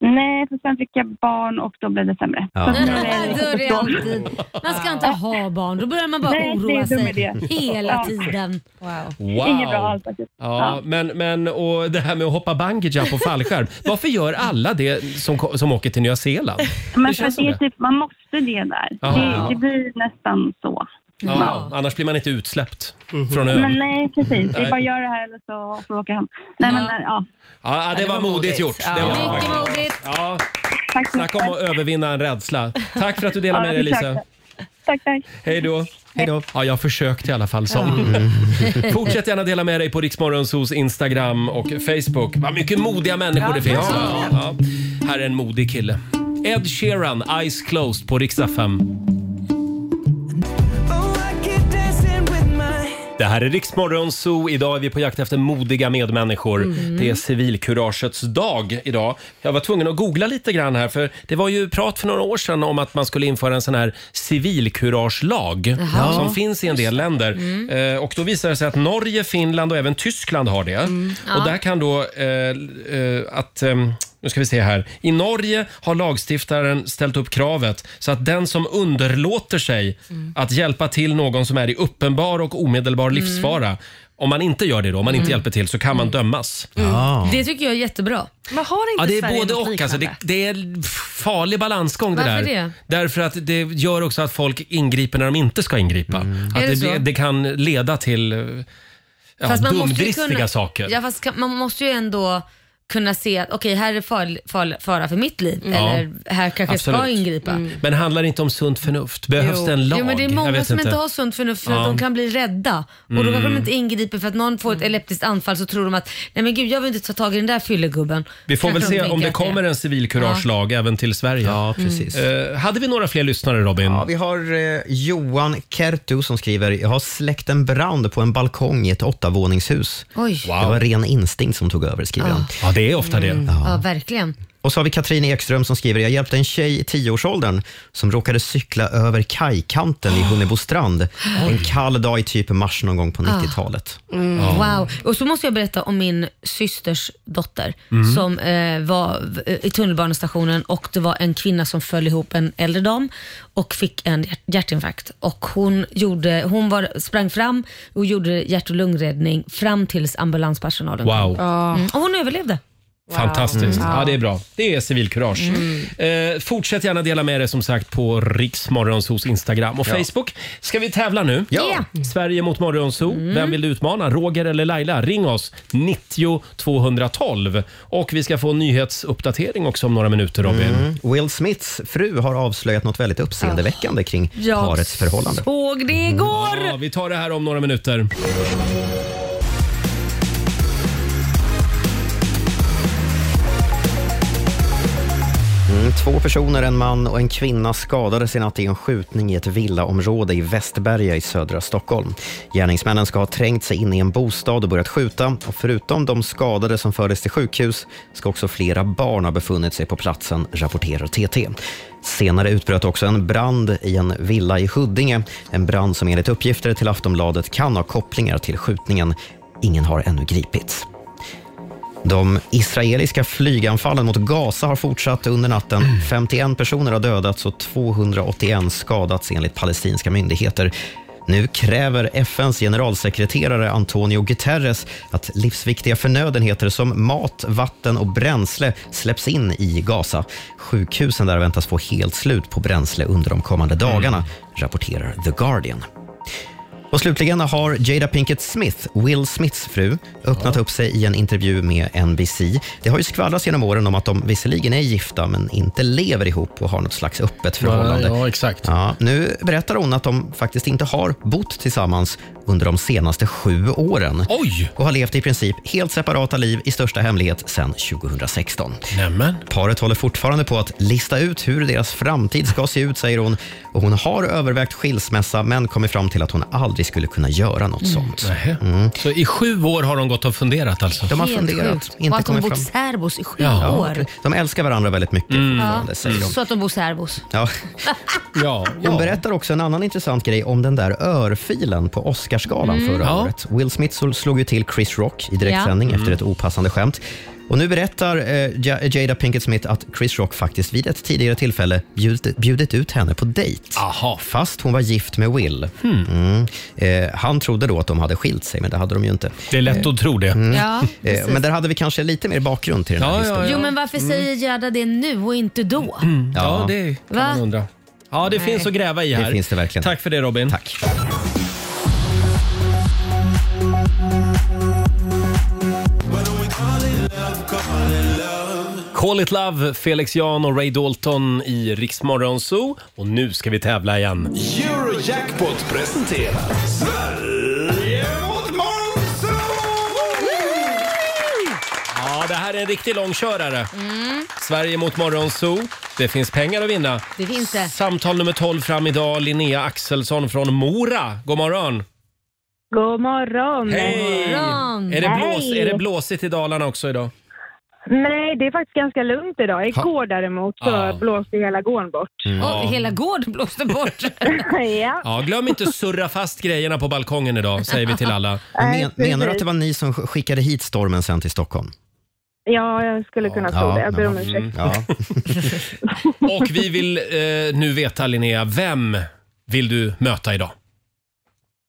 S19: Nej, för sen fick jag barn och då blev det sämre.
S3: Ja.
S19: Så nu
S2: Nej, då är det alltid. Man ska inte ha barn. Då börjar man bara
S19: Nej, det är
S2: oroa
S19: dum
S2: sig
S19: idé.
S2: hela
S19: Ja.
S2: tiden.
S1: Wow.
S19: Inget bra alls faktiskt.
S1: Ja, men, men och det här med att hoppa bungee jump och fallskärm. Varför gör alla det som, ko- som åker till Nya Zeeland?
S19: Men
S1: känns
S19: för
S1: som
S19: det är
S1: det.
S19: typ, man måste det där.
S1: Ja.
S19: Det, det blir nästan så.
S1: Ja, annars blir man inte utsläppt från
S19: Men
S1: ön.
S19: nej, precis. Det är
S1: Nej.
S19: bara att göra det här eller så får vi åka hem. Nej, men ja.
S1: Ja, det var modigt gjort. Det var det faktiskt.
S2: modigt.
S1: Ja,
S19: Tack så
S1: snacka om att övervinna en rädsla. Tack för att du delade med dig
S19: Ja,
S1: Lisa.
S19: Tack, tack.
S1: Hej då. Hej då. Ja, jag försökte i alla fall. Så.
S18: Mm.
S1: Fortsätt gärna dela med dig på Riksmorgonsos Instagram och Facebook. Vad mycket modiga människor det finns. Mm. Ja. Ja. Här är en modig kille. Ed Sheeran, Eyes Closed på riksdag 5. Det här är Riksmorgon Zoo. Idag är vi på jakt efter modiga medmänniskor.
S18: Mm.
S1: Det är civilkuragets dag idag. Jag var tvungen att googla lite grann här för det var ju prat för några år sedan om att man skulle införa en sån här civilkuragelag
S18: Jaha.
S1: som
S18: Ja.
S1: finns i en del länder.
S18: Mm.
S1: Eh, och då visar det sig att Norge, Finland och även Tyskland har det.
S18: Mm.
S1: Och
S18: Ja.
S1: där kan då eh, eh, att ehm, nu ska vi se här. I Norge har lagstiftaren ställt upp kravet så att den som underlåter sig
S2: Mm.
S1: att hjälpa till någon som är i uppenbar och omedelbar livsfara, om man inte gör det då, om man inte
S2: Mm.
S1: hjälper till, så kan man dömas.
S2: Det tycker jag är jättebra.
S7: Men har
S1: Ja, det är både och. Alltså, det, det är en farlig balansgång det
S2: Varför
S1: där.
S2: det?
S1: Därför att det gör också att folk ingriper när de inte ska ingripa. Att
S2: Mm. Är
S1: det,
S2: det
S1: blir-
S2: så?
S1: det kan leda till eh, ja,
S2: Fast man måste ju
S1: dumdristiga
S2: kunna-
S1: saker.
S2: Ja, fast kan- man måste ju ändå kunna se att okej, här är far, far, fara för mitt liv.
S1: Mm.
S2: Eller
S1: Ja,
S2: här kanske jag ska
S1: absolut. Mm.
S2: ingripa.
S1: Men handlar det inte om sunt förnuft? Behövs
S2: Jo.
S1: det en lag?
S2: Jo, men det är
S1: Jag
S2: många
S1: vet
S2: som inte har sunt förnuft för att
S1: Ja.
S2: de kan bli rädda. Och då kanske de
S1: Mm.
S2: inte ingriper för att någon får ett epileptiskt anfall så tror de att nej men gud jag vill inte ta tag i den där fyllegubben.
S1: Vi får
S2: Kanske
S1: väl
S2: de
S1: se
S2: tänker
S1: om det
S2: att
S1: kommer en civilkuragelag även till Sverige. Ja,
S2: precis.
S1: hade vi några fler lyssnare Robin?
S3: Ja, vi har eh, Johan Kertu som skriver, jag har släckt en brand på en balkong i ett åttavåningshus.
S2: Oj.
S3: Det var ren instinkt som tog över, skriver han.
S1: Ja, det är ofta
S19: Mm.
S1: det.
S2: Mm. Ja, verkligen.
S3: Och så har vi Katrin Ekström som skriver, jag hjälpte en tjej i tioårsåldern som råkade cykla över kajkanten
S2: Ah.
S3: i Hunnebostrand en kall dag i typ mars någon gång på
S2: Ah.
S3: 90-talet.
S2: Mm,
S3: Ja.
S2: Wow. Och så måste jag berätta om min systers dotter
S3: Mm.
S2: som eh, var v- i tunnelbanestationen och det var en kvinna som föll ihop en äldre dam och fick en hjärt- hjärtinfarkt. Och hon gjorde, hon var, sprang fram och gjorde hjärt och lungräddning fram tills ambulanspersonalen
S1: Wow.
S2: kom. Mm. Och hon överlevde.
S1: Fantastiskt.
S2: Mm.
S1: Ja, det är bra. Det är civilkurage. Eh, fortsätt gärna dela med er som sagt på Riksmorgonsos Instagram och
S9: Ja.
S1: Facebook. Ska vi tävla nu?
S2: Ja. Mm.
S1: Sverige mot Morgonzoo. Vem vill du utmana? Roger eller Laila? Ring oss. 90 212. Och vi ska få en nyhetsuppdatering också om några minuter, Robin.
S3: Mm. Will Smiths fru har avslöjat något väldigt uppseendeväckande kring
S2: Jag
S3: parets förhållande.
S2: såg det igår.
S1: Ja, vi tar det här om några minuter.
S3: Mm, två personer, en man och en kvinna skadades i natt i en skjutning i ett villaområde i Västberga i södra Stockholm. Gärningsmännen ska ha trängt sig in i en bostad och börjat skjuta. Och förutom de skadade som fördes till sjukhus ska också flera barn ha befunnit sig på platsen, rapporterar TT. Senare utbröt också en brand i en villa i Huddinge. En brand som enligt uppgifter till Aftonbladet kan ha kopplingar till skjutningen. Ingen har ännu gripits. De israeliska flyganfallen mot Gaza har fortsatt under natten. 51 personer har dödats och 281 skadats enligt palestinska myndigheter. Nu kräver FNs generalsekreterare Antonio Guterres att livsviktiga förnödenheter som mat, vatten och bränsle släpps in i Gaza. Sjukhusen där väntas få helt slut på bränsle under de kommande dagarna, rapporterar The Guardian. Och slutligen har Jada Pinkett Smith, Will Smiths fru, öppnat upp sig i en intervju med NBC. Det har ju skvallrats genom åren om att de visserligen är gifta men inte lever ihop och har något slags öppet förhållande.
S18: Ja, exakt.
S3: Ja, nu berättar hon att de faktiskt inte har bott tillsammans under de senaste sju åren.
S1: Oj!
S3: Och har levt i princip helt separata liv i största hemlighet sedan 2016.
S1: Nämen.
S3: Paret håller fortfarande på att lista ut hur deras framtid ska se ut, säger hon. Och hon har övervägt skilsmässa men kommit fram till att hon aldrig skulle kunna göra något
S1: Mm.
S3: sånt.
S1: Nähä. Så i sju år har de gått och funderat alltså?
S3: De har
S2: Helt
S3: funderat,
S2: sjukt.
S3: inte
S2: och att de
S3: kommit
S2: bott
S3: fram.
S2: särbos i sju
S3: Ja.
S2: år.
S3: De älskar varandra väldigt mycket
S1: Mm.
S3: fortfarande, säger de.
S2: Så att de bor särbos.
S3: Ja.
S1: ja,
S3: Hon berättar också en annan intressant grej om den där örfilen på Oscarsgalan
S2: Mm.
S3: förra
S2: Ja.
S3: året. Will Smith sol- slog ju till Chris Rock i direktsändning
S2: Ja.
S1: Mm.
S3: efter ett opassande skämt. Och nu berättar eh, Ja- Jada Pinkett Smith att Chris Rock faktiskt vid ett tidigare tillfälle bjudit, bjudit ut henne på dejt. Fast hon var gift med Will.
S1: Hmm.
S3: Mm. Eh, han trodde då att de hade skilt sig, men det hade de ju inte.
S1: Det är lätt att tro det.
S3: eh,
S2: Ja, precis.
S3: men där hade vi kanske lite mer bakgrund till den här historien.
S2: Jo men varför
S3: Mm.
S2: säger Gerda det nu och inte då?
S1: Ja, det kan
S2: Va?
S1: man undra. Ja, det
S2: Nej.
S1: finns att gräva i här.
S3: Det finns det verkligen.
S1: Tack för det Robin. Tack. Call it love, Felix Jan och Ray Dalton i Riksmorgon Zoo. Och nu ska vi tävla igen.
S14: Eurojackpot presenterar Sverige mot
S1: Ja, det här är en riktig långkörare. Sverige mot Morgonzoo. Det finns pengar att vinna.
S2: Mm. Det finns det.
S1: Samtal nummer 12 fram idag. Linnea Axelsson från Mora. God morgon!
S6: God morgon!
S1: Hej! Är det, blås,
S6: Hej.
S1: är det blåsigt i Dalarna också idag?
S6: Nej, det är faktiskt ganska lugnt idag. Igår däremot så
S1: Ja.
S6: blåste hela gården bort.
S3: Mm.
S1: Ja.
S2: Och hela gården blåste bort.
S6: ja.
S1: Ja, glöm inte surra fast grejerna på balkongen idag, säger vi till alla.
S3: Men, menar du att det var ni som skickade hit stormen sen till Stockholm?
S12: Ja, jag skulle kunna tro det. Jag ber om ursäkt.
S3: Mm.
S1: Och vi vill eh, nu veta Linnea, vem vill du möta idag?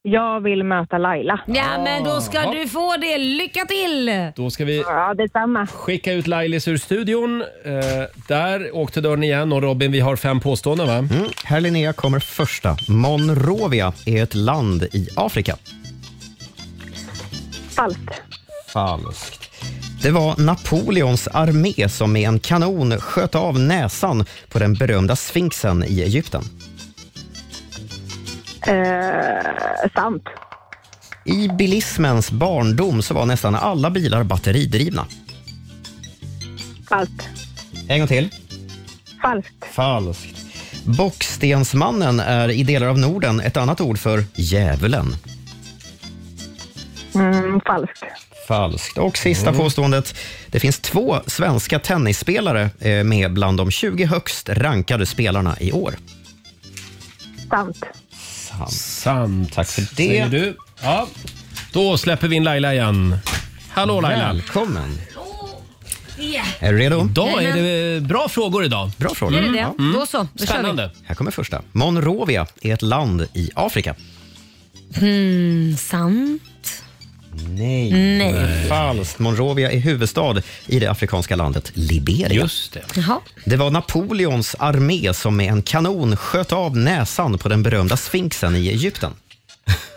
S12: Jag vill möta Laila.
S2: Ja, men då ska du få det. Lycka till!
S1: Då ska vi
S12: Ja, detsamma.
S1: skicka ut Lailis ur studion. Eh, där åkte dörren igen och Robin, vi har fem påståenden va?
S3: Mm. Här Linnea kommer första. Monrovia är ett land i Afrika.
S12: Falskt.
S3: Falskt. Det var Napoleons armé som med en kanon sköt av näsan på den berömda sfinxen i Egypten.
S12: Eh, sant.
S3: I bilismens barndom så var nästan alla bilar batteridrivna.
S12: Falskt.
S3: En gång till.
S12: Falskt.
S3: Falskt. Bockstensmannen är i delar av Norden ett annat ord för djävulen.
S12: Mm, falskt.
S3: Falskt. Och sista
S12: Mm.
S3: påståendet. Det finns två svenska tennisspelare eh, med bland de 20 högst rankade spelarna i år.
S12: Sant.
S3: Sant.
S1: Tack för
S3: det.
S1: Säger du. Ja. Då släpper vi in Laila igen. Hallå Laila!
S3: Välkommen! Är du redo?
S1: Idag är det eh, bra frågor idag.
S3: Bra frågor.
S2: Är det det?
S3: Ja.
S2: Då så, då
S1: Spännande.
S3: Här kommer första. Monrovia är ett land i Afrika.
S2: kör vi. Mm, sant.
S3: Nej.
S2: Nej.
S3: Falskt. Monrovia är huvudstad i det afrikanska landet Liberia.
S1: Just det.
S2: Jaha.
S3: Det var Napoleons armé som med en kanon sköt av näsan på den berömda sfinxen i Egypten.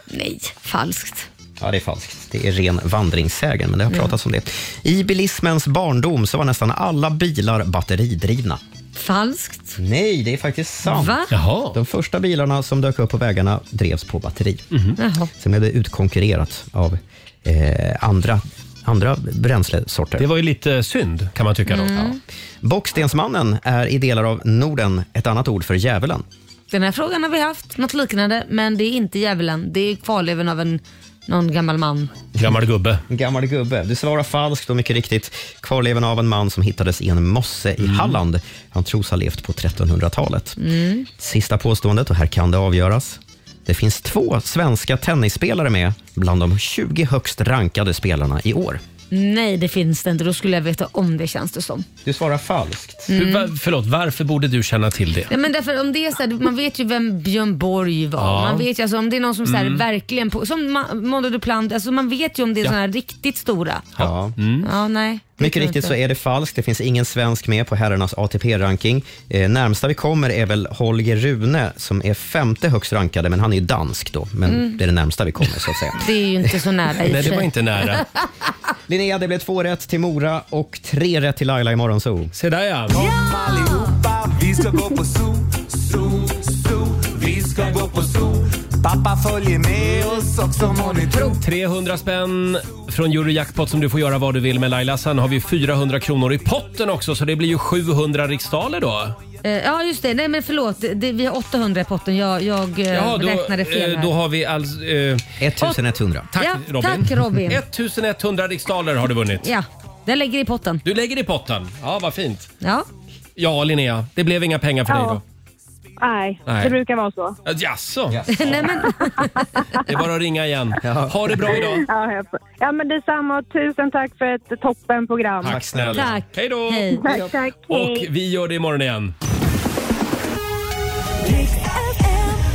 S2: Nej, falskt.
S3: Ja, det är falskt. Det är ren vandringssägen, men det har
S2: Mm.
S3: pratats om det. I bilismens barndom så var nästan alla bilar batteridrivna.
S2: Falskt.
S3: Nej, det är faktiskt sant.
S2: Va?
S3: De första bilarna som dök upp på vägarna drevs på batteri.
S2: Mm-hmm. Jaha.
S3: Sen blev det utkonkurrerat av eh, andra, andra bränslesorter. Det
S1: var ju lite synd, kan man tycka.
S2: då. Mm.
S3: Bockstensmannen är i delar av Norden ett annat ord för djävulen.
S2: Den här frågan har vi haft, något liknande, men det är inte djävulen. Det är kvarleven av en, någon gammal man.
S1: Gammal gubbe.
S3: Gammal gubbe. Du svarar falskt och mycket riktigt. Kvarleven av en man som hittades i en mosse
S1: Mm.
S3: i Halland. Han tros ha levt på 1300-talet.
S2: Mm.
S3: Sista påståendet, och här kan det avgöras. Det finns två svenska tennisspelare med bland de 20 högst rankade spelarna i år.
S2: Nej, det finns det inte. Då skulle jag veta om det känns det som.
S3: Du svarar falskt.
S2: Mm.
S1: Du, va, förlåt, varför borde du känna till det?
S2: Ja, men därför, om det är så här, man vet ju vem Björn Borg var.
S1: Ja.
S2: Man vet ju, alltså, om det är någon som så här,
S1: Mm.
S2: verkligen... På, som Ma- Mondo Duplant, alltså, man vet ju om det är
S3: Ja.
S2: sådana här riktigt stora.
S3: Ja.
S1: Mm.
S2: Ja, nej. det
S3: Mycket
S2: tror jag
S3: riktigt så
S2: inte.
S3: är det falskt. Det finns ingen svensk med på herrarnas ATP-ranking. Eh, närmsta vi kommer är väl Holger Rune som är femte högst rankade, men han är ju dansk då. Men
S2: Mm.
S3: det är det närmsta vi kommer så att säga.
S2: Det är ju inte så nära i och
S3: Nej, det
S2: för sig.
S3: var inte nära. Linnea, det blev två rätt till Mora och tre rätt till Laila i Morgonzoo.
S1: Se där ja!
S4: allihopa, vi ska gå på zoo, zoo, zoo. Vi ska gå på zoo. Pappa
S14: é
S4: följer med oss också må ni tro.
S1: 300 spänn från Eurojackpot som du får göra vad du vill med Laila. Sen har vi 400 kronor i potten också så det blir ju 700 riksdaler då.
S2: Eh, Ja, just det. Nej, men förlåt. Det, vi har 800 i potten. Jag, jag eh,
S1: då,
S2: räknade fel
S1: eh,
S2: här.
S1: då har vi alltså... Eh,
S3: 1100.
S1: Tack,
S2: Ja,
S1: Robin.
S2: tack, Robin.
S1: 1100 riksdaler har du vunnit.
S2: Ja, den lägger i potten.
S1: Du lägger i potten. Ja, vad fint.
S2: Ja.
S1: Ja, Linnea, det blev inga pengar för dig då.
S12: Nej,
S1: Nej.
S12: det brukar vara så.
S1: Eh, Jaså?
S2: Nej, men...
S1: Det är bara att ringa igen. Ha det bra idag.
S12: Ja, jag får- ja men detsamma. och Tusen tack för ett toppenprogram.
S1: Tack snälla. Tack. Hej då!
S12: Tack, tack.
S1: Och
S12: Hej.
S1: vi gör det imorgon igen.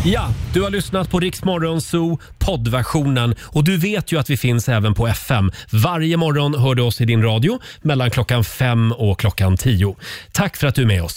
S1: Ja, du har lyssnat på Rix Morgon Zoo poddversionen och du vet ju att vi finns även på FM. Varje morgon hör du oss i din radio mellan klockan fem och klockan tio. Tack för att du är med oss.